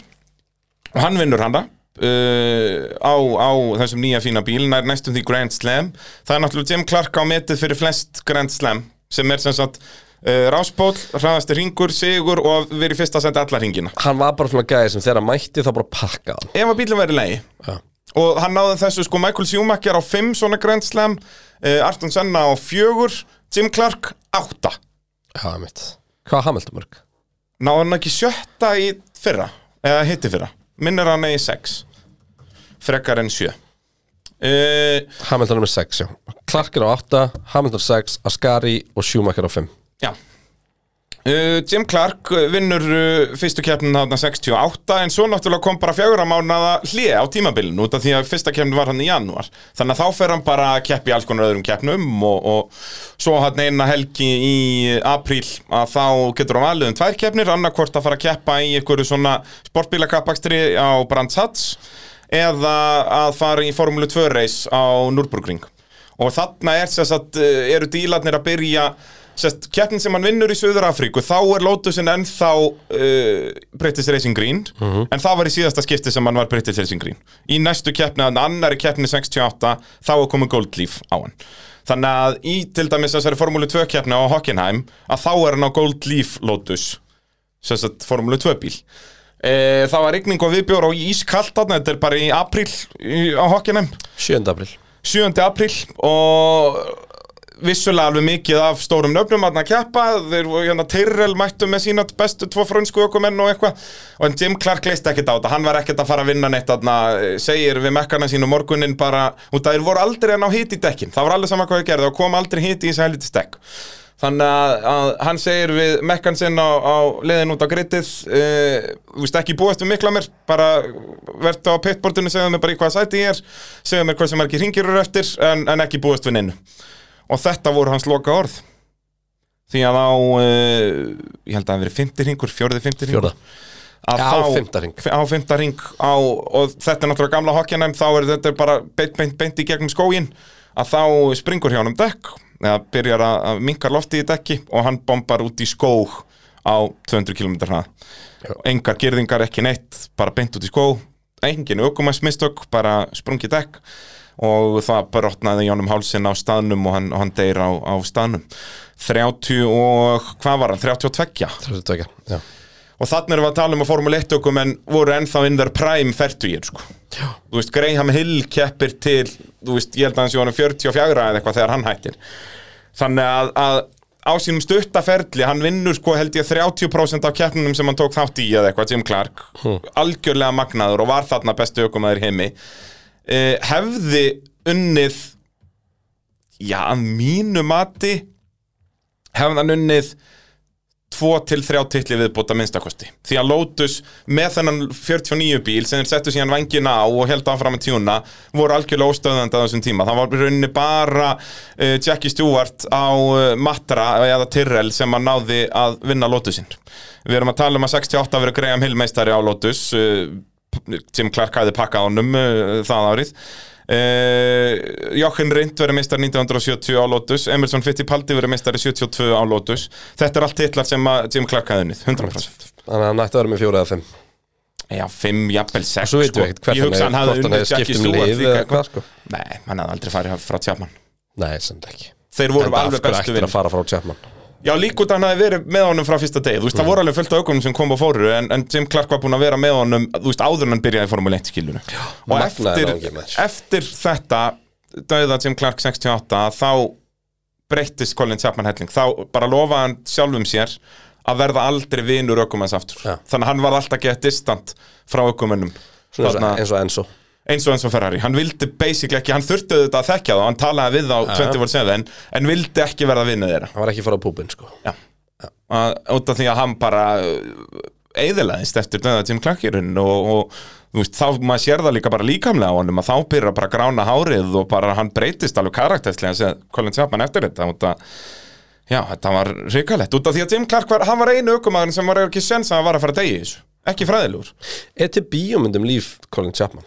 Speaker 2: og hann vinnur hana Uh, á, á þessum nýja fína bíl nær næstum því Grand Slam það er náttúrulega Jim Clark á metið fyrir flest Grand Slam sem er sem sagt uh, ráspól, hraðasti ringur, sigur og verið í fyrsta að senda alla ringina
Speaker 1: Hann var bara svona gæði sem þegar hann mætti þá bara pakkaði hann
Speaker 2: ef að bílum verið leiði
Speaker 1: Já.
Speaker 2: og hann náði þessu sko Michael Schumacher á 5 svona Grand Slam uh, Arton Senna á 4 Jim Clark 8
Speaker 1: Já, mitt Hvað Hamiltonburg?
Speaker 2: náði hann ekki sjötta í fyrra eða hitti fyrra, minnir hann í 6 frekar en 7 uh,
Speaker 1: Hamilton er með 6, já Clark er á 8, Hamilton 6, Ascari og Schumacher á 5
Speaker 2: já Uh, Jim Clark uh, vinnur uh, fyrstu keppnin þarna 68 en svo náttúrulega kom bara fjögur mánaða hlið á tímabilin út af því að fyrsta keppnin var hann í janúar þannig að þá fer hann bara að keppi alls konar öðrum keppnum og, og svo hann eina helgi í apríl að þá getur hann aðliðum tvær keppnir annarkvort að fara að keppa í einhverju svona sportbílakappakstri á Brands Hats eða að fara í Formule 2 reis á Nürburgring og þarna er sess að eru dílarnir að byrja sest, keppnin sem hann vinnur í Suður Afríku þá er Lotusin ennþá uh, British Racing Green en það var í síðasta skipti sem hann var British Racing Green í næstu keppni, þannig annari keppni 68, þá er komið Gold Leaf á hann þannig að í til dæmis þessari Formúlu 2 keppni á Hockenheim að þá er hann á Gold Leaf Lotus sem sagt Formúlu 2 bíl e, það var rigning og viðbjór og ískalt þarna, þetta er bara í apríl í- á Hockenheim
Speaker 1: 7. april
Speaker 2: 7. apríl og vissulega alveg mikið af stórum nöfnum að keppa, þeir voru hérna Tyrrell mættu með sína bestu tvo frönsku ökumenn og eitthvað, og en Jim Clark leist ekkert á þetta, hann var ekkert að fara að vinna neitt aðna, segir við mekkana sínu morgunin bara, út að þeir voru aldrei að ná hit í dekkin, það var alveg sama hvað þeir gerði, þá kom aldrei hit í þessi helviti stekk Þannig að, að hann segir við mekkan sinn á, á leiðin út á grittið uh, Þú veist ekki búast við mikla mér Bara verðt á pitbordinu, segðu mér bara í hvaða sæti ég er Segðu mér hvað sem er ekki ringir eru eftir en, en ekki búast við neinu Og þetta voru hans loka orð Því að á, uh, ég held að það hafi verið 50 ringur, fjórði 50 ringur
Speaker 1: Fjórða. Já,
Speaker 2: að þá-
Speaker 1: fimmta hring.
Speaker 2: á fymta ring á, og þetta er náttúrulega gamla hokkjanæm þá er þetta bara beint, beint, beint í gegnum skógin að þá springur hjá hann um dekk eða byrjar að, að minka lofti í dekki og hann bombar út í skóg á 200 km hrað
Speaker 1: Já.
Speaker 2: engar gerðingar, ekki neitt bara beint út í skó, engin aukumæsmistök bara sprungið dekk og það brotnaði í honum hálsinn á staðnum og hann, og hann deyr á, á staðnum 30 og hvað var hann? 32
Speaker 1: 32, já
Speaker 2: Og þannig erum við að tala um að Formule 1 okkur menn voru ennþá in their prime 40 sko. Já. Þú veist, Graham Hill keppir til, þú veist, ég held að hans Jónu 44 eða eitthvað þegar hann hættir. Þannig að, að á sínum stuttaferli, hann vinnur sko held ég 30% af keppnunum sem hann tók þátt í eða eitthvað, Jim Clark. Algjörlega magnaður og var þarna bestu ökumæður í heimi. Eh, hefði unnið, já, að mínu mati, hefði hann unnið tvo til þrjá titli viðbúta minnstakosti því að Lotus með þennan 49 bíl sem þeir settu síðan vangina á og held áfram að tjúna voru algjörlega óstöðandi á þessum tíma það var í rauninni bara uh, Jackie Stewart á uh, Matra eða Tyrrell sem að náði að vinna Lotusinn við erum að tala um að 68 verið Graham Hill meistari á Lotus uh, Jim Clark hæði pakkað honum uh, það árið Uh, Jochen Rindt verið meistar 1970 á Lotus Emerson Fittipaldi verið meistar í 72 á Lotus Þetta er allt titlar sem að Jim Clark hafði unnið 100%
Speaker 1: Þannig að hann ætti að vera með 4 eða 5
Speaker 2: Já, 5, jafnvel 6
Speaker 1: Svo veitum við ekkert
Speaker 2: Sko, Ég
Speaker 1: hvert
Speaker 2: hugsa hann
Speaker 1: hann
Speaker 2: hafði
Speaker 1: hvort hann
Speaker 2: unnið
Speaker 1: hefði
Speaker 2: Jackie
Speaker 1: skipt um
Speaker 2: Stewart
Speaker 1: lið
Speaker 2: líka
Speaker 1: eða
Speaker 2: eitthvað.
Speaker 1: hvað sko
Speaker 2: Nei, hann hafði aldrei farið frá Tjafman
Speaker 1: Nei, sem ekki
Speaker 2: Þeir voru
Speaker 1: Enda af
Speaker 2: alveg
Speaker 1: hverju
Speaker 2: bestu
Speaker 1: ættir
Speaker 2: vinn
Speaker 1: sko, að fara frá Chapman
Speaker 2: Já, líkútt hann hafði verið með honum frá fyrsta degi Þú veist, það voru alveg fullt af aukunum sem kom og fóru en, en Jim Clark var búinn að vera með honum Þú veist, áður en hann byrjaði í Formule 1 skilunu Og
Speaker 1: magnaður
Speaker 2: eftir,
Speaker 1: áhugi, maður.
Speaker 2: eftir þetta Dauða Jim Clark 68 að Þá breyttist Colin Chapman helling Þá bara lofaði hann sjálfum sér Að verða aldrei vinur aukumans aftur
Speaker 1: Já.
Speaker 2: Þannig að hann var alltaf gett distant Frá aukumunum
Speaker 1: Svona eins og- eins og Enzo
Speaker 2: eins og eins og Ferrari, hann vildi basically ekki hann þurfti auðvitað að þekkja þá, hann talaði við þá 24-7, en vildi ekki verða vinnu þeirra
Speaker 1: Hann var ekki að fara á púbin sko
Speaker 2: Já. Að, út af því að hann bara eðilaðist eftir döða Jim Clarkirinn og, og þú veist, þá maður sér það líka bara líkamlega á honum að þá byrja bara að grána hárið og bara hann breytist alveg karakterslega sem Colin Chapman eftir þetta út að já, þetta var ríkalegt út af því að Jim Clark var, hann var einu ökumæðurinn
Speaker 1: E
Speaker 2: sem var ekki sens að hann var að fara að degi í þessu ekki fræðilegur
Speaker 1: Er til bíómyndum líf Colin Chapman?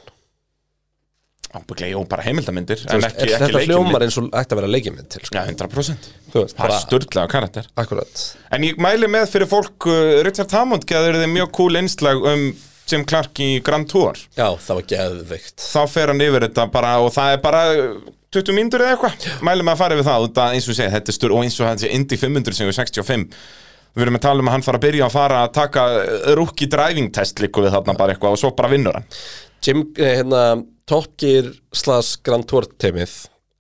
Speaker 2: ábygglega, jú, bara heimildamindir
Speaker 1: Þú
Speaker 2: en
Speaker 1: veist,
Speaker 2: ekki,
Speaker 1: er-
Speaker 2: ekki
Speaker 1: Þetta hljómar
Speaker 2: leikjumyndir
Speaker 1: eins og ætti að vera leikjumind til sko.
Speaker 2: Já, 100%
Speaker 1: Þú veist,
Speaker 2: Það er
Speaker 1: bara-
Speaker 2: sturdlega karakter
Speaker 1: Akkurat
Speaker 2: En ég mæli með fyrir fólk uh, Richard Hammond geður þið mjög cool einslag um Jim Clark í Grand Tour
Speaker 1: Já, það var geðveikt
Speaker 2: þá fer hann yfir þetta bara og það er bara uh, 20 mínútur eða eitthvað mælum að fara yfir það út að eins og segja þetta er stur og eins og þetta er Indy 500 sem er 65 við erum að tala um að hann fara að byrja að fara að taka rúki driving test líku við þarna bara eitthvað og svo bara vinnur hann
Speaker 1: Jim, eh, hérna, Top Gear slash Grand Tour teimið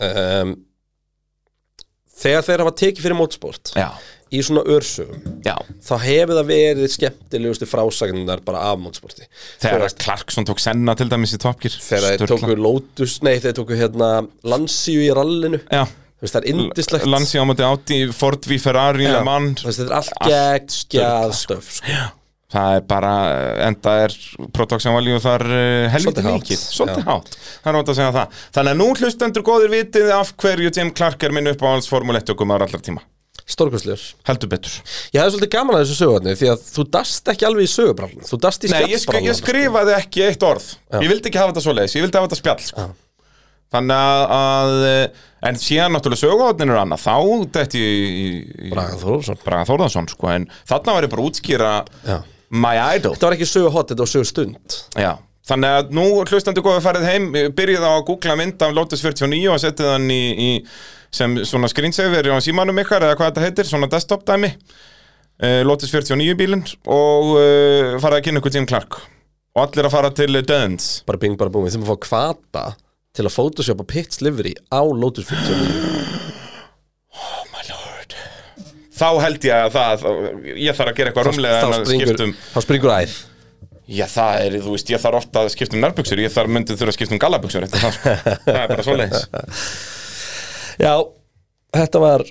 Speaker 1: um, Þegar þeir hafa tekið fyrir mótsport
Speaker 2: já,
Speaker 1: í svona örsögum
Speaker 2: já
Speaker 1: þá hefur það verið skemmtilegustu frásagnar bara af mótsporti
Speaker 2: þegar að Clarkson tók senna til dæmis í Top Gear
Speaker 1: þegar þeir
Speaker 2: Sturla.
Speaker 1: tóku Lotus, nei þeir tóku hérna Lansíu í rallinu
Speaker 2: já
Speaker 1: Þú veist, það er indislegt
Speaker 2: Lansi ámöndi átti, Ford v Ferrari,
Speaker 1: Já,
Speaker 2: Le Mans
Speaker 1: Þú veist, þetta er allt
Speaker 2: Allt
Speaker 1: geggjað stöf sko.
Speaker 2: það er bara, eh, enda er production value þar eh, helviti
Speaker 1: Svolítið hátt.
Speaker 2: mikið svolítið hátt, það er ótt að segja það þannig að nú hlustendur góðir vitið af hverju Jim Clark er minn upp á alls Formule 1 okkur maður allar tíma,
Speaker 1: Stórkostlegur
Speaker 2: heldur betur
Speaker 1: Ég hefði svolítið gaman að þessu sögurni því að þú dast ekki alveg í sögubrallin þú dast í
Speaker 2: Nei, ég, skri, ég
Speaker 1: skjallbrallin
Speaker 2: skrifaði ekki eitt orð ég vildi ekki hafa þetta svoleiðis, ég vildi hafa þetta spjall sko. þannig að, að eh, en síðan náttúrulega söguhóðnin er annað þá dætti ég í- í-
Speaker 1: Braga Þórðarson.
Speaker 2: Braga Þórðarsson sko, en þarna var ég bara að útskýra
Speaker 1: Já.
Speaker 2: my idol
Speaker 1: Þetta var ekki sögu hot, þetta var sögu stund
Speaker 2: Já, þannig að nú hlustandi góðu farið heim, byrjið á að googla mynd af Lotus 49 og setið hann í, í sem svona screensaver á símanum ykkar eða hvað þetta heitir, svona desktop dæmi uh, Lotus 49 bílinn og uh, farið að kynna ykkur Jim Clark og allir að fara til Döns
Speaker 1: bara bing bara búmi, þeim að fá kvata til að photoshopa pit livery á Lotus 49 Oh
Speaker 2: Þá held ég að það, ég þarf að gera eitthvað rúmlega en
Speaker 1: þá
Speaker 2: að
Speaker 1: springur,
Speaker 2: skiptum
Speaker 1: þá springur æð
Speaker 2: Já, það er, þú veist, ég þarf ofta að skipta um nærbuxur, ég þarf myndið þurfa að skipta um gallabuxur eftir það, sko. það er bara svoleiðis
Speaker 1: Já, þetta var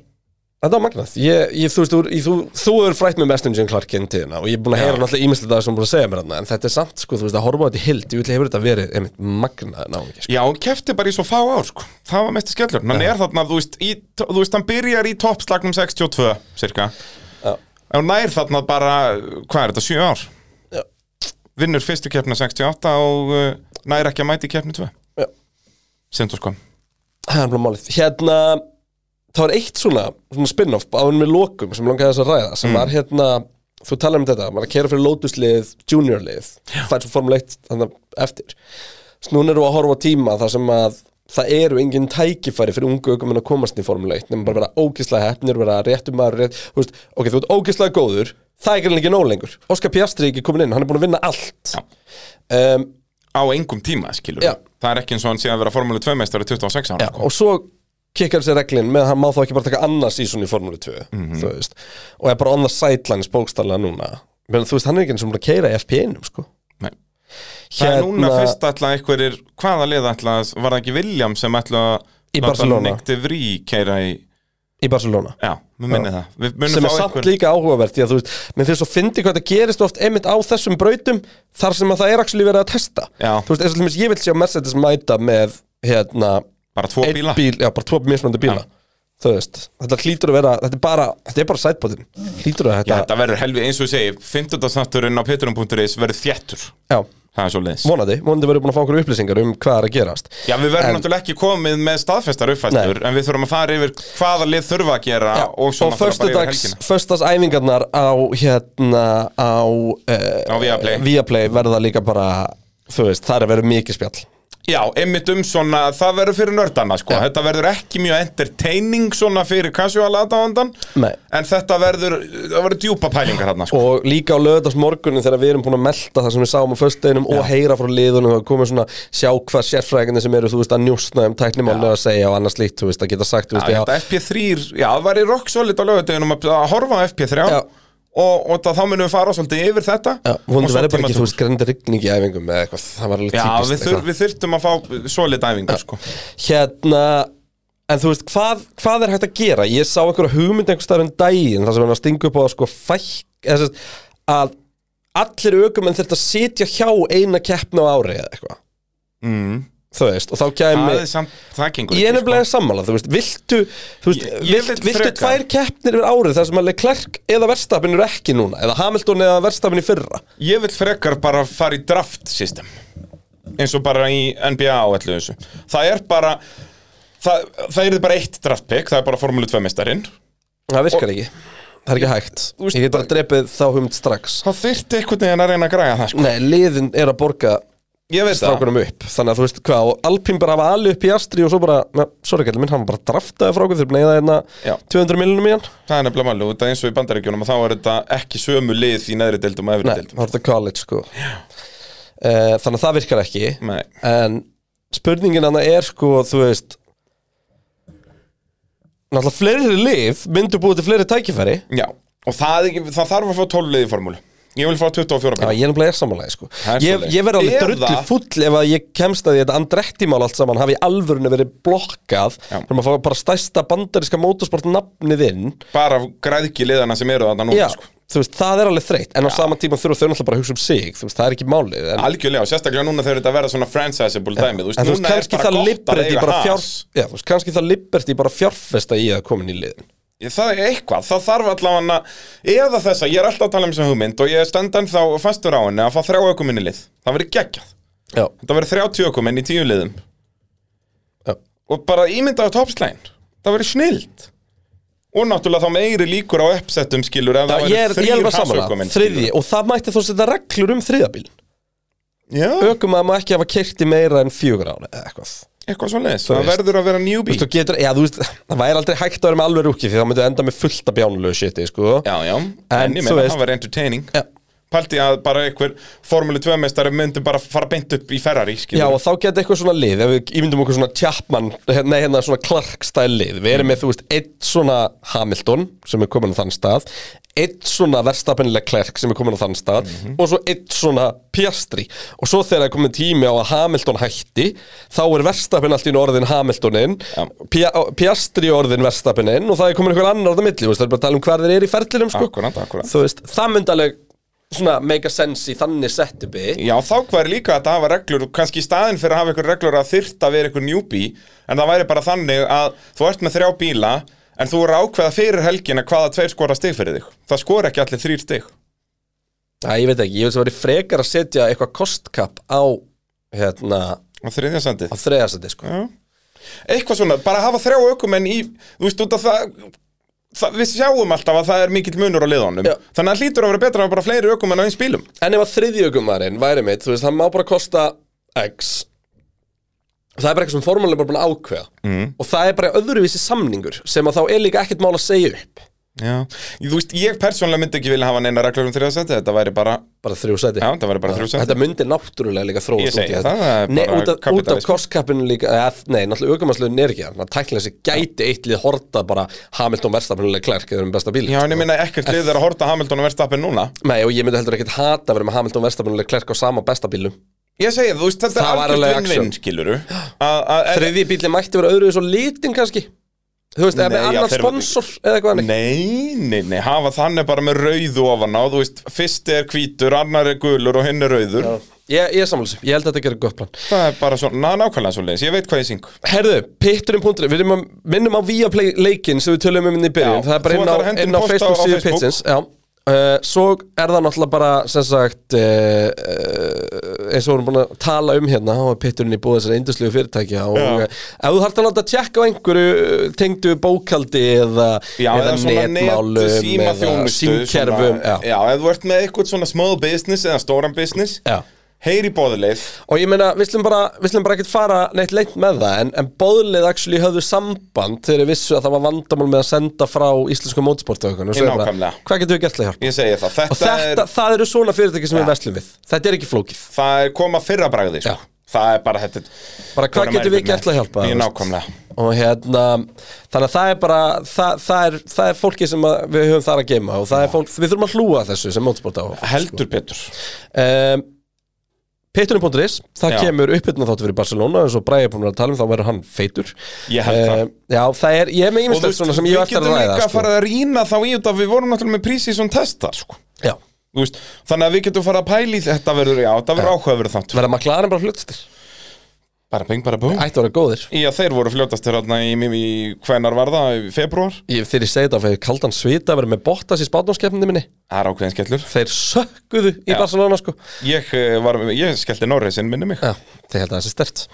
Speaker 1: Þetta var magnað, ég, ég, þú veist, þú, ég, þú, þú er frætt með mest um Jim Clark inn tíðina og ég er búin að heyra náttúrulega ímislega það sem búin að segja mér hann en þetta er samt, sko, þú veist, að horfa á þetta í hild ég vil hefur þetta verið, einmitt, magnað náungi, sko.
Speaker 2: Já, hann kefti bara í svo fá ár, sko. Það var mest í skellur. Hann er þarna, þú veist, í, þú veist, hann byrjar í toppslagnum 62, cirka.
Speaker 1: Já.
Speaker 2: En hann er þarna bara, hvað er þetta, 7 ár?
Speaker 1: Já.
Speaker 2: Vinnur fyrstu keppna 68 og uh, nær ekki að mæti keppni 2.
Speaker 1: Já.
Speaker 2: Sindur sko.
Speaker 1: Það er bara málið. Hérna, það var eitt svona, svona spin-off áður með lokum sem langaði þess að ræða sem var hérna, þú talar um þetta, maður er að kera fyrir Lotus-lið, Junior-lið það er svo formuleitt þannig eftir Svo núna eru að horfa á tíma þar sem að það eru engin tækifæri fyrir ungu ökumenn að komast í formuleitt nema bara vera ógislega hefnir, vera réttum maður rétt, þú veist, ok, þú ert ógislega góður það er ekki nóg lengur. Óskar Piastri er ekki komin inn, hann er búin að vinna allt um,
Speaker 2: Á engum tíma, skilur.
Speaker 1: Já.
Speaker 2: Það er ekki eins og hann sé að vera Formule 2 meistari 26 ára, sko.
Speaker 1: Já, og svo kikkar sér reglin með að hann má þá ekki bara taka annars í svona í Formule 2
Speaker 2: Mhm.
Speaker 1: þú veist, og er bara on the sidelines bókstallega núna Men, þú veist, hann er ekki eins og bara að keira í FP1 sko. Hérna
Speaker 2: Nei. Það er núna fyrst alltaf einhverjir, hvaða lið alltaf, var það ekki William sem alltaf
Speaker 1: Í Barcelona.
Speaker 2: Nikti Vrí keira í,
Speaker 1: í Barcelona
Speaker 2: já, við minnið það. Við munum
Speaker 1: sem
Speaker 2: fá
Speaker 1: er samt
Speaker 2: einhvern-
Speaker 1: líka áhugavert því að þú veist, menn þeir svo fyndi hvað þetta gerist oft einmitt á þessum brautum þar sem að það er actually verið að testa
Speaker 2: Já.
Speaker 1: þú veist, eins og til dæmis ég vil sjá Mercedes mæta með hérna,
Speaker 2: bara tvo
Speaker 1: einn
Speaker 2: bíla
Speaker 1: bíl, já, bara tvo mismöndu bíla
Speaker 2: Já.
Speaker 1: þú veist, þetta hlýtur að vera þetta er bara, þetta er bara sætbótin hlýtur að
Speaker 2: Já,
Speaker 1: þetta,
Speaker 2: þetta verður helvið, eins og ég segi, 15. snarturinn á petrum.is verður þjættur
Speaker 1: já
Speaker 2: Það er svo leiðis
Speaker 1: vonandi, vonandi verður búin að fá okkur upplýsingar um hvað er að gerast
Speaker 2: Já, við verðum
Speaker 1: En-
Speaker 2: náttúrulega ekki komið með staðfestar uppfæstur En við þurfum að fara yfir hvaða lið þurfa að gera
Speaker 1: Já,
Speaker 2: Og svo náttúrulega bara yfir
Speaker 1: föstudags,
Speaker 2: helgina
Speaker 1: föstudags æfingarnar á hérna á, uh,
Speaker 2: Á Viaplay.
Speaker 1: verða líka bara þú veist, það er að vera mikið spjall
Speaker 2: Já, einmitt um svona, það verður fyrir nördana sko. Þetta verður ekki mjög entertaining svona fyrir casual aðdáðandan
Speaker 1: Nei.
Speaker 2: En þetta verður, það verður djúpa pælingar þarna sko.
Speaker 1: og líka á löðast morgunin þegar við erum búin að melta það sem við sáum á föstudeginum og heyra frá liðunum og komið svona sjá hvað sérfræðinni sem eru þú veist að njústna um tæknimálni að segja og annars líkt, þú veist að geta sagt þú veist,
Speaker 2: Já, þetta FP3, já, það væri rock solid á löguteginum að að horfa á FP3
Speaker 1: Já.
Speaker 2: Og, og það, þá munum við fara svolítið yfir þetta
Speaker 1: já,
Speaker 2: og
Speaker 1: vonandi
Speaker 2: svo
Speaker 1: verður bara
Speaker 2: tímatúr.
Speaker 1: ekki þú veist grenda rigning í æfingum eða eitthvað, það var alveg
Speaker 2: Já,
Speaker 1: típist
Speaker 2: við, þur, við þurftum að fá svolít æfingar sko.
Speaker 1: hérna En þú veist, hvað, hvað er hægt að gera? Ég sá einhverja hugmynd einhvers staðar um daginn þar sem hann var að stinga upp á að sko fæk eða, sem sagt, að allir aukumenn þurft að sitja hjá eina keppna á ári eða eitthvað
Speaker 2: mm.
Speaker 1: Þú veist, og þá
Speaker 2: það,
Speaker 1: kæmi
Speaker 2: er samt, það gengur
Speaker 1: Ég er
Speaker 2: ekki, sko.
Speaker 1: nefnilega sammála, þú veist, viltu, þú veist,
Speaker 2: Ég- ég
Speaker 1: vilt,
Speaker 2: vil
Speaker 1: viltu
Speaker 2: frekar-
Speaker 1: tvær keppnir yfir árið þar sem að Leclerc eða Verstapin eru ekki núna eða Hamilton eða Verstapin í fyrra
Speaker 2: sko. Ég vil frekar bara fara í draft system eins og bara í NBA og allu þessu það er bara það, það er bara eitt draft pick, það er bara formúlu 2 mestarinn
Speaker 1: Það virkar ekki Það er ekki hægt
Speaker 2: veist,
Speaker 1: Ég get bara drepið þá hugmynd strax
Speaker 2: það þyrfti einhvern veginn að reyna að græja það sko.
Speaker 1: Nei, liðin er að borga
Speaker 2: ég veist það,
Speaker 1: strákunum um upp Þannig að þú veist hvað Og Alpín bara hafa alveg upp í astri Og svo bara na, Sorry kallið minn Hann bara draftaði frá okkur Þeir bleiða hérna
Speaker 2: Já.
Speaker 1: 200 miljonum í hann
Speaker 2: það er nefnilega máli út að eins og í bandaríkjunum að þá er þetta ekki sömu lið í neðri deildum og efri
Speaker 1: Nei,
Speaker 2: deildum
Speaker 1: það er þetta college sko Eh, Þannig að það virkar ekki
Speaker 2: Nei.
Speaker 1: En spurningin hann er sko Þú veist Náttúrulega fleiri lið myndu búið til fleiri tækifæri
Speaker 2: Já, og það, er ekki- það þarf að fá 12 lið í formúlu ég vil fá 24
Speaker 1: Já,
Speaker 2: píl
Speaker 1: ég er náttúrulega er sammálaði sko
Speaker 2: Það er
Speaker 1: Ég,
Speaker 2: svoleiðis.
Speaker 1: ég verði alveg
Speaker 2: Eða-
Speaker 1: drullu full ef að ég kemst að því að þetta andrettimál allt saman hafi í alvörinu verið blokkað
Speaker 2: Já.
Speaker 1: þegar maður fá bara stærsta bandariska motorsport nafnið inn
Speaker 2: bara græðki liðana sem eru þarna núna
Speaker 1: Já,
Speaker 2: sko.
Speaker 1: þú veist, það er alveg þreytt en á sama tíma þurfa þau náttúrulega bara að hugsa um sig þú veist, það er ekki málið en,
Speaker 2: algjörlega, og sérstaklega núna þegar þetta verða svona franchisable dæmi
Speaker 1: en þú veist,
Speaker 2: núna er
Speaker 1: kannski
Speaker 2: bara
Speaker 1: það
Speaker 2: gott að
Speaker 1: liberti
Speaker 2: eiga
Speaker 1: bara
Speaker 2: Haas.
Speaker 1: fjár Já, þú veist, kannski það liberti bara fjárfesta í að koma inn í liðin
Speaker 2: Ég- Það er eitthvað, það þarf allavega eða þessa, ég er alltaf að tala um þessa hugmynd og ég stend ennþá fastur á henni að fá þrjá ökuminn í lið, það verður geggjað
Speaker 1: Já,
Speaker 2: þetta verður 30 ökuminn í tíu liðum
Speaker 1: já,
Speaker 2: og bara ímyndaðu toppslæn það verður snild og náttúrulega þá meiri líkur á uppsettum skilur ef það
Speaker 1: ég er,
Speaker 2: verður
Speaker 1: ég er
Speaker 2: þrýr
Speaker 1: bara samanlega,
Speaker 2: hasökumenn
Speaker 1: þriðji og það mætti þó setja reglur um þriðabíl
Speaker 2: Já,
Speaker 1: Ökum að maður ekki hafa kerti meira en fjögur ára eða eitthvað
Speaker 2: eitthvað svo leiðis, það
Speaker 1: veist.
Speaker 2: verður að vera
Speaker 1: Þú
Speaker 2: newbie
Speaker 1: veist, þú getur, já, þú veist, það væri aldrei hægt að vera með alveg rúki því það myndi enda með fullt af bjánulegu shiti, sko
Speaker 2: Já, já, en
Speaker 1: þú
Speaker 2: ég meina
Speaker 1: veist-
Speaker 2: það verður entertaining
Speaker 1: Já.
Speaker 2: Paldi að bara einhver Formule 2 meistari myndi bara fara beint upp í Ferrari
Speaker 1: Já,
Speaker 2: skilur.
Speaker 1: og þá geti eitthvað svona lið, ef við ímyndum okkur svona Chapman, nei, hérna svona Clark-stæl lið Við erum með, þú veist, einn svona Hamilton sem er komin á þann stað einn svona verstafnilega Clark sem er komin á þann stað
Speaker 2: Mhm.
Speaker 1: og svo einn svona Piastri og svo þegar það er komin tími á að Hamilton hætti þá er verstafin allt í einu orðin Hamiltonin
Speaker 2: Já.
Speaker 1: Pia, Piastri orðin verstafinin og það er komin einhver annar orðin milli, þú veist, það er bara að tala um hver þeir eru í ferlinum sko.
Speaker 2: Akkúrat, akkúrat.
Speaker 1: Þú veist, það myndi alveg svona make a sense í þannig settupi
Speaker 2: Já, þá væri líka að það hafa reglur og kannski í staðin fyrir að hafa einhver reglur að þyrta að vera einhver newbie en það væri bara þannig að þú ert með þrjá bíla en þú eru að ákveða fyrir helgina hvaða tveir skora stig fyrir þig það skora ekki allir þrýr stig
Speaker 1: Æ, ég veit ekki, ég vil svo verið frekar að setja eitthvað kostkap á hérna,
Speaker 2: á þriðja sendið
Speaker 1: á þreðarsæti sko.
Speaker 2: Já. Eitthvað svona, bara hafa þrjá ökumenn í, þú veist út að það, það við sjáum alltaf að það er mikill munur á liðunum
Speaker 1: Já.
Speaker 2: þannig að hlýtur að vera betra að hafa bara fleiri ökumenn á eins bílum
Speaker 1: En ef að þriðjögumarinn væri mitt, þú veist, það má bara kosta X Það er bara eitthvað sem formúlega bara búin að ákveða mm. Og það er bara öðruvísi samningur sem að þá er líka ekkert mál að segja upp
Speaker 2: Já, þú veist, ég persónlega myndi ekki vilja hafa neina reglur um þriðja sendið, þetta væri bara,
Speaker 1: Bara þrjú sæti
Speaker 2: já, það væri bara þrjú
Speaker 1: Þetta myndi náttúrulega líka þróast
Speaker 2: Ég
Speaker 1: út í
Speaker 2: segi
Speaker 1: þetta.
Speaker 2: það, það er
Speaker 1: Nei, út
Speaker 2: bara
Speaker 1: af, út af
Speaker 2: kapitalismi.
Speaker 1: kostkappinu líka eða, Nei, náttúrulega aukumannslegin er ekki þannig að tæknilega sér gæti eitt lið horta bara Hamilton verstafnilega klærk eða um besta bíl
Speaker 2: Já, en ég minna ekkert lið er að horta Hamilton og Verstappen núna
Speaker 1: Nei, og ég myndi heldur ekkert hata að vera með Hamilton Verstappen og Leclerc á sama besta bílum
Speaker 2: Ég segi það, þú veist, þetta
Speaker 1: Það var
Speaker 2: er
Speaker 1: alveg
Speaker 2: algjörð vinn-vinn, skiluru Þrið
Speaker 1: Þriðji bíli mætti vera öðru svo litinn kannski Þú veist, eða
Speaker 2: Nei,
Speaker 1: með
Speaker 2: já,
Speaker 1: annan
Speaker 2: þeir-
Speaker 1: sponsor eða eitthvað annir
Speaker 2: Nei, nei, nei, hafa þannig bara með rauðu ofan á Þú veist, fyrst er hvítur, annar er gulur og hinn er rauður
Speaker 1: Ég, ég sammális, ég held að þetta gerir gott plan
Speaker 2: Það er bara svona, na, nákvæmlega svo leiðis, ég veit hvað ég syng
Speaker 1: Herðu, pitturinn.ri, við erum að minnum á Viaplay leikinn sem við tölum um inn í byrjun
Speaker 2: Já,
Speaker 1: Það er bara
Speaker 2: þú
Speaker 1: inn á,
Speaker 2: ætlar að henda
Speaker 1: inn á
Speaker 2: inn posta
Speaker 1: Facebook
Speaker 2: á
Speaker 1: síðu
Speaker 2: Facebook.
Speaker 1: pitsins Já Uh, svo er það náttúrulega bara sem sagt uh, uh, eins og við erum búin að tala um hérna og pitturinn í búið þessar induslugu fyrirtækja og
Speaker 2: Já.
Speaker 1: uh, ef þú þarft að láta tjekka á einhverju uh, tengdu bókaldi eða,
Speaker 2: Já,
Speaker 1: eða netmálum eða
Speaker 2: símaþjónustu,
Speaker 1: símkerfum
Speaker 2: svona-
Speaker 1: já.
Speaker 2: Já, ef þú ert með eitthvað svona small business eða stóran business
Speaker 1: Já.
Speaker 2: Heyri bóðileið
Speaker 1: Og ég meina, við slum bara, við slum bara ekkert fara neitt leint með það En, en bóðlið actually höfðu samband Þegar þeir vissu að það var vandamál með að senda frá íslensku mótsportökunum
Speaker 2: Nákvæmlega.
Speaker 1: Hvað getum við gert til að hjálpa?
Speaker 2: Ég segi það,
Speaker 1: Og
Speaker 2: þetta,
Speaker 1: þetta,
Speaker 2: er,
Speaker 1: það eru svona fyrirtæki sem við verslum við Þetta er ekki flókið
Speaker 2: það er koma fyrra bragði sko.
Speaker 1: Já.
Speaker 2: Það er bara þetta
Speaker 1: Bara hvað getum við gert til að hjálpa?
Speaker 2: Ég
Speaker 1: þú veist?
Speaker 2: nákvæmlega
Speaker 1: Og hérna, þannig að það er bara Það, það, er, það er fólki sem að, við höfum þar að geima Og það er fólk, við þurfum að hlúa að þessu sem sko. mótsporta
Speaker 2: Heldur betur
Speaker 1: um, Pittunum.is, það
Speaker 2: Já.
Speaker 1: kemur uppbytna þáttu fyrir Barcelona eins og Bræði er búin að tala um, þá verður hann feitur
Speaker 2: Ég held það.
Speaker 1: Ehm, Já, það er, ég er með
Speaker 2: Og þú
Speaker 1: ímislegt
Speaker 2: veist,
Speaker 1: svona sem ég á eftir að
Speaker 2: Við getum
Speaker 1: ræða
Speaker 2: líka að
Speaker 1: sko.
Speaker 2: fara að rýna þá í út að við vorum náttúrulega með prísi sem testa sko.
Speaker 1: Já,
Speaker 2: Þú veist, Þannig að við getum fara að pæla í þetta verður, já, það verður áhugaverð þátt
Speaker 1: verða maklaðan bara hlutastir
Speaker 2: Bara ping, bara bú
Speaker 1: Ættu að vera góðir
Speaker 2: Já, þeir voru fljótastir hérna í, í, í hvenar var það, í februar
Speaker 1: ég, Þegar ég segi þetta, fyrir kaldan svita að vera með Bottas í spátnámskeppninni minni
Speaker 2: Það er ákveðin skellur
Speaker 1: Þeir sökkuðu í Barcelona sko
Speaker 2: Ég, eh, var, ég skellti Norrisinn minni mig
Speaker 1: Já, þeir held að það sé stert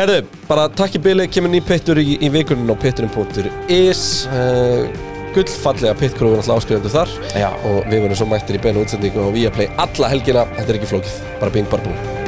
Speaker 1: Herðu, bara takk í bili, kemur ný pittur í, í vikunum á pitturinn.is uh, Gullfallega pittkrúfin alltaf áskrifendur þar
Speaker 2: Já.
Speaker 1: Og við verðum svo mættir í beinu útsendingu og við að play alla helgina Þetta er ekki flókið, bara bing, bara búin